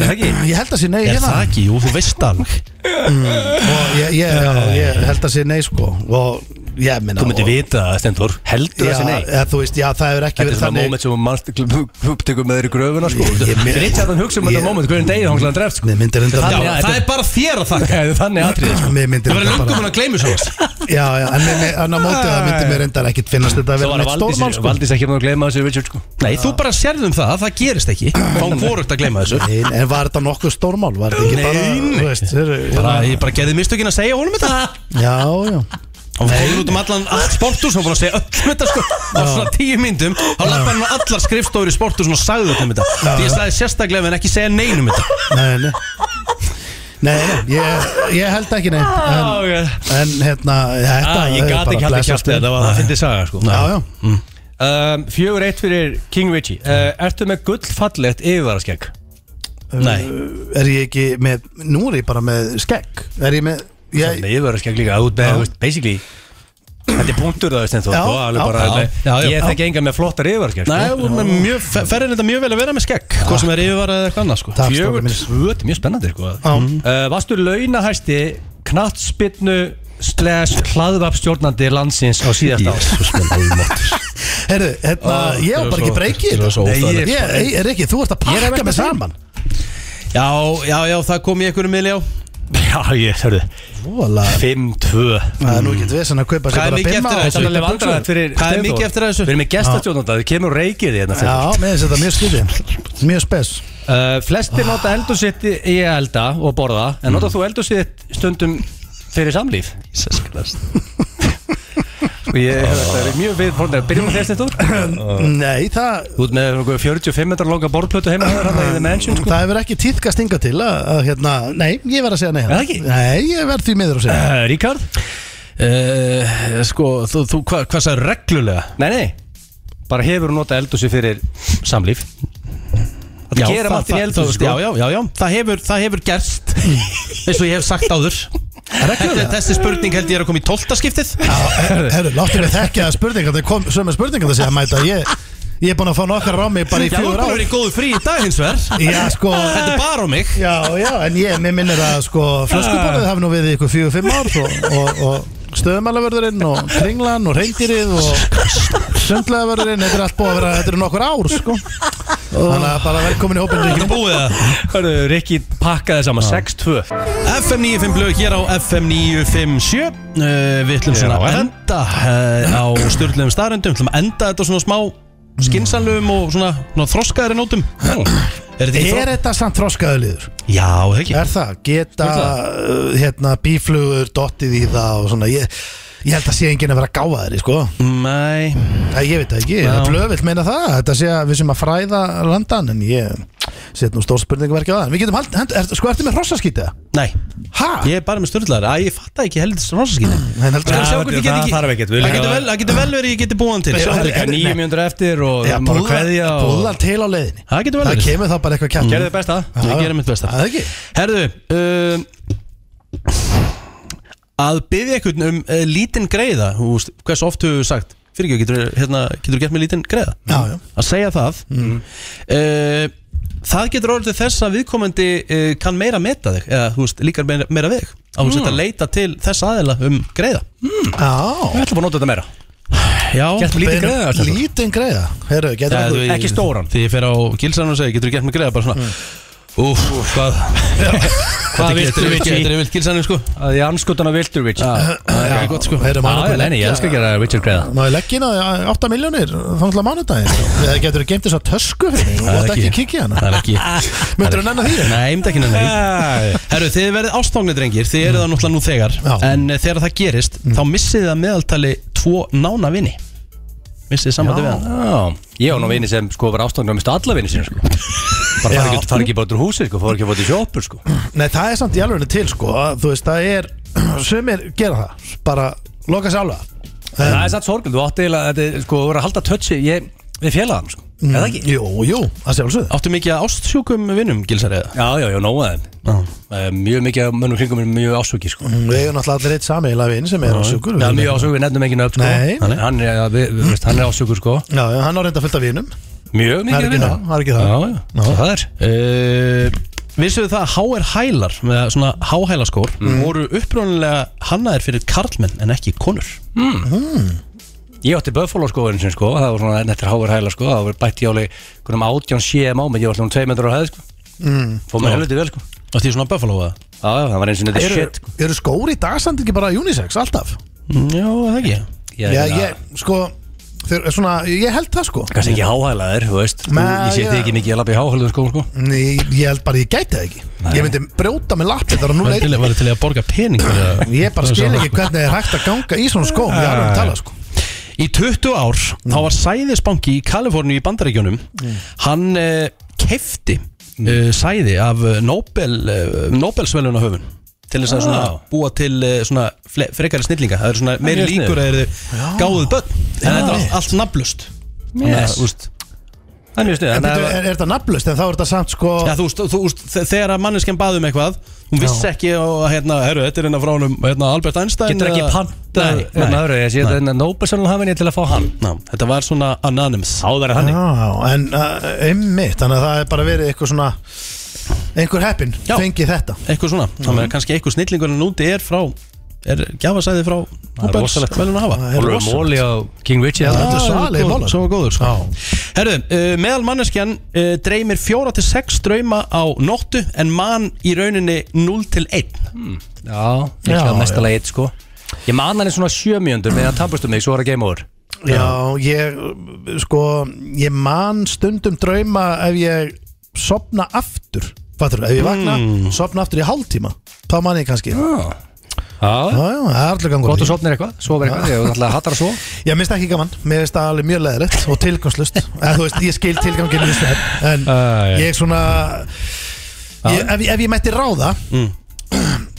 [SPEAKER 2] Er það ekki?
[SPEAKER 4] Ég held að sé nei
[SPEAKER 1] Er það
[SPEAKER 4] hérna
[SPEAKER 1] ekki? Jú, þú veist það alveg
[SPEAKER 4] og ég, ég, já, ég held að sé nei sko og ég minna
[SPEAKER 2] Þú myndir vita það Steindur Heldur
[SPEAKER 4] Já,
[SPEAKER 2] þessi nei
[SPEAKER 4] eða, þú veist, já, það hefur ekki
[SPEAKER 2] Þetta er
[SPEAKER 4] verið
[SPEAKER 2] svona
[SPEAKER 4] þannig
[SPEAKER 2] moment sem hún manst upptökum með þér í gröfuna sko
[SPEAKER 4] Ég- ég-
[SPEAKER 2] Richard hann hugsa um þetta
[SPEAKER 4] ég-
[SPEAKER 2] moment hvernig degið
[SPEAKER 1] Mm.
[SPEAKER 2] hann glæðan dreft sko
[SPEAKER 4] Nei, myndir
[SPEAKER 1] Já,
[SPEAKER 4] enda
[SPEAKER 2] Þannig að
[SPEAKER 1] það
[SPEAKER 2] þetta-
[SPEAKER 1] er bara þér að þakka
[SPEAKER 2] Það er þannig atrið sko
[SPEAKER 4] Mér myndir
[SPEAKER 1] Það verður
[SPEAKER 4] enda
[SPEAKER 1] löngum
[SPEAKER 4] bara
[SPEAKER 1] hann að gleymi svo
[SPEAKER 4] Já, já, en mér- mér- en á móti það myndir mér enda ekkit finnast þetta að
[SPEAKER 2] Það
[SPEAKER 4] vera
[SPEAKER 2] var að
[SPEAKER 4] neitt stórmál
[SPEAKER 2] Valdís,
[SPEAKER 4] sko
[SPEAKER 2] Valdís ekki maður að gleyma þessu Richard sko
[SPEAKER 1] Nei, þú bara sérðum það, það gerist ekki Fá hvorugt að gleyma þessu
[SPEAKER 4] Nei, En var þetta nokkuð stórmál? Var þetta ekki bara, þú veist heyrðu,
[SPEAKER 1] bara, Ég bara gerði mistökin að segja honum þetta
[SPEAKER 4] Já, já
[SPEAKER 1] Hann fóður út um allan allt sportus Hann búin að segja öllum þetta sko Á svona tíu myndum Hann lappa hann á allar skrifstofur í sportus Og sagði öllum þetta Því ég sagði sérstaklega við en ekki segja neinum þetta
[SPEAKER 4] Nei, nei Nei, nei, ég, ég held ekki nei En, en hérna, þetta
[SPEAKER 2] Ah, Ég
[SPEAKER 4] er
[SPEAKER 2] gat
[SPEAKER 4] bara
[SPEAKER 2] ekki haldið
[SPEAKER 4] blessað
[SPEAKER 1] sko.
[SPEAKER 2] kjátt
[SPEAKER 4] spil.
[SPEAKER 2] þetta var það fyndið saga sko
[SPEAKER 4] Já, já,
[SPEAKER 2] Um, fjögur eitt fyrir King Richie uh, Ertu með gullfallegt yfirvaraskegg?
[SPEAKER 1] Nei,
[SPEAKER 4] Uh, er ég ekki með Nú er ég bara með skegg Er ég með ég,
[SPEAKER 2] Með yfirvaraskegg líka út með, þú veist, basically Þetta er punktur það, Stenþór
[SPEAKER 4] Já, já,
[SPEAKER 1] já.
[SPEAKER 2] já,
[SPEAKER 1] Já, já,
[SPEAKER 2] Ég
[SPEAKER 1] já.
[SPEAKER 2] þekki enga með flottar yfirvaraskegg
[SPEAKER 1] Nei
[SPEAKER 2] sko.
[SPEAKER 1] hún er mjög, ferðin þetta mjög vel að vera með skegg Hvað sem er yfirvara eða eitthvað annað sko
[SPEAKER 4] Takk,
[SPEAKER 2] Fjögur
[SPEAKER 4] strákar mínir.
[SPEAKER 2] tvö, þetta er mjög spennandi sko.
[SPEAKER 4] Já.
[SPEAKER 2] uh, Varstu launahæsti knattspinnu slash hlaðvapstjórnandi landsins á síðasta árs
[SPEAKER 4] Herru, hérna,
[SPEAKER 2] Ah,
[SPEAKER 4] ég var bara ekki breykið
[SPEAKER 1] svo
[SPEAKER 4] Nei,
[SPEAKER 1] óþægilegt.
[SPEAKER 4] ég, ég er ekki, þú ert að
[SPEAKER 2] Ég er að
[SPEAKER 4] pakka
[SPEAKER 2] velta
[SPEAKER 4] mig
[SPEAKER 2] því.
[SPEAKER 4] saman
[SPEAKER 1] Já, já, já, það kom í einhverjum miðli á
[SPEAKER 2] Já, ég, hörðu
[SPEAKER 4] Vola,
[SPEAKER 2] 5-2
[SPEAKER 4] það er nú ekki vesen að
[SPEAKER 1] Hvað er
[SPEAKER 4] kaupa sér bara
[SPEAKER 1] mikið
[SPEAKER 4] bimma
[SPEAKER 1] eftir
[SPEAKER 4] og-
[SPEAKER 1] af þessu?
[SPEAKER 2] Þetta er vandræðat fyrir
[SPEAKER 1] Hvað er
[SPEAKER 2] Steinþór.
[SPEAKER 1] mikið eftir af þessu?
[SPEAKER 2] Við erum með gestastjórnanda, það kemur reykið í hérna
[SPEAKER 4] Já, með þess að þetta er mjög skriði Mjög spes
[SPEAKER 2] Uh, flestir nota eldur sitt í í að elda og borða En nota þú eldur sitt stundum fyrir samlíf Jesus Christ Sko ég hef þetta verið mjög við fórnir Byrjum á þess þetta
[SPEAKER 1] Ah.
[SPEAKER 4] Nei, það,
[SPEAKER 2] Þú ert með einhver 45 metrar longa borðplötu heima Það er hann í The Mansion sko
[SPEAKER 4] það hefur ekki tíðkast inga til að, að hérna, Nei, ég verð að segja nei
[SPEAKER 2] Er það ekki?
[SPEAKER 4] Nei, ég verð því miður að segja
[SPEAKER 1] Ah.
[SPEAKER 2] uh, Ríkard?
[SPEAKER 1] uh, Sko, þú, þú hva, hvað sagði reglulega?
[SPEAKER 2] Nei, nei Bara hefur nota eldur sitt fyrir samlíf Þetta
[SPEAKER 1] Já,
[SPEAKER 2] gera
[SPEAKER 1] það-
[SPEAKER 2] Martin í
[SPEAKER 1] það-
[SPEAKER 2] eldur
[SPEAKER 1] það-
[SPEAKER 2] sko
[SPEAKER 1] Já, já, já, já, það hefur, það hefur gerst eins og ég hef sagt áður Þetta, Þessi spurning held ég er að koma í tóltaskiptið
[SPEAKER 4] Herru, láttu mig þekkja að spurninga Það kom sömu spurninga þessi að mæta Ég, ég er búin að fá nokkar rámi bara í
[SPEAKER 1] Já, þú er
[SPEAKER 4] fjögur
[SPEAKER 1] búin að
[SPEAKER 4] ár
[SPEAKER 1] vera í góðu frí í dag hins vegar
[SPEAKER 4] Já, sko
[SPEAKER 1] Þetta er bara á mig
[SPEAKER 4] Já, já, en ég, mér minnir að sko Flöskubólið hafi nú við í ykkur fjögur, fimm ár og, og, og stöðumælavörðurinn og kringlan og reyndýrið og sundlæðavörðurinn þetta er allt búið að vera, þetta er nokkur ár sko. þannig að bara velkomin í hópin Ríkjum
[SPEAKER 1] búið það
[SPEAKER 2] Hörru, Rikki pakkaði saman 6-2
[SPEAKER 1] FM 95 blöð hér á FM 957 uh, Við ætlum
[SPEAKER 2] Hér
[SPEAKER 1] svona
[SPEAKER 2] á
[SPEAKER 1] að
[SPEAKER 2] FM.
[SPEAKER 1] enda uh, á styrluðum starrendum Við ætlum að enda þetta á svona smá skinsanlegum og svona, svona þroskaðari nótum Er þetta ekki
[SPEAKER 4] Er
[SPEAKER 1] þroskaðari?
[SPEAKER 4] þetta samt þroskaðu liður?
[SPEAKER 1] Já, það ekki
[SPEAKER 4] Er það? Geta uh, hérna, bíflugur dottið í það og svona ég, ég held að sé enginn að vera gáðaðir sko.
[SPEAKER 1] Nei,
[SPEAKER 4] Æ, Ég veit það ekki,
[SPEAKER 1] Já.
[SPEAKER 4] blöðvill meina það Þetta sé að við sem að fræða landan En ég set nú stór spurningverki á það En Við getum hald, hend, er, sko ertu með hrossaskýta?
[SPEAKER 1] nei
[SPEAKER 4] Ha?
[SPEAKER 1] Ég er bara með styrluðari Æ, ég fatt ekki heldur þroskaskýni
[SPEAKER 4] En heldur
[SPEAKER 1] Skulum
[SPEAKER 4] það
[SPEAKER 1] sjá hvort ég get
[SPEAKER 2] það
[SPEAKER 1] ekki-
[SPEAKER 2] þarf ekkert, við
[SPEAKER 1] Það
[SPEAKER 2] líka-
[SPEAKER 1] getur vel, það getur vel verið ég geti búið hann til
[SPEAKER 4] Nei,
[SPEAKER 2] Það er ekki
[SPEAKER 4] Nei.
[SPEAKER 2] 9 mínútur eftir og
[SPEAKER 4] Já,
[SPEAKER 2] við bara
[SPEAKER 4] búðar,
[SPEAKER 2] kveðja og
[SPEAKER 4] búðar til á leiðinni
[SPEAKER 1] Það getur vel
[SPEAKER 4] Það
[SPEAKER 1] verið
[SPEAKER 4] kemur þá bara eitthvað kjart
[SPEAKER 2] Gerðu þið besta
[SPEAKER 1] Ég gerir mitt besta
[SPEAKER 4] Það ekki
[SPEAKER 1] Herðu um, Að byggja einhvern um uh, lítinn greiða þú veist, Hversu oft hefur þú sagt Fyrir ekki, getur, hérna, getur þú gett með lítinn greiða
[SPEAKER 4] Já, já.
[SPEAKER 1] Að segja það mm. Það getur orðið til þess að viðkomandi uh, kann meira meta þig eða þú veist, líkar meira, meira við þig að hún setja að leita til þess aðila um greiða
[SPEAKER 2] Við
[SPEAKER 4] Já
[SPEAKER 2] ætlum bara að nota þetta meira
[SPEAKER 1] Já,
[SPEAKER 2] Gert með lítið greiða Arnar.
[SPEAKER 4] Lítinn greiða Heru, getur
[SPEAKER 1] Ja,
[SPEAKER 4] okkur-
[SPEAKER 1] þú-
[SPEAKER 2] ekki stóran. Mm.
[SPEAKER 1] Þegar ég fer á gilsanum og segi, getur þú gett með greiða bara svona Úf, hvað
[SPEAKER 2] Hvað
[SPEAKER 1] Þetta
[SPEAKER 2] viltu
[SPEAKER 1] er
[SPEAKER 2] við
[SPEAKER 1] vilt- þetta
[SPEAKER 2] því?
[SPEAKER 1] er vilt gilsanum sko
[SPEAKER 2] Það er anskotana viltur við Já,
[SPEAKER 1] Það er gott sko
[SPEAKER 4] Heru, má
[SPEAKER 2] já,
[SPEAKER 4] ég
[SPEAKER 2] nei, ég elskar að gera Richard greiða
[SPEAKER 4] Ná ég leggja inn á 8 miljónir Þannig að mánudaginn Eða getur þú geimt þess að tösku fyrir mig Þú mátt ekki kikið
[SPEAKER 1] Það
[SPEAKER 4] hana
[SPEAKER 1] er ekki
[SPEAKER 4] Möndur þú nennan því?
[SPEAKER 1] Nei, ég myndi ekki nenni því.
[SPEAKER 2] Æ,
[SPEAKER 1] Herru, þið verðið ástofnir drengir, þið eru það náttúrulega nú þegar
[SPEAKER 4] Já. Mm.
[SPEAKER 1] En eh, þegar það gerist, þá missið þið að meðaltali tvo nána vini Missið þið sambandi við hann
[SPEAKER 2] Já, ég á nú vini sem sko var ástofnir að mista alla vini sína sko Bara fara ekki, fara ekki bara út úr húsi sko, fara ekki bara út í sjópur sko
[SPEAKER 4] Nei, það er samt í alveg til sko að, Þú veist, það er Sumir gera það Bara loka sér alveg
[SPEAKER 2] En Það er satt sorgum, þú átti eiginlega, þetta er, sko, þú voru að halda tötsi ég, við félagann sko, eða ekki?
[SPEAKER 4] Jú, jú, það sé alveg sögðu
[SPEAKER 1] Áttu mikið af ástsjúkum vinnum, Gilsar eða?
[SPEAKER 2] Já, já, já, nóg að þeim Það er Mjög mikið af mönnum kringum er mjög ásvöki sko
[SPEAKER 4] Við eigum náttúrulega allir eitt sameiginlega vin sem er á sjúkur
[SPEAKER 2] Já, mjög ásvöku, við nefnum ekki nöfn sko
[SPEAKER 4] Nei.
[SPEAKER 2] Hann er- hann er, ja, við, við, veist, hann er ásvökur sko
[SPEAKER 4] Já, já, hann á reynda fullt af vinum
[SPEAKER 2] Mjög
[SPEAKER 4] Það er
[SPEAKER 2] mikið
[SPEAKER 4] ekki það, það er ekki það
[SPEAKER 2] Já, já, það er
[SPEAKER 4] Eh,
[SPEAKER 2] eh,
[SPEAKER 1] Uh, Vissuðu það að HR hælar, með svona háhælaskór
[SPEAKER 4] Mm.
[SPEAKER 1] Voru upprónulega hannaðir fyrir karlmenn en ekki konur
[SPEAKER 2] Ég átti Buffalo skoðurinn sin sko, það var svona nettir háver hæla sko, það var bætt í áli hvernig átján CMA, menn ég var svona 2 metrar á hæð sko, mm. fór mér helviti vel sko, já,
[SPEAKER 1] Það er svona buffalo eða?
[SPEAKER 2] já, það var eins og þetta
[SPEAKER 4] Eru,
[SPEAKER 2] shit sko.
[SPEAKER 4] eru skóri í dag samt ekki bara unisex, alltaf?
[SPEAKER 1] Já, það ekki
[SPEAKER 2] Ég,
[SPEAKER 4] Já,
[SPEAKER 2] ég,
[SPEAKER 4] ég, sko þeir, svona, Ég held það sko
[SPEAKER 2] kannski ekki háhælaðir, þú veist, þú,
[SPEAKER 4] Nei,
[SPEAKER 2] ég seti
[SPEAKER 4] já.
[SPEAKER 2] ekki mikið að lappa í háhæluðu sko, sko,
[SPEAKER 4] Ný, Ég held bara ég gæti það ekki Ég myndi brjóta með lappið þar að núna
[SPEAKER 1] Var til, var til að borga pening fyrir að-
[SPEAKER 4] Ég bara skil ekki hvernig er hægt að ganga í svona skóm Ég alveg að tala sko
[SPEAKER 1] Í 20 ár þá var sæðisbanki í Kaliforni í Bandaríkjunum hann uh, kefti uh, sæði af eh, Nobel, uh, Nobelsveluna höfun til þess að svona búa til uh, svona fle, frekari snillinga, það eru svona meiri
[SPEAKER 2] mjög
[SPEAKER 1] líkur að þeir gáðuð börn en þetta er allt, allt nafnlust
[SPEAKER 2] Yes.
[SPEAKER 1] úst,
[SPEAKER 2] það er mjög stuð
[SPEAKER 4] En
[SPEAKER 2] þannig
[SPEAKER 4] býttu,
[SPEAKER 2] að-
[SPEAKER 4] er, er þetta nafnlust en þá er þetta samt sko
[SPEAKER 1] Já, þú veist, þú veist, þe- þegar að manneskjan baði um eitthvað hún vissi ekki og hérna, herru, þetta er hérna frá honum hérna, Albert Einstein
[SPEAKER 2] getur ekki
[SPEAKER 4] uh,
[SPEAKER 1] eða-
[SPEAKER 2] panta
[SPEAKER 1] Nei,
[SPEAKER 2] með
[SPEAKER 1] nei,
[SPEAKER 2] öðru, ég sé þetta Nóbelsson hafa henni til að fá hann,
[SPEAKER 1] Ná, þetta var svona anonymous
[SPEAKER 2] áður en hann
[SPEAKER 4] Já, en uh, einmitt Þannig að það er bara verið eitthvað svona Einhver heppin
[SPEAKER 1] Já.
[SPEAKER 4] fengið þetta
[SPEAKER 1] eitthvað svona
[SPEAKER 4] Mhm.
[SPEAKER 1] þannig að kannski eitthvað snillingurinn úti er frá er gjafasæði frá Nobels
[SPEAKER 2] rosalegt.
[SPEAKER 1] velun að hafa
[SPEAKER 4] Það er
[SPEAKER 2] Ólfur
[SPEAKER 4] rosa.
[SPEAKER 2] Móli á King Richie
[SPEAKER 4] Já,
[SPEAKER 2] þarna.
[SPEAKER 4] þetta er svalegir
[SPEAKER 1] góð-
[SPEAKER 4] málar.
[SPEAKER 1] svo góður sko.
[SPEAKER 4] Já.
[SPEAKER 1] herru, uh, meðal manneskjan uh, dreymir 4 til 6 drauma á nóttu en mann í rauninni 0 til 1
[SPEAKER 2] Já, ég
[SPEAKER 4] Já,
[SPEAKER 2] hljóð
[SPEAKER 4] já.
[SPEAKER 2] mestalega eitt sko Ég man hann í svona sjömjöndur meðan tapastu mig, svo var að game over
[SPEAKER 4] Já, ég uh, sko ég man stundum drauma ef ég sopna aftur fattur, ef ég vakna, sopna aftur í hálftíma þá man ég kannski Já,
[SPEAKER 2] Já, já
[SPEAKER 4] já, það er allir gangur
[SPEAKER 2] Gott og sopnir eitthvað, sofa eitthvað, ég ætla að hattar að sofa
[SPEAKER 4] Ég minnst ekki gaman, mér finnst það alveg mjög leðrætt og tilgangslust, en þú veist, ég skil tilganginu í þessu, en
[SPEAKER 2] já.
[SPEAKER 4] ég svona ég, ef, ég- ef ég mætti ráða
[SPEAKER 2] Mm.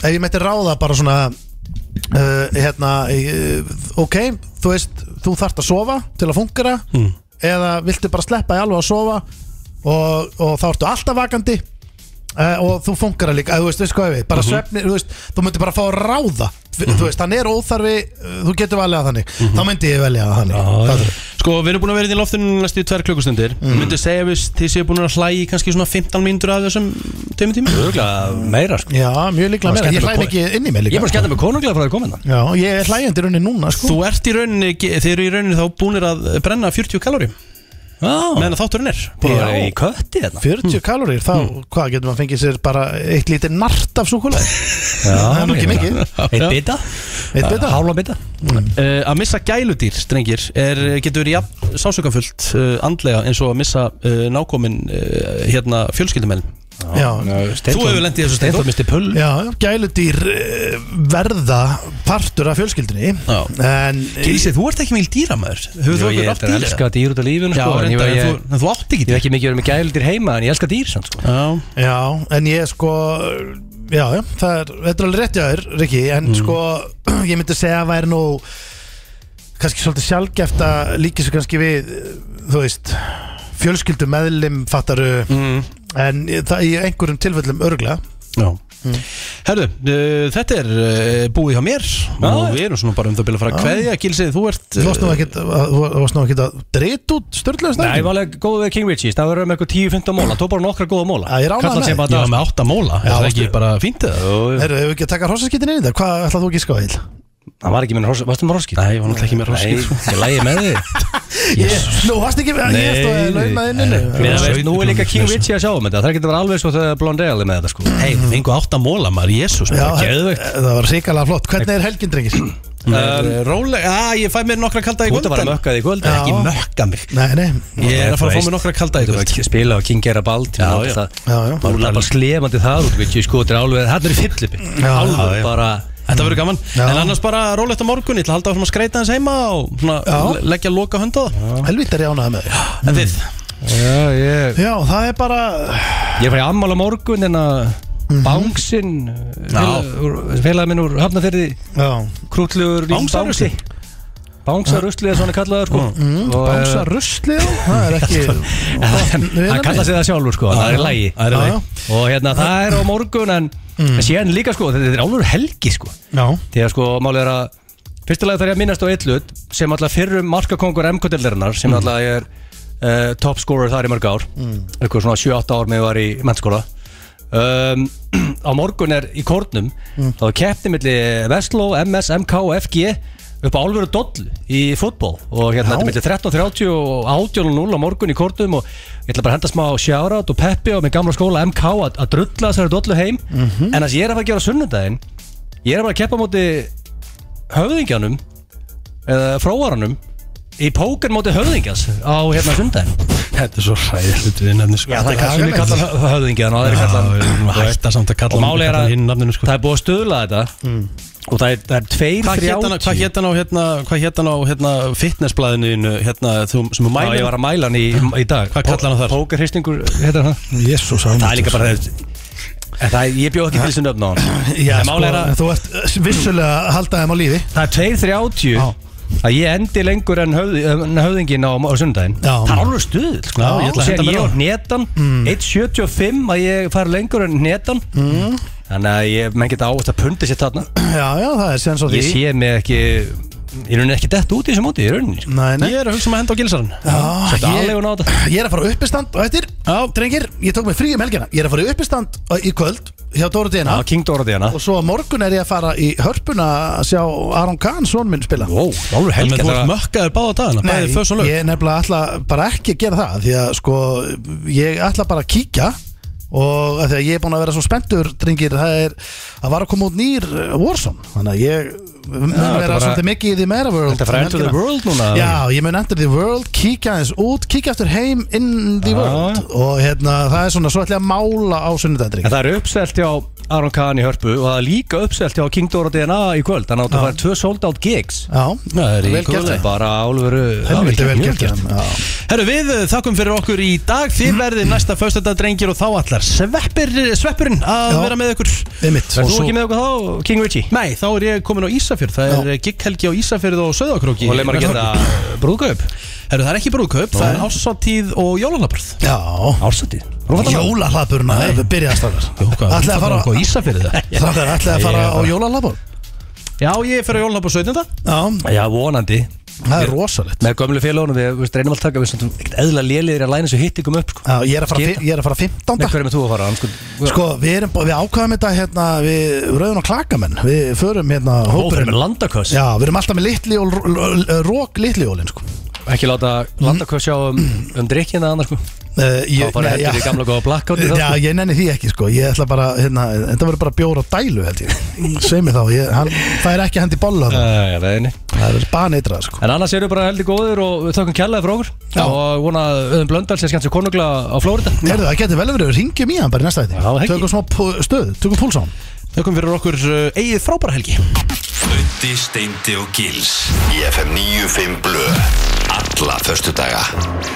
[SPEAKER 4] ef ég mætti ráða bara svona uh, hérna uh, ok, þú veist, þú þarft að sofa til að fungera,
[SPEAKER 2] Mm.
[SPEAKER 4] eða viltu bara sleppa í alveg að sofa og, og þá ertu alltaf vakandi uh, og þú fungerar líka, eða, þú veist, veist hvað ég við
[SPEAKER 2] Mhm.
[SPEAKER 4] bara svefnir, þú veist, þú myndir bara fá að
[SPEAKER 2] Mhm.
[SPEAKER 4] ráða F- þú veist, hann er óþarfi, uh, þú getur valið að þannig þá myndi ég velja að þannig Fattar þú?
[SPEAKER 1] Sko, við erum búin að vera hérna í loftinu næstu tvær klukkustundir mm. Myndu segja við þið séu búin að hlægi kannski svona 15 mínútur af þessum tveimur tíma?
[SPEAKER 4] Mm.
[SPEAKER 2] Örgulega meira sko
[SPEAKER 4] Já, mjög líklega meira, ég hlæði ekki inn í mig
[SPEAKER 2] Ég er
[SPEAKER 4] líka
[SPEAKER 2] bara skemmt með konunglega frá því hérna. komin það
[SPEAKER 4] Já, ég er hlægjandi raunin núna sko
[SPEAKER 1] Þú ert í rauninni, þið eru í rauninni þá búinir að brenna 40 kalóri
[SPEAKER 4] Ah.
[SPEAKER 2] Já
[SPEAKER 1] meðan að þátturinn er
[SPEAKER 2] Búin að
[SPEAKER 1] Já.
[SPEAKER 2] vera í kötti hérna. þetta
[SPEAKER 4] 40 kalorir, þá, hvað getur maður fengið sér bara eitt lítið nart af súkulega Það er nú ekki mikið,
[SPEAKER 2] Eitt bita
[SPEAKER 4] eitt bita
[SPEAKER 2] Hálfa bita
[SPEAKER 1] Uh, að missa gæludýr, strengir, er, eh, getur verið jafn sásökanfullt uh, andlega eins og að missa uh, nákomin uh, hérna fjölskyldumælum.
[SPEAKER 4] Já,
[SPEAKER 1] Þú hefur lent í þessu Steinþór.
[SPEAKER 2] Steinþór misti pull
[SPEAKER 4] já gæludýr eh, verða partur af fjölskyldinni
[SPEAKER 1] Já.
[SPEAKER 4] En
[SPEAKER 1] Gilsi, þú ert ekki mikil dýramæður. Hefur
[SPEAKER 2] Jú,
[SPEAKER 1] þú
[SPEAKER 2] Ég
[SPEAKER 1] eitthvað átt
[SPEAKER 2] er að
[SPEAKER 1] dýr?
[SPEAKER 2] elska dýr út af lífinu
[SPEAKER 1] Já,
[SPEAKER 2] sko en ég-
[SPEAKER 1] reyndar,
[SPEAKER 2] ég-
[SPEAKER 1] en þú, en þú átt ekki
[SPEAKER 2] Ég hef
[SPEAKER 1] dýr.
[SPEAKER 2] ekki mikið verið með gældir heima En ég elska dýr samt sko
[SPEAKER 1] Já,
[SPEAKER 4] Já, en ég sko Já, já, það er, þetta er alveg rétt hjá þér, Rikki En sko, ég myndi segja að væri nú kannski svolítið sjálfgeft að líka svo kannski við Þú veist, fjölskyldu meðlim fattaru En það í einhverjum tilfellum örgla
[SPEAKER 1] já. Herðu, uh, þetta er uh, búið hjá mér og við erum svona bara um það byrja að fara að kveðja Gilsi, þú ert
[SPEAKER 4] Þú varst nú ekkit að, þú varst nú ekkit að dreit út
[SPEAKER 2] Nei,
[SPEAKER 4] störlega
[SPEAKER 2] ég
[SPEAKER 4] snakki
[SPEAKER 2] var alveg góð við King Richie Það verður með eitthvað 10-15 móla Tó bara nokkra góða móla
[SPEAKER 4] Já, ég er ánægður
[SPEAKER 2] Kallar
[SPEAKER 4] með
[SPEAKER 2] sem
[SPEAKER 4] þig.
[SPEAKER 2] bara
[SPEAKER 1] Já,
[SPEAKER 2] dag,
[SPEAKER 1] með átta móla, er það
[SPEAKER 4] varstu-
[SPEAKER 1] ekki bara fínt eða?
[SPEAKER 2] sko.
[SPEAKER 4] Herru, hefur ekki að taka hrossaskittin inn í þetta? Hvað ætlað þú ekki sko eil?
[SPEAKER 2] Það var ekki minn hross Varstu með hroskir?
[SPEAKER 1] Nei, ég var náttúrulega ekki með hroskir, sko.
[SPEAKER 2] Ég lægi með þig
[SPEAKER 4] Nú, varst ekki með, ég stóð að launa inn
[SPEAKER 2] Mér
[SPEAKER 4] inni
[SPEAKER 2] að veist, Nú er líka King
[SPEAKER 1] Richard
[SPEAKER 2] Richie að sjá um þetta Það getur verið alveg svo þegar Blondale er með þetta sko
[SPEAKER 1] Hei, það fengu átta móla maður, jésús
[SPEAKER 4] Já,
[SPEAKER 1] Geðveikt.
[SPEAKER 4] það var ríkala flott Hvernig er helgin, drengir?
[SPEAKER 1] Um, Róleg, að ég fæ mér nokkra kalda í
[SPEAKER 2] Þú ert
[SPEAKER 1] kvöld
[SPEAKER 2] að fara
[SPEAKER 1] en-
[SPEAKER 2] mökkað í kvöld
[SPEAKER 4] Já.
[SPEAKER 2] Ekki mökka mig
[SPEAKER 4] Nei, nei
[SPEAKER 1] Ég er að fara að fá
[SPEAKER 2] Þú
[SPEAKER 1] mér nokkra kalda í
[SPEAKER 2] Þú
[SPEAKER 1] kvöld
[SPEAKER 2] veist, spila á King Gerabald
[SPEAKER 1] Já, já.
[SPEAKER 4] Já, já.
[SPEAKER 2] Bara bara slefandi það út Við sko, þetta er alveg Þetta er fyllipi
[SPEAKER 4] Já, já,
[SPEAKER 2] Alveg bara
[SPEAKER 1] Þetta verður gaman
[SPEAKER 4] Já.
[SPEAKER 1] En annars bara rólegt á morgun Ég ætla að halda áfram að skreita hans heima Og svona
[SPEAKER 4] Já.
[SPEAKER 1] le- leggja loka hönd á það
[SPEAKER 4] Helvítið er ég ánægð með þig
[SPEAKER 1] En þið
[SPEAKER 2] Já, ég
[SPEAKER 4] Já, það er bara
[SPEAKER 2] Ég fæ ammál á morgun En að
[SPEAKER 1] Mhm.
[SPEAKER 2] Bángsinn Félag minn úr Hafnafyrði
[SPEAKER 4] Já,
[SPEAKER 2] Krútlugur
[SPEAKER 1] Bangsarusli?
[SPEAKER 2] Bángsarusli er svona kallaður sko
[SPEAKER 1] Mhm.
[SPEAKER 2] Og, eh,
[SPEAKER 4] bánsa rusli já, Það er ekki
[SPEAKER 2] Hann kallar sig það sjálfur sko, það er í lagi
[SPEAKER 1] Það er í lagi.
[SPEAKER 4] Já,
[SPEAKER 2] Og hérna það er á morgun En
[SPEAKER 1] Mhm.
[SPEAKER 2] mm. síðan líka sko, þetta er alveg helgi sko
[SPEAKER 4] Já,
[SPEAKER 2] Því að sko málið er að Fyrstulega þarf ég að minnast á eitt hlut Sem alltaf fyrrum markakongur MK-dildarinnar Sem alltaf ég er uh, top scorer þar í mörg ár Eitthvað svona 7-8 ár með ég var í mennskóla um, Á morgun er í kórnum Þá er keppni milli Vestló, MS, MK og FG upp á alvöru doll í fútból og hérna þetta er milli 13.30 og 18.00 á morgun í kórnum og ég ætla bara að henda smá sjárat og peppi og með gamla skóla MK að, að drulla þessari dollu heim en þess ég er að fara að gera á sunnudaginn ég er að fara að keppa á móti höfðingjanum eða fróaranum í póker móti höfðingjans á hérna sundaginn
[SPEAKER 1] Þetta er svo ræðilegt við nefnir sko
[SPEAKER 2] það er kannski við kallar hö- höfðingjan og það er kallar
[SPEAKER 1] Hætta samt að
[SPEAKER 2] og
[SPEAKER 1] kalla
[SPEAKER 2] máli er að
[SPEAKER 1] hinn nafninu sko Mm.
[SPEAKER 2] það er búið að stöðla þetta og það er, það er tveir
[SPEAKER 1] Hvað hét hann á- hvað
[SPEAKER 2] þrjátíu
[SPEAKER 1] hét hann á hérna Hvað hét hann á hérna Fitnessblæðinu þínu, Hérna þú sem er
[SPEAKER 2] Já, ég
[SPEAKER 1] mælir
[SPEAKER 2] var að mæla hann í, í dag
[SPEAKER 1] Hvað kallar hann þar?
[SPEAKER 2] Pókerhristingur, heitir hann það?
[SPEAKER 4] jésús
[SPEAKER 2] Það er líka bara
[SPEAKER 1] sko.
[SPEAKER 2] þetta En það er, ég bjóð ekki til þessu nöfn á hann
[SPEAKER 4] Já,
[SPEAKER 2] En
[SPEAKER 4] sko,
[SPEAKER 2] málið er að-
[SPEAKER 4] þú ert eh, vissulega að halda þeim á lífi
[SPEAKER 2] Það er tveir þrjátíu að ég endi lengur en, höfð, en höfðingin á, á sundaginn
[SPEAKER 4] Já.
[SPEAKER 2] Það er alveg stuð sko.
[SPEAKER 1] Já, ég ætla að henda
[SPEAKER 2] Sér
[SPEAKER 1] mér
[SPEAKER 2] ég
[SPEAKER 1] á.
[SPEAKER 2] og netan 1.75 að ég fari lengur en netan Þannig að ég, menn geta ávægt að pundi sér þarna
[SPEAKER 4] Já, já, það er séðan svo því
[SPEAKER 2] Ég sé mig ekki Ég raunin ekki dett út í þessu móti, ég raunin sko.
[SPEAKER 4] Nei, nei
[SPEAKER 1] Ég er að hugsa um að henda á gilsarinn
[SPEAKER 4] Já,
[SPEAKER 2] Þetta
[SPEAKER 4] ég-
[SPEAKER 2] aðlegun á þetta
[SPEAKER 4] Ég er að fara á uppistand og eftir Já, drengir, ég tók mig frí um helgina Ég er að fara í uppistand í kvöld hjá Dóra Dina
[SPEAKER 2] Já, King Dorothy hérna. hana
[SPEAKER 4] Og svo á morgun er ég að fara í hörpuna að sjá Aron Kahn, son minn, spila
[SPEAKER 2] Ó, það er alveg
[SPEAKER 1] En
[SPEAKER 2] helg
[SPEAKER 1] þú
[SPEAKER 2] þetta
[SPEAKER 1] ert
[SPEAKER 2] er-
[SPEAKER 1] mökkaður báða dagana
[SPEAKER 4] Nei,
[SPEAKER 1] Bæðið fös og lög
[SPEAKER 4] ég er nefnilega ætla bara ekki að gera það Því að sko, ég ætla bara að kíkja Og að því að ég er búin að vera svo spenntur Drengir, það er Það var að koma út nýr eh, Warzone Þannig að ég mun
[SPEAKER 2] þetta
[SPEAKER 4] vera
[SPEAKER 2] bara-
[SPEAKER 4] svolítið mikið í því meira world
[SPEAKER 2] Þetta er fara
[SPEAKER 4] um
[SPEAKER 2] Enter the
[SPEAKER 4] helgina.
[SPEAKER 2] World núna
[SPEAKER 4] Já, ég mun enter the world, kíkja aðeins út Kíkja eftir heim in the
[SPEAKER 2] Já,
[SPEAKER 4] world
[SPEAKER 2] já.
[SPEAKER 4] Og hérna, það er svona svo ætla ég að mála á
[SPEAKER 2] En
[SPEAKER 4] sunnudagdrengir
[SPEAKER 2] það er uppselt hjá Aron Kahn í hörpu og það er líka uppselt hjá King Dora DNA í kvöld þannig að það fær tvö sold out gigs
[SPEAKER 4] Já,
[SPEAKER 1] Það er í
[SPEAKER 4] Vel gert
[SPEAKER 1] góðu lagi.
[SPEAKER 4] þeim.
[SPEAKER 2] bara álveru
[SPEAKER 4] helviti vel gert þeim, já.
[SPEAKER 1] Herru við uh, þakkum fyrir okkur í dag
[SPEAKER 4] Mm.
[SPEAKER 1] Þið verðið næsta föstudag drengir og þá allar sveppir, Sveppurinn að
[SPEAKER 4] Já.
[SPEAKER 1] vera með okkur
[SPEAKER 4] Einmitt.
[SPEAKER 2] Verður
[SPEAKER 4] Og
[SPEAKER 2] þú
[SPEAKER 4] svo-
[SPEAKER 2] ekki með okkur þá, King Richie?
[SPEAKER 1] Nei, þá er ég komin á Ísafjörð Það er gigghelgi á Ísafjörð og Söðakróki
[SPEAKER 2] Og leið maður að geta brúðkaup
[SPEAKER 1] Herru það er ekki brúðkaup, það er ásáttíð og jólalabröð
[SPEAKER 4] Já,
[SPEAKER 2] Ársatið
[SPEAKER 4] Jólahlaðburna, það byrjaði að strákar Ætlaði að fara
[SPEAKER 1] á Ísafjörð það?
[SPEAKER 4] Strákar, ætlaði að fara á jólahlaðbúr
[SPEAKER 1] Já, ég fer á jólalabröð 17.
[SPEAKER 4] Já,
[SPEAKER 2] Já, vonandi
[SPEAKER 4] Það er rosalegt
[SPEAKER 2] Með gömlu félagunum, við veist, reynum allt taka Við sem ekkert eðla léliðir að læna þessu hitt ykkur upp sko.
[SPEAKER 4] Já, ég er að fara,
[SPEAKER 2] Skita.
[SPEAKER 4] fi- ég er að fara 15.
[SPEAKER 2] Með hverju með þú að fara? hann Sko,
[SPEAKER 4] Sko, við, erum, bú- við ákvaðum þetta hérna, við rauðum og klakamenn Við förum hérna
[SPEAKER 2] Hófur
[SPEAKER 4] hópurinn
[SPEAKER 2] með landaköss
[SPEAKER 4] Já, við erum alltaf með litliól, rók litliólin sko.
[SPEAKER 2] Ekki láta
[SPEAKER 4] Mhm.
[SPEAKER 2] landaköss sjá um, um drikkina annars sko.
[SPEAKER 4] uh,
[SPEAKER 2] Þá bara heldur í gamla góða blackout í það,
[SPEAKER 4] Já,
[SPEAKER 2] sko.
[SPEAKER 4] ég nenni því ekki sko Ég ætla bara, hérna, þetta verður bara bjór á dælu held ég Sveimi þá, ég, hann, það er ekki hendi bolla það
[SPEAKER 2] Æ, já, nei, nei.
[SPEAKER 4] Það er baneitrað sko
[SPEAKER 2] En annars erum við bara heldur góðir og við þökkum kjallaði frá okkur
[SPEAKER 4] Já.
[SPEAKER 2] og vona að Öðum Blöndal sé skemmt sér konungla á Flórida
[SPEAKER 4] Herðu, það getur vel verið, við ringjum í hann bara í næsta
[SPEAKER 2] Já, það
[SPEAKER 4] þetta
[SPEAKER 2] ekki.
[SPEAKER 4] Tökum smá pu- stöð, tökum púls á hann
[SPEAKER 1] Þökkum fyrir okkur uh, eigið frábæra helgi
[SPEAKER 5] Fötti, Steindi og Gils Í FM 95 Blö Alla föstudaga